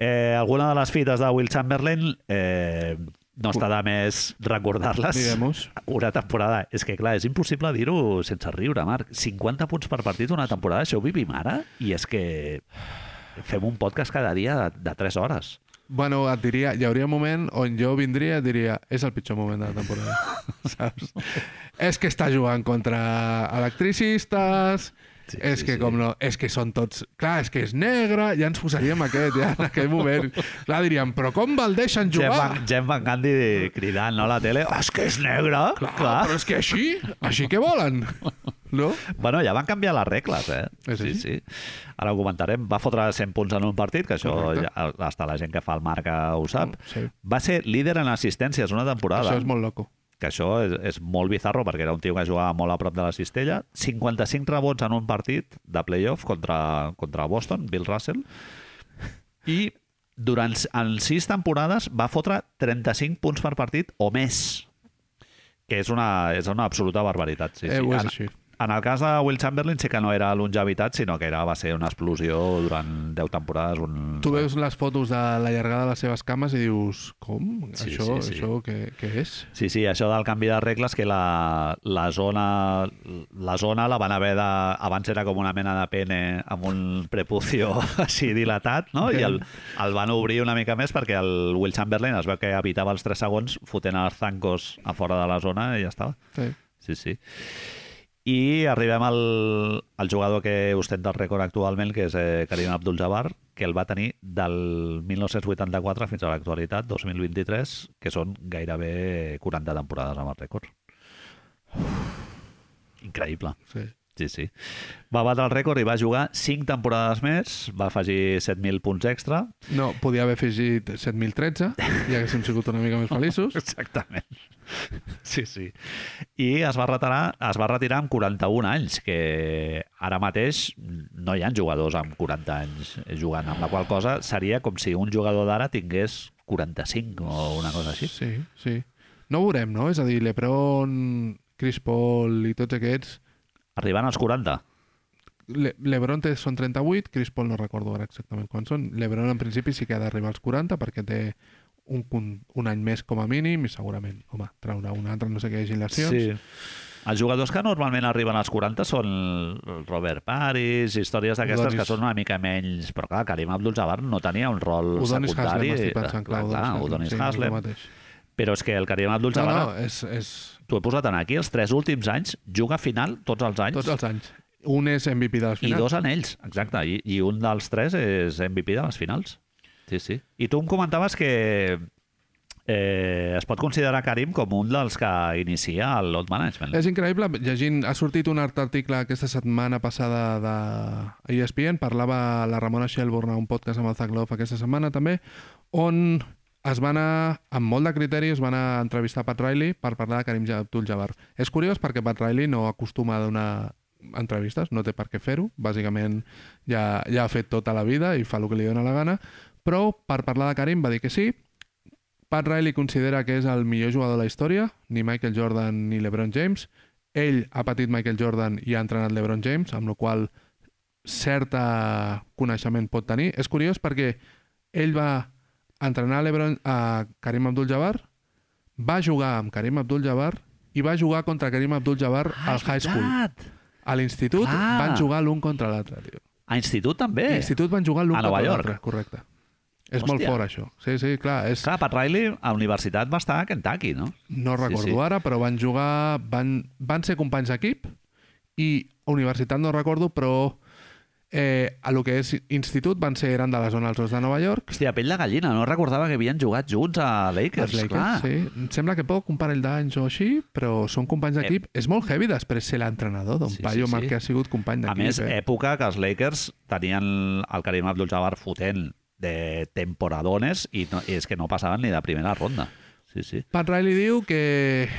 Eh, alguna de les fites de Will Chamberlain eh, no està de més recordar-les.
Diguem-nos.
Una temporada. És que, clar, és impossible dir-ho sense riure, Marc. 50 punts per partit una temporada, això ho vivim ara? I és que fem un podcast cada dia de, de 3 hores.
Bueno, et diria, hi hauria un moment on jo vindria i et diria és el pitjor moment de la temporada, saps? és que està jugant contra electricistes,
Sí,
sí, és
sí,
sí, que
sí.
com no, és que són tots... Clar, és que és negre, ja ens posaríem aquest, ja, en aquell moment. Clar, diríem, però com me'l deixen
Jeff
jugar?
Van, Jeff Van Gundy cridant no, a la tele, oh, és que és negre, clar.
Clar, però és que així, així que volen, no?
Bueno, ja van canviar les regles, eh?
És
sí,
així?
sí. Ara ho comentarem. Va fotre 100 punts en un partit, que això
Correcte.
ja, hasta la gent que fa el marca ho sap.
Sí.
Va ser líder en assistències una temporada.
Això és molt loco.
Que això és, és molt bizarro, perquè era un tio que jugava molt a prop de la cistella. 55 rebots en un partit de playoff contra, contra Boston, Bill Russell. I durant en sis temporades va fotre 35 punts per partit o més que és una, és una absoluta barbaritat. Sí, sí.
Eh, ho és
en,
així.
en el cas de Will Chamberlain sí que no era longevitat, sinó que era, va ser una explosió durant 10 temporades. Un...
Tu veus les fotos de la llargada de les seves cames i dius, com?
Sí,
això,
sí, sí.
això què, què és?
Sí, sí, això del canvi de regles que la, la zona la zona la van haver de... Abans era com una mena de pene amb un prepucio així dilatat, no? I el, el van obrir una mica més perquè el Will Chamberlain es veu que habitava els 3 segons fotent els zancos a fora de la zona i ja estava.
Sí.
Sí, sí. I arribem al, al jugador que ostenta el rècord actualment, que és eh, Karim Abdul-Jabbar, que el va tenir del 1984 fins a l'actualitat, 2023, que són gairebé 40 temporades amb el rècord. Increïble.
sí.
Sí, sí. Va batre el rècord i va jugar 5 temporades més, va afegir 7.000 punts extra.
No, podia haver afegit 7.013 i haguéssim sigut una mica més feliços.
Exactament. Sí, sí. I es va retirar, es va retirar amb 41 anys, que ara mateix no hi ha jugadors amb 40 anys jugant, amb la qual cosa seria com si un jugador d'ara tingués 45 o una cosa així.
Sí, sí. No ho veurem, no? És a dir, Lebron, Chris Paul i tots aquests...
Arribant als 40.
Le Lebron té, són 38, Chris Paul no recordo ara exactament quan són. Lebron en principi sí que ha d'arribar als 40 perquè té un, un, un any més com a mínim i segurament, home, traurà un altre, no sé què, lesions.
Els jugadors que normalment arriben als 40 són el Robert Paris, històries d'aquestes
Udonis-
que són una mica menys... Però clar, Karim Abdul-Jabbar no tenia un rol
Udonis
secundari. eh,
Haslem, estic pensant, clar,
clar, Udonis Haslem.
Sí,
Però és que el Karim
no,
Abdul-Jabbar
no, és, és
T'ho he posat en aquí, els tres últims anys, juga final tots els anys.
tots els anys. Un és MVP de les
I
finals.
dos anells, exacte. I, I un dels tres és MVP de les finals. Sí, sí. I tu em comentaves que eh, es pot considerar Karim com un dels que inicia el load management.
És increïble, llegint, ha sortit un art- article aquesta setmana passada de E ESPN, parlava la Ramona Shelburne a un podcast amb el Zach Love aquesta setmana també, on es va anar, amb molt de criteri, es va anar a entrevistar Pat Riley per parlar de Karim Abdul-Jabbar. És curiós perquè Pat Riley no acostuma a donar entrevistes, no té per què fer-ho, bàsicament ja, ja ha fet tota la vida i fa el que li dóna la gana, però per parlar de Karim va dir que sí, Pat Riley considera que és el millor jugador de la història, ni Michael Jordan ni LeBron James. Ell ha patit Michael Jordan i ha entrenat LeBron James, amb la qual cert eh, coneixement pot tenir. És curiós perquè ell va entrenar LeBron, a Karim Abdul-Jabbar, va jugar amb Karim Abdul-Jabbar i va jugar contra Karim Abdul-Jabbar al high school. A l'institut
Ah, Clar.
van jugar l'un contra l'altre, tio.
A institut també.
A l'institut van jugar l'un
A Nova
contra
York.
l'altre, correcte. És molt
Hòstia.
fort, això. Sí, sí, clar. És,
Clar, Pat Riley a universitat va estar a Kentucky, no?
No
Sí,
recordo eh? sí,
sí.
sí. ara, però van jugar... Van, van ser companys d'equip i universitat no recordo, però eh, a lo que és institut van ser, eren de la zona els dos de Nova York.
Hòstia, pell de gallina, no recordava que havien jugat junts a Lakers,
els
clar.
Lakers, sí. Em sembla que poc, un parell d'anys o així, però són companys d'equip. És molt heavy després ser l'entrenador d'un
Eh. Sí,
sí, paio
sí,
sí,
sí.
que ha sigut company
A
d'equip.
més,
eh?
època que els Lakers tenien el Karim Abdul-Jabbar fotent de temporadones i, no, i és que no passaven ni de primera ronda. Sí, sí.
Pat Riley diu que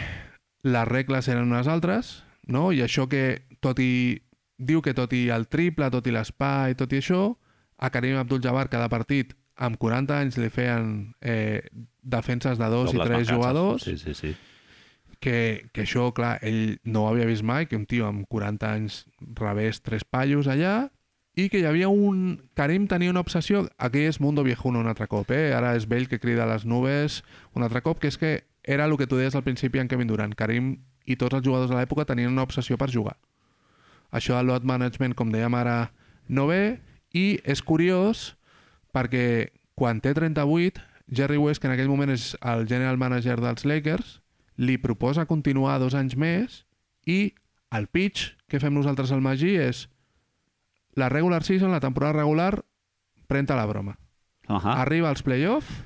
les regles eren unes altres, no? I això que, tot i... Diu que tot i el triple, tot i l'espai, tot i això, a Karim Abdul-Jabbar cada partit amb 40 anys li feien eh, defenses de dos
Dobles
i tres
mancances.
jugadors,
Sí, sí, sí.
que, que això, clar, ell no ho havia vist mai, que un tio amb 40 anys rebés tres pallos allà, i que hi havia un... Karim tenia una obsessió, aquí és Mundo Viejuno un altre cop, eh? ara és Bell que crida a les nubes un altre cop, que és que era el que tu deies al principi en Kevin Durant, Karim i tots els jugadors de l'època tenien una obsessió per jugar. Això del load management, com dèiem ara, no ve, i és curiós perquè quan té 38, Jerry West, que en aquell moment és el general manager dels Lakers, li proposa continuar dos anys més i el pitch que fem nosaltres al Magí és la regular season, la temporada regular, pren-te la broma.
Uh
Ah.
-huh.
Arriba als playoff,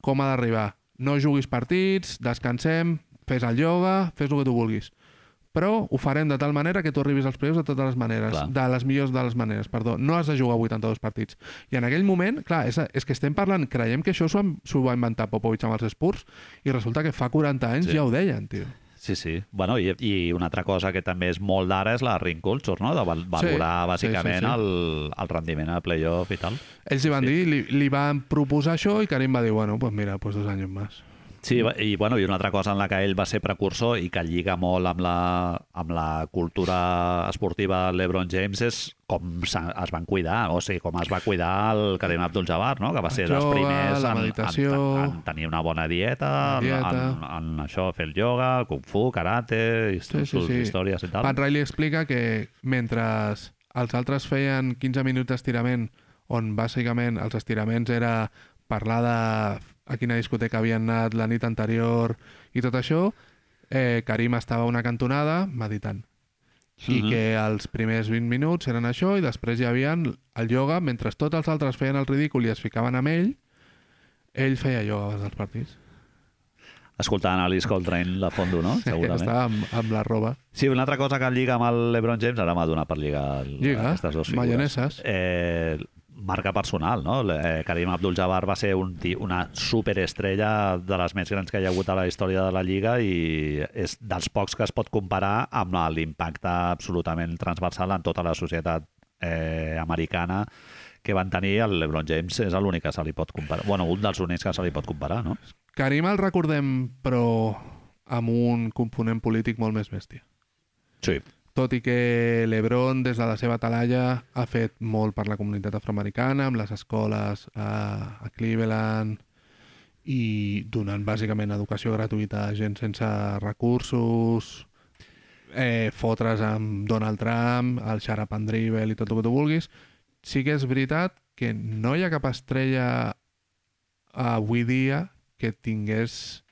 com ha d'arribar? No juguis partits, descansem, fes el ioga, fes el que tu vulguis. Però ho farem de tal manera que tu arribis als playoffs de totes les maneres,
Clar.
clar. de les millors de les maneres, perdó. No has de jugar 82 partits. I en aquell moment, clar, és, és que estem parlant, creiem que això s'ho han- s'ho va inventar Popovich amb els Spurs i resulta que fa 40 anys
Sí.
sí. ja ho deien, tio.
Sí, sí. Bueno, i, I una altra cosa que també és molt d'ara és la ring culture, no? De val valorar,
Sí, sí,
bàsicament,
sí, sí.
El, el rendiment a playoff i tal.
Ells li van sí. dir, li, li van proposar això i Karim va dir, bueno, pues mira, pues dos anys més.
Sí, va- i, bueno, i una altra cosa en la que ell va ser precursor i que lliga molt amb la, amb la cultura esportiva de LeBron James és com se- es van cuidar, o sigui, com es va cuidar el Karim Abdul-Jabbar, no? que va ser
El
dels
yoga,
primers
la
en-
meditació.
en, en, en tenir una bona dieta,
La
dieta. En,
dieta.
en, en això, fer el ioga, el kung fu, karate, sí, sí, sí. històries i tal.
Pat Riley explica que mentre els altres feien 15 minuts d'estirament, on bàsicament els estiraments era parlar de a quina discoteca havien anat la nit anterior i tot això, eh, Karim estava a una cantonada meditant. I
Mhm.
que els primers 20 minuts eren això i després hi havia el ioga, mentre tots els altres feien el ridícul i es ficaven amb ell, ell feia ioga abans dels partits.
Escoltant Alice Coltrane de fondo, no? Segurament.
Estava amb, amb la roba.
Sí, una altra cosa que lliga amb el LeBron James, ara m'ha donat per lligar el-
Lliga,
aquestes dues figures.
mayoneses.
Eh, marca personal, no? El- Eh, Karim Abdul-Jabbar va ser un, ti- una superestrella de les més grans que hi ha hagut a la història de la Lliga i és dels pocs que es pot comparar amb la- l'impacte absolutament transversal en tota la societat eh, americana que van tenir el LeBron James és l'únic que se li pot comparar. Bueno, un dels únics que se li pot comparar, no?
Karim el recordem, però amb un component polític molt més bèstia.
Sí.
Tot i que l'Ebron, des de la seva talalla, ha fet molt per la comunitat afroamericana, amb les escoles a, a Cleveland, i donant bàsicament educació gratuïta a gent sense recursos, eh, fotre's amb Donald Trump, el Sharap and Dribble i tot el que tu vulguis. Sí que és veritat que no hi ha cap estrella avui dia que tingués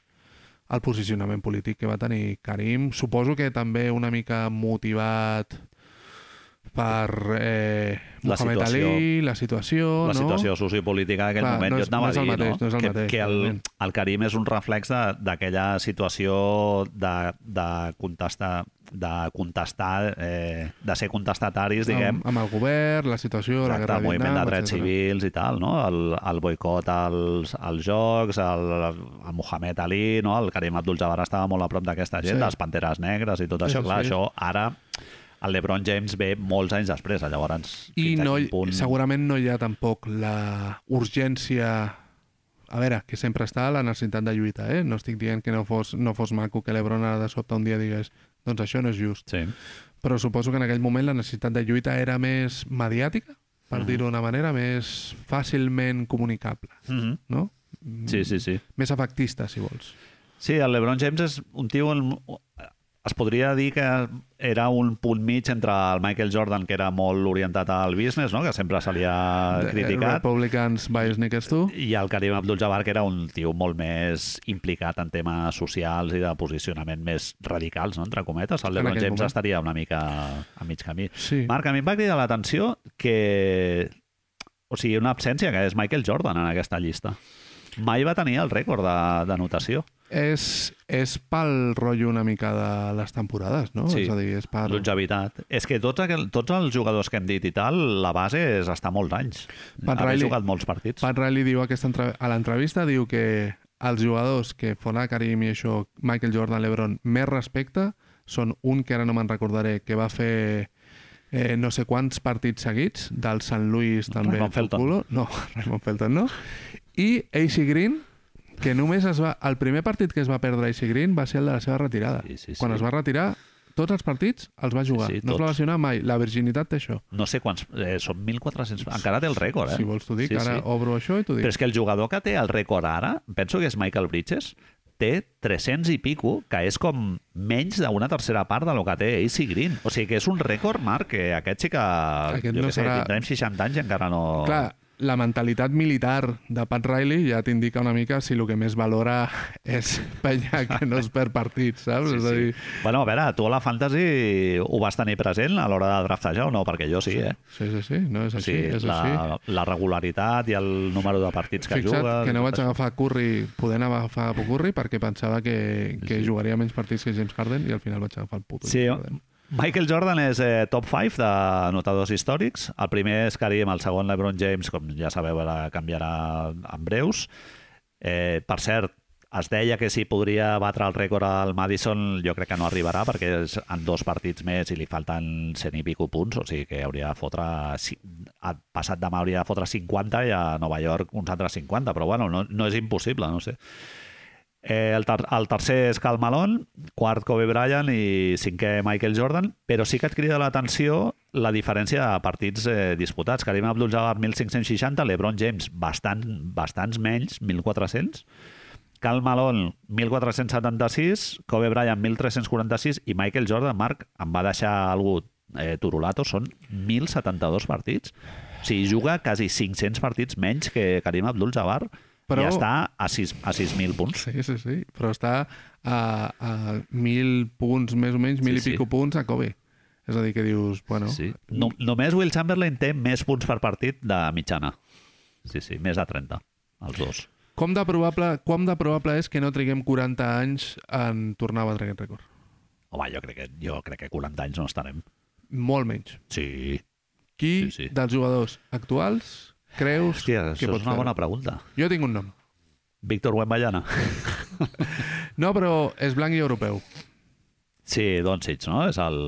el posicionament polític que va tenir Karim. Suposo que també una mica motivat per eh,
La
Mohamed
situació.
Ali, la situació...
la
no?
situació sociopolítica d'aquell
Clar,
moment,
no
jo
és-
et anava
no és
a
el
dir
mateix, no és el
que,
mateix,
que el,
evidentment.
el Carim és un reflex de- d'aquella situació de, de contestar, de contestar eh, de ser contestataris, diguem,
Amb, amb el govern, la situació, la
Exacte,
guerra
el
de
moviment de
Vietnam,
drets
etcètera.
civils i tal, no? El, el boicot als, als jocs, el, el Mohamed Ali, no? El Karim Abdul-Jabbar estava molt a prop d'aquesta gent,
Sí.
sí. les Panteres Negres i tot
Sí,
això.
sí,
Clar,
sí.
això ara el LeBron James ve molts anys després, llavors...
I
fins a
no,
quin
hi- segurament no hi ha tampoc la urgència... A veure, que sempre està la necessitat de lluita, eh? No estic dient que no fos, no fos maco que l'Ebron ara de sobte un dia digués doncs això no és just.
Sí.
Però suposo que en aquell moment la necessitat de lluita era més mediàtica, per
Mhm.
dir-ho d'una manera, més fàcilment comunicable,
Mm -hmm.
no?
sí, sí, sí.
Més efectista, si vols.
Sí, el LeBron James és un tio... en- Es podria dir que era un punt mig entre el Michael Jordan, que era molt orientat al business, no? que sempre se li ha
Eh,
criticat,
Republicans by Sneakers tu.
I el Karim Abdul-Jabbar, que era un tio molt més implicat en temes socials i de posicionament més radicals, no? entre cometes. El
En
LeBron
aquell
James
moment.
estaria una mica a mig camí.
Sí.
Marc, a mi em va cridar l'atenció que... O sigui, una absència, que és Michael Jordan en aquesta llista. Mai va tenir el rècord de- d'anotació.
És, és pel rotllo una mica de les temporades, no?
Sí.
És a dir, és per...
Longevitat. És que tots, aquel, tots els jugadors que hem dit i tal, la base és estar molts anys.
Pat
Haver
Riley-
jugat molts partits.
Pat Riley diu aquesta entrev- a l'entrevista diu que els jugadors que fora Karim i això, Michael Jordan, LeBron, més respecte són un que ara no me'n recordaré, que va fer eh, no sé quants partits seguits, del Sant Louis també.
Raymond Felton.
Culo. No, Raymond Felton no. I AC Green, que només es va... El primer partit que es va perdre AC Green va ser el de la seva retirada.
Sí, sí, sí.
Quan es va retirar, tots els partits els va jugar.
sí,
no es va
tots.
lesionar mai. La virginitat té això.
No sé quants... Eh, són 1.400... Encara té el rècord, eh?
Si vols t'ho dic,
Sí,
ara
sí.
obro això i t'ho dic.
Però és que el jugador que té el rècord ara, penso que és Michael Bridges, té 300 i pico, que és com menys d'una tercera part de lo que té AC Green. O sigui que és un rècord, Marc, que aquest sí que...
Aquest
jo
no
què sé,
serà-
Tindrem 60 anys i encara no...
Clar, la mentalitat militar de Pat Riley ja t'indica una mica si el que més valora és penya que no es perd partit, saps?
Sí,
És a
sí.
dir,
Bueno, a veure, tu a la Fantasy ho vas tenir present a l'hora de draftejar o no? Perquè jo sí, eh?
sí, sí, sí, no és
O
així,
sigui,
és així.
la, la regularitat i el número de partits que
Fixa't
jugues...
que no
i
vaig
tot això.
agafar Curry, podent agafar Curry perquè pensava que, que jugaria menys partits que James Harden i al final vaig agafar el puto
Sí, eh?
James Harden.
Michael Jordan és eh, top 5 de notadors històrics. El primer és Karim, el segon LeBron James, com ja sabeu, ara canviarà en breus. Eh, per cert, es deia que si podria batre el rècord al Madison, jo crec que no arribarà perquè és en dos partits més i li falten 100 i pico punts, o sigui que hauria de fotre... ci- ha passat demà hauria de fotre 50 i a Nova York uns altres 50, però bueno, no, no és impossible, no sé. Eh, el, ter el tercer és Cal Malone, quart Kobe Bryant i cinquè Michael Jordan, però sí que et crida l'atenció la diferència de partits eh, disputats. Karim Abdul-Jabbar 1.560, LeBron James bastant, bastants menys, 1.400, Cal Malone 1.476, Kobe Bryant 1.346 i Michael Jordan, Marc, em va deixar algú eh, turulato, són 1.072 partits. O sigui, juga quasi 500 partits menys que Karim Abdul-Jabbar
Però-
i està a sis- a 6.000 punts.
Sí, sí, sí, però està a, a mil punts, més o menys, mil
Sí,
i
sí.
pico punts a Kobe. És a dir, que dius, bueno...
Sí. No, només Will Chamberlain té més punts per partit de mitjana. Sí, sí, més de 30, els dos.
Com de probable, com de probable és que no triguem 40 anys en tornar a batre aquest rècord?
Home, jo crec que, jo crec que 40 anys no estarem.
Molt menys.
Sí.
Qui
Sí, sí.
dels jugadors actuals creus
Hòstia,
que
això
pot
és una
fer-ho?
bona pregunta.
Jo tinc un nom.
Víctor Wembanyama.
No, però és blanc i europeu.
Sí, Doncic, no? És el,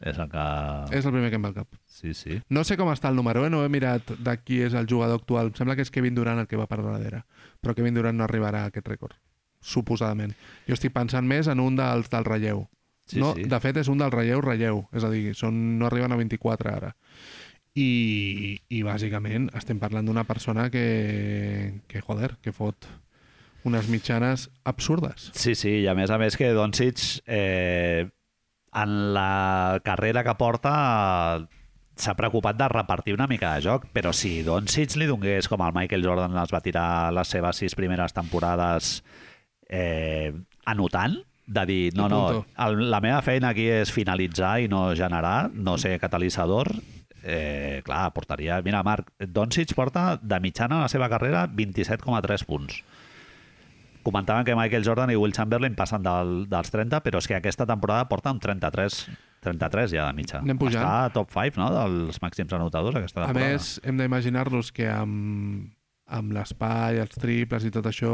és el que...
És el primer que em va al cap.
Sí, sí.
No sé com està el número, eh? no he mirat de qui és el jugador actual. Em sembla que és Kevin Durant el que va per darrere, però Kevin Durant no arribarà a aquest rècord, suposadament. Jo estic pensant més en un dels del relleu.
Sí,
no,
sí.
De fet, és un del relleu-relleu, és a dir, són, no arriben a 24 ara. I, i bàsicament estem parlant d'una persona que, que, joder, que fot unes mitjanes absurdes.
Sí, sí, i a més a més que Doncic eh, en la carrera que porta eh, s'ha preocupat de repartir una mica de joc, però si Doncic li donés com el Michael Jordan les va tirar les seves sis primeres temporades eh, anotant, de dir, no,
I
no,
punto.
el, la meva feina aquí és finalitzar i no generar, no ser catalitzador, eh, clar, portaria... Mira, Marc, Doncic porta de mitjana a la seva carrera 27,3 punts. Comentaven que Michael Jordan i Will Chamberlain passen del, dels 30, però és que aquesta temporada porta un 33, 33 ja de mitja.
Anem pujant.
Està a top 5, no?, dels màxims anotadors aquesta
A
temporada.
més, hem d'imaginar-nos que amb, amb l'espai, els triples i tot això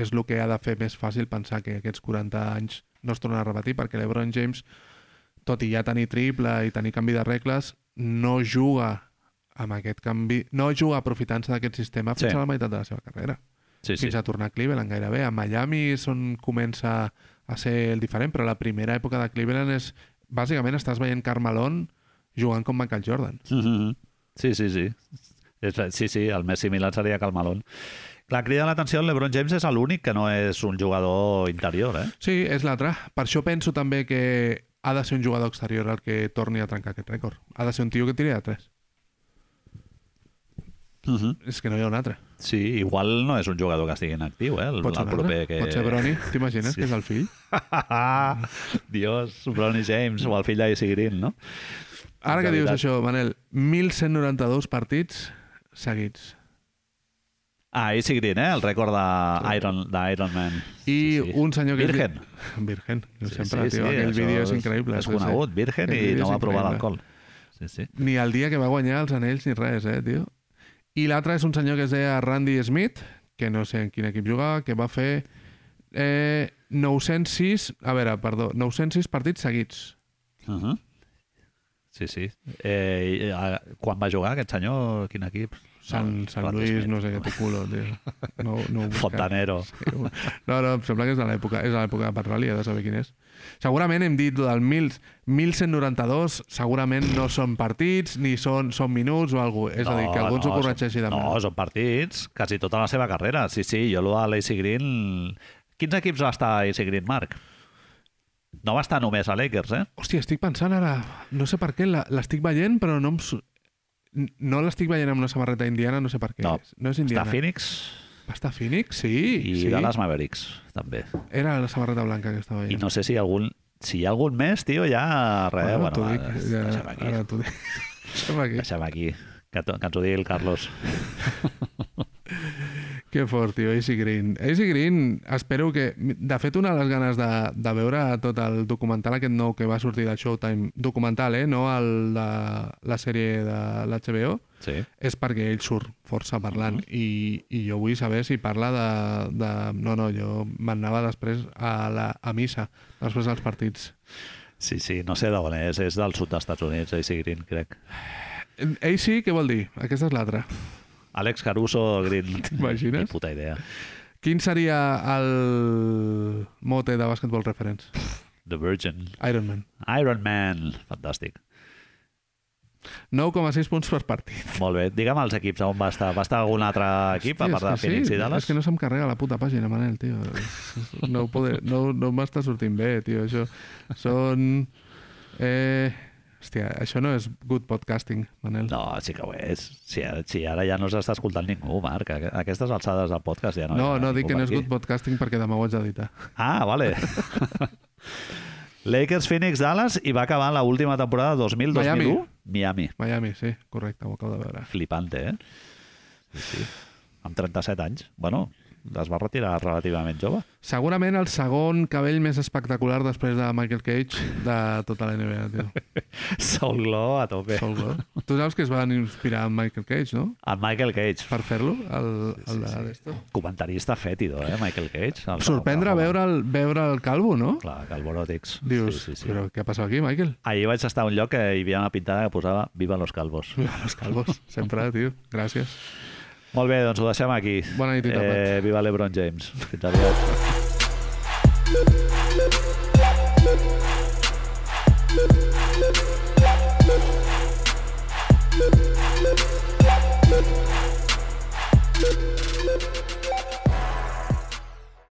és el que ha de fer més fàcil pensar que aquests 40 anys no es tornen a repetir perquè l'Ebron James, tot i ja tenir triple i tenir canvi de regles, no juga amb aquest canvi, no juga aprofitant-se d'aquest sistema fins
Sí.
a la meitat de la seva carrera.
sí,
fins a tornar a Cleveland gairebé. A Miami és on comença a ser el diferent, però la primera època de Cleveland és... Bàsicament estàs veient Carmelon jugant com Michael Jordan.
Mhm. Sí, sí, sí. És- Sí, sí, el més similar seria que el Malone. Clar, crida l'atenció, el LeBron James és l'únic que no és un jugador interior, eh?
Sí, és l'altre. Per això penso també que ha de ser un jugador exterior el que torni a trencar aquest rècord. Ha de ser un tio que tiri de 3.
Uh
És que no hi ha un altre.
Sí, igual no és un jugador que estigui en actiu, eh? El,
Pot ser,
el
un altre.
proper que...
Pot ser Brony, t'imagines
Sí.
que és el fill?
Dios, Bronny James o el fill d'Acy Green, no?
Ara que
De
dius
veritat.
això, Manel, 1.192 partits seguits.
Ah, Acy Green, eh? El rècord d'Iron Iron Man.
I un senyor que... és vi-
Virgen.
Virgen, jo sí, sempre, sí, tio, aquell
això
vídeo és increïble.
És
sí, sí.
conegut, virgen,
Aquell
i
vídeo
no
és
va provar
increïble.
l'alcohol. Sí, sí.
Ni el dia que va guanyar els anells ni res, eh, tio. I l'altre és un senyor que es deia Randy Smith, que no sé en quin equip jugava, que va fer eh, 906... A veure, perdó, 906 partits seguits.
Uh -huh. Sí, sí. Eh, i, eh, quan va jugar aquest senyor? Quin equip?
Sant,
No,
Sant
Ah, Randy
Luis,
Smith.
no sé què, tu culo, tio. No, no ho busques.
Fontanero.
No, no, em sembla que és de l'època és de l'època de Petroli, he de saber quin és. Segurament hem dit lo del 1000, 1192, segurament no són partits, ni són, són minuts o alguna cosa. És a dir, que algú ens ho corregeixi
són-
demà.
No, són partits, quasi tota la seva carrera. Sí, sí, jo lo de l'Acy Green... Quins equips va estar a Acy Green, Marc? No va estar només a Lakers, eh?
Hòstia, estic pensant ara... No sé per què, la- l'estic veient, però no em... su- n- No l'estic veient amb una samarreta indiana, no sé per què.
No.
és. no és
Està
indiana.
a Phoenix
Va estar a Phoenix? Sí.
i
sí.
sí. Dallas Mavericks, també.
Era la samarreta blanca que estava
I
veient.
no sé si algun... Si hi ha algun més, tio, ja... Re,
Ara
bueno,
t'ho
va,
dic, ja,
deixem aquí.
Ara t'ho dic. Deixem aquí.
Deixem aquí. Que, to- que ens ho digui el Carlos.
Que fort, tio, AC Green. AC Green, espero que... De fet, una de les ganes de, de veure tot el documental aquest nou que va sortir de Showtime, documental, eh? No el de la sèrie de l'HBO,
Sí.
és perquè ell surt força parlant i, i jo vull saber si parla de... de... No, no, jo m'anava després a, la, a missa, després dels partits.
Sí, sí, no sé d'on és, és del sud dels Estats Units, AC Green, crec.
AC, què vol dir? Aquesta és l'altra.
Alex Caruso Green.
T'imagines?
Ni puta idea.
Quin seria el mote de Basketball Reference?
The Virgin.
Iron Man.
Iron Man. Fantàstic.
9,6 punts per partit.
Molt bé. Digue'm els equips, on va estar? Va estar algun altre equip, a
Hòstia,
part de
és que
Phoenix i
sí,
Dallas?
És que no se'm carrega la puta pàgina, Manel, tio. No, ho poder, no, no m'està sortint bé, tio, això. Són... Eh... Hòstia, això no és good podcasting, Manel.
No, sí que ho és. Si, si ara ja no s'està escoltant ningú, Marc. A aquestes alçades del podcast ja no...
No,
hi ha
no, no
ningú
dic que
per
no és
aquí.
good podcasting perquè demà ho haig d'editar.
Ah, vale. Lakers, Phoenix, Dallas i va acabar la última temporada 2000-2001.
Miami.
Miami.
Miami, sí, correcte, ho acabo de veure.
Flipante, eh? Sí, sí. Amb 37 anys. Bueno, es va retirar relativament jove.
Segurament el segon cabell més espectacular després de Michael Cage de tota la NBA, tio.
Sol Glow a tope.
Sol gol. Tu saps que es van inspirar en Michael Cage, no?
El Michael Cage.
Per fer-lo, el, el de...
Comentarista fétido, eh, Michael Cage. El,
Sorprendre
el- el-
veure el, veure el calvo, no?
Clar, Calvoròtics.
Dius,
Sí, sí, sí.
però què ha passat aquí, Michael?
Ahir vaig estar a un lloc que hi havia una pintada que posava Viva los calvos.
Viva los calvos, sempre, tio. Gràcies.
Molt bé, doncs ho deixem aquí.
Bona nit i tapat.
Eh, viva l'Ebron James. Fins aviat.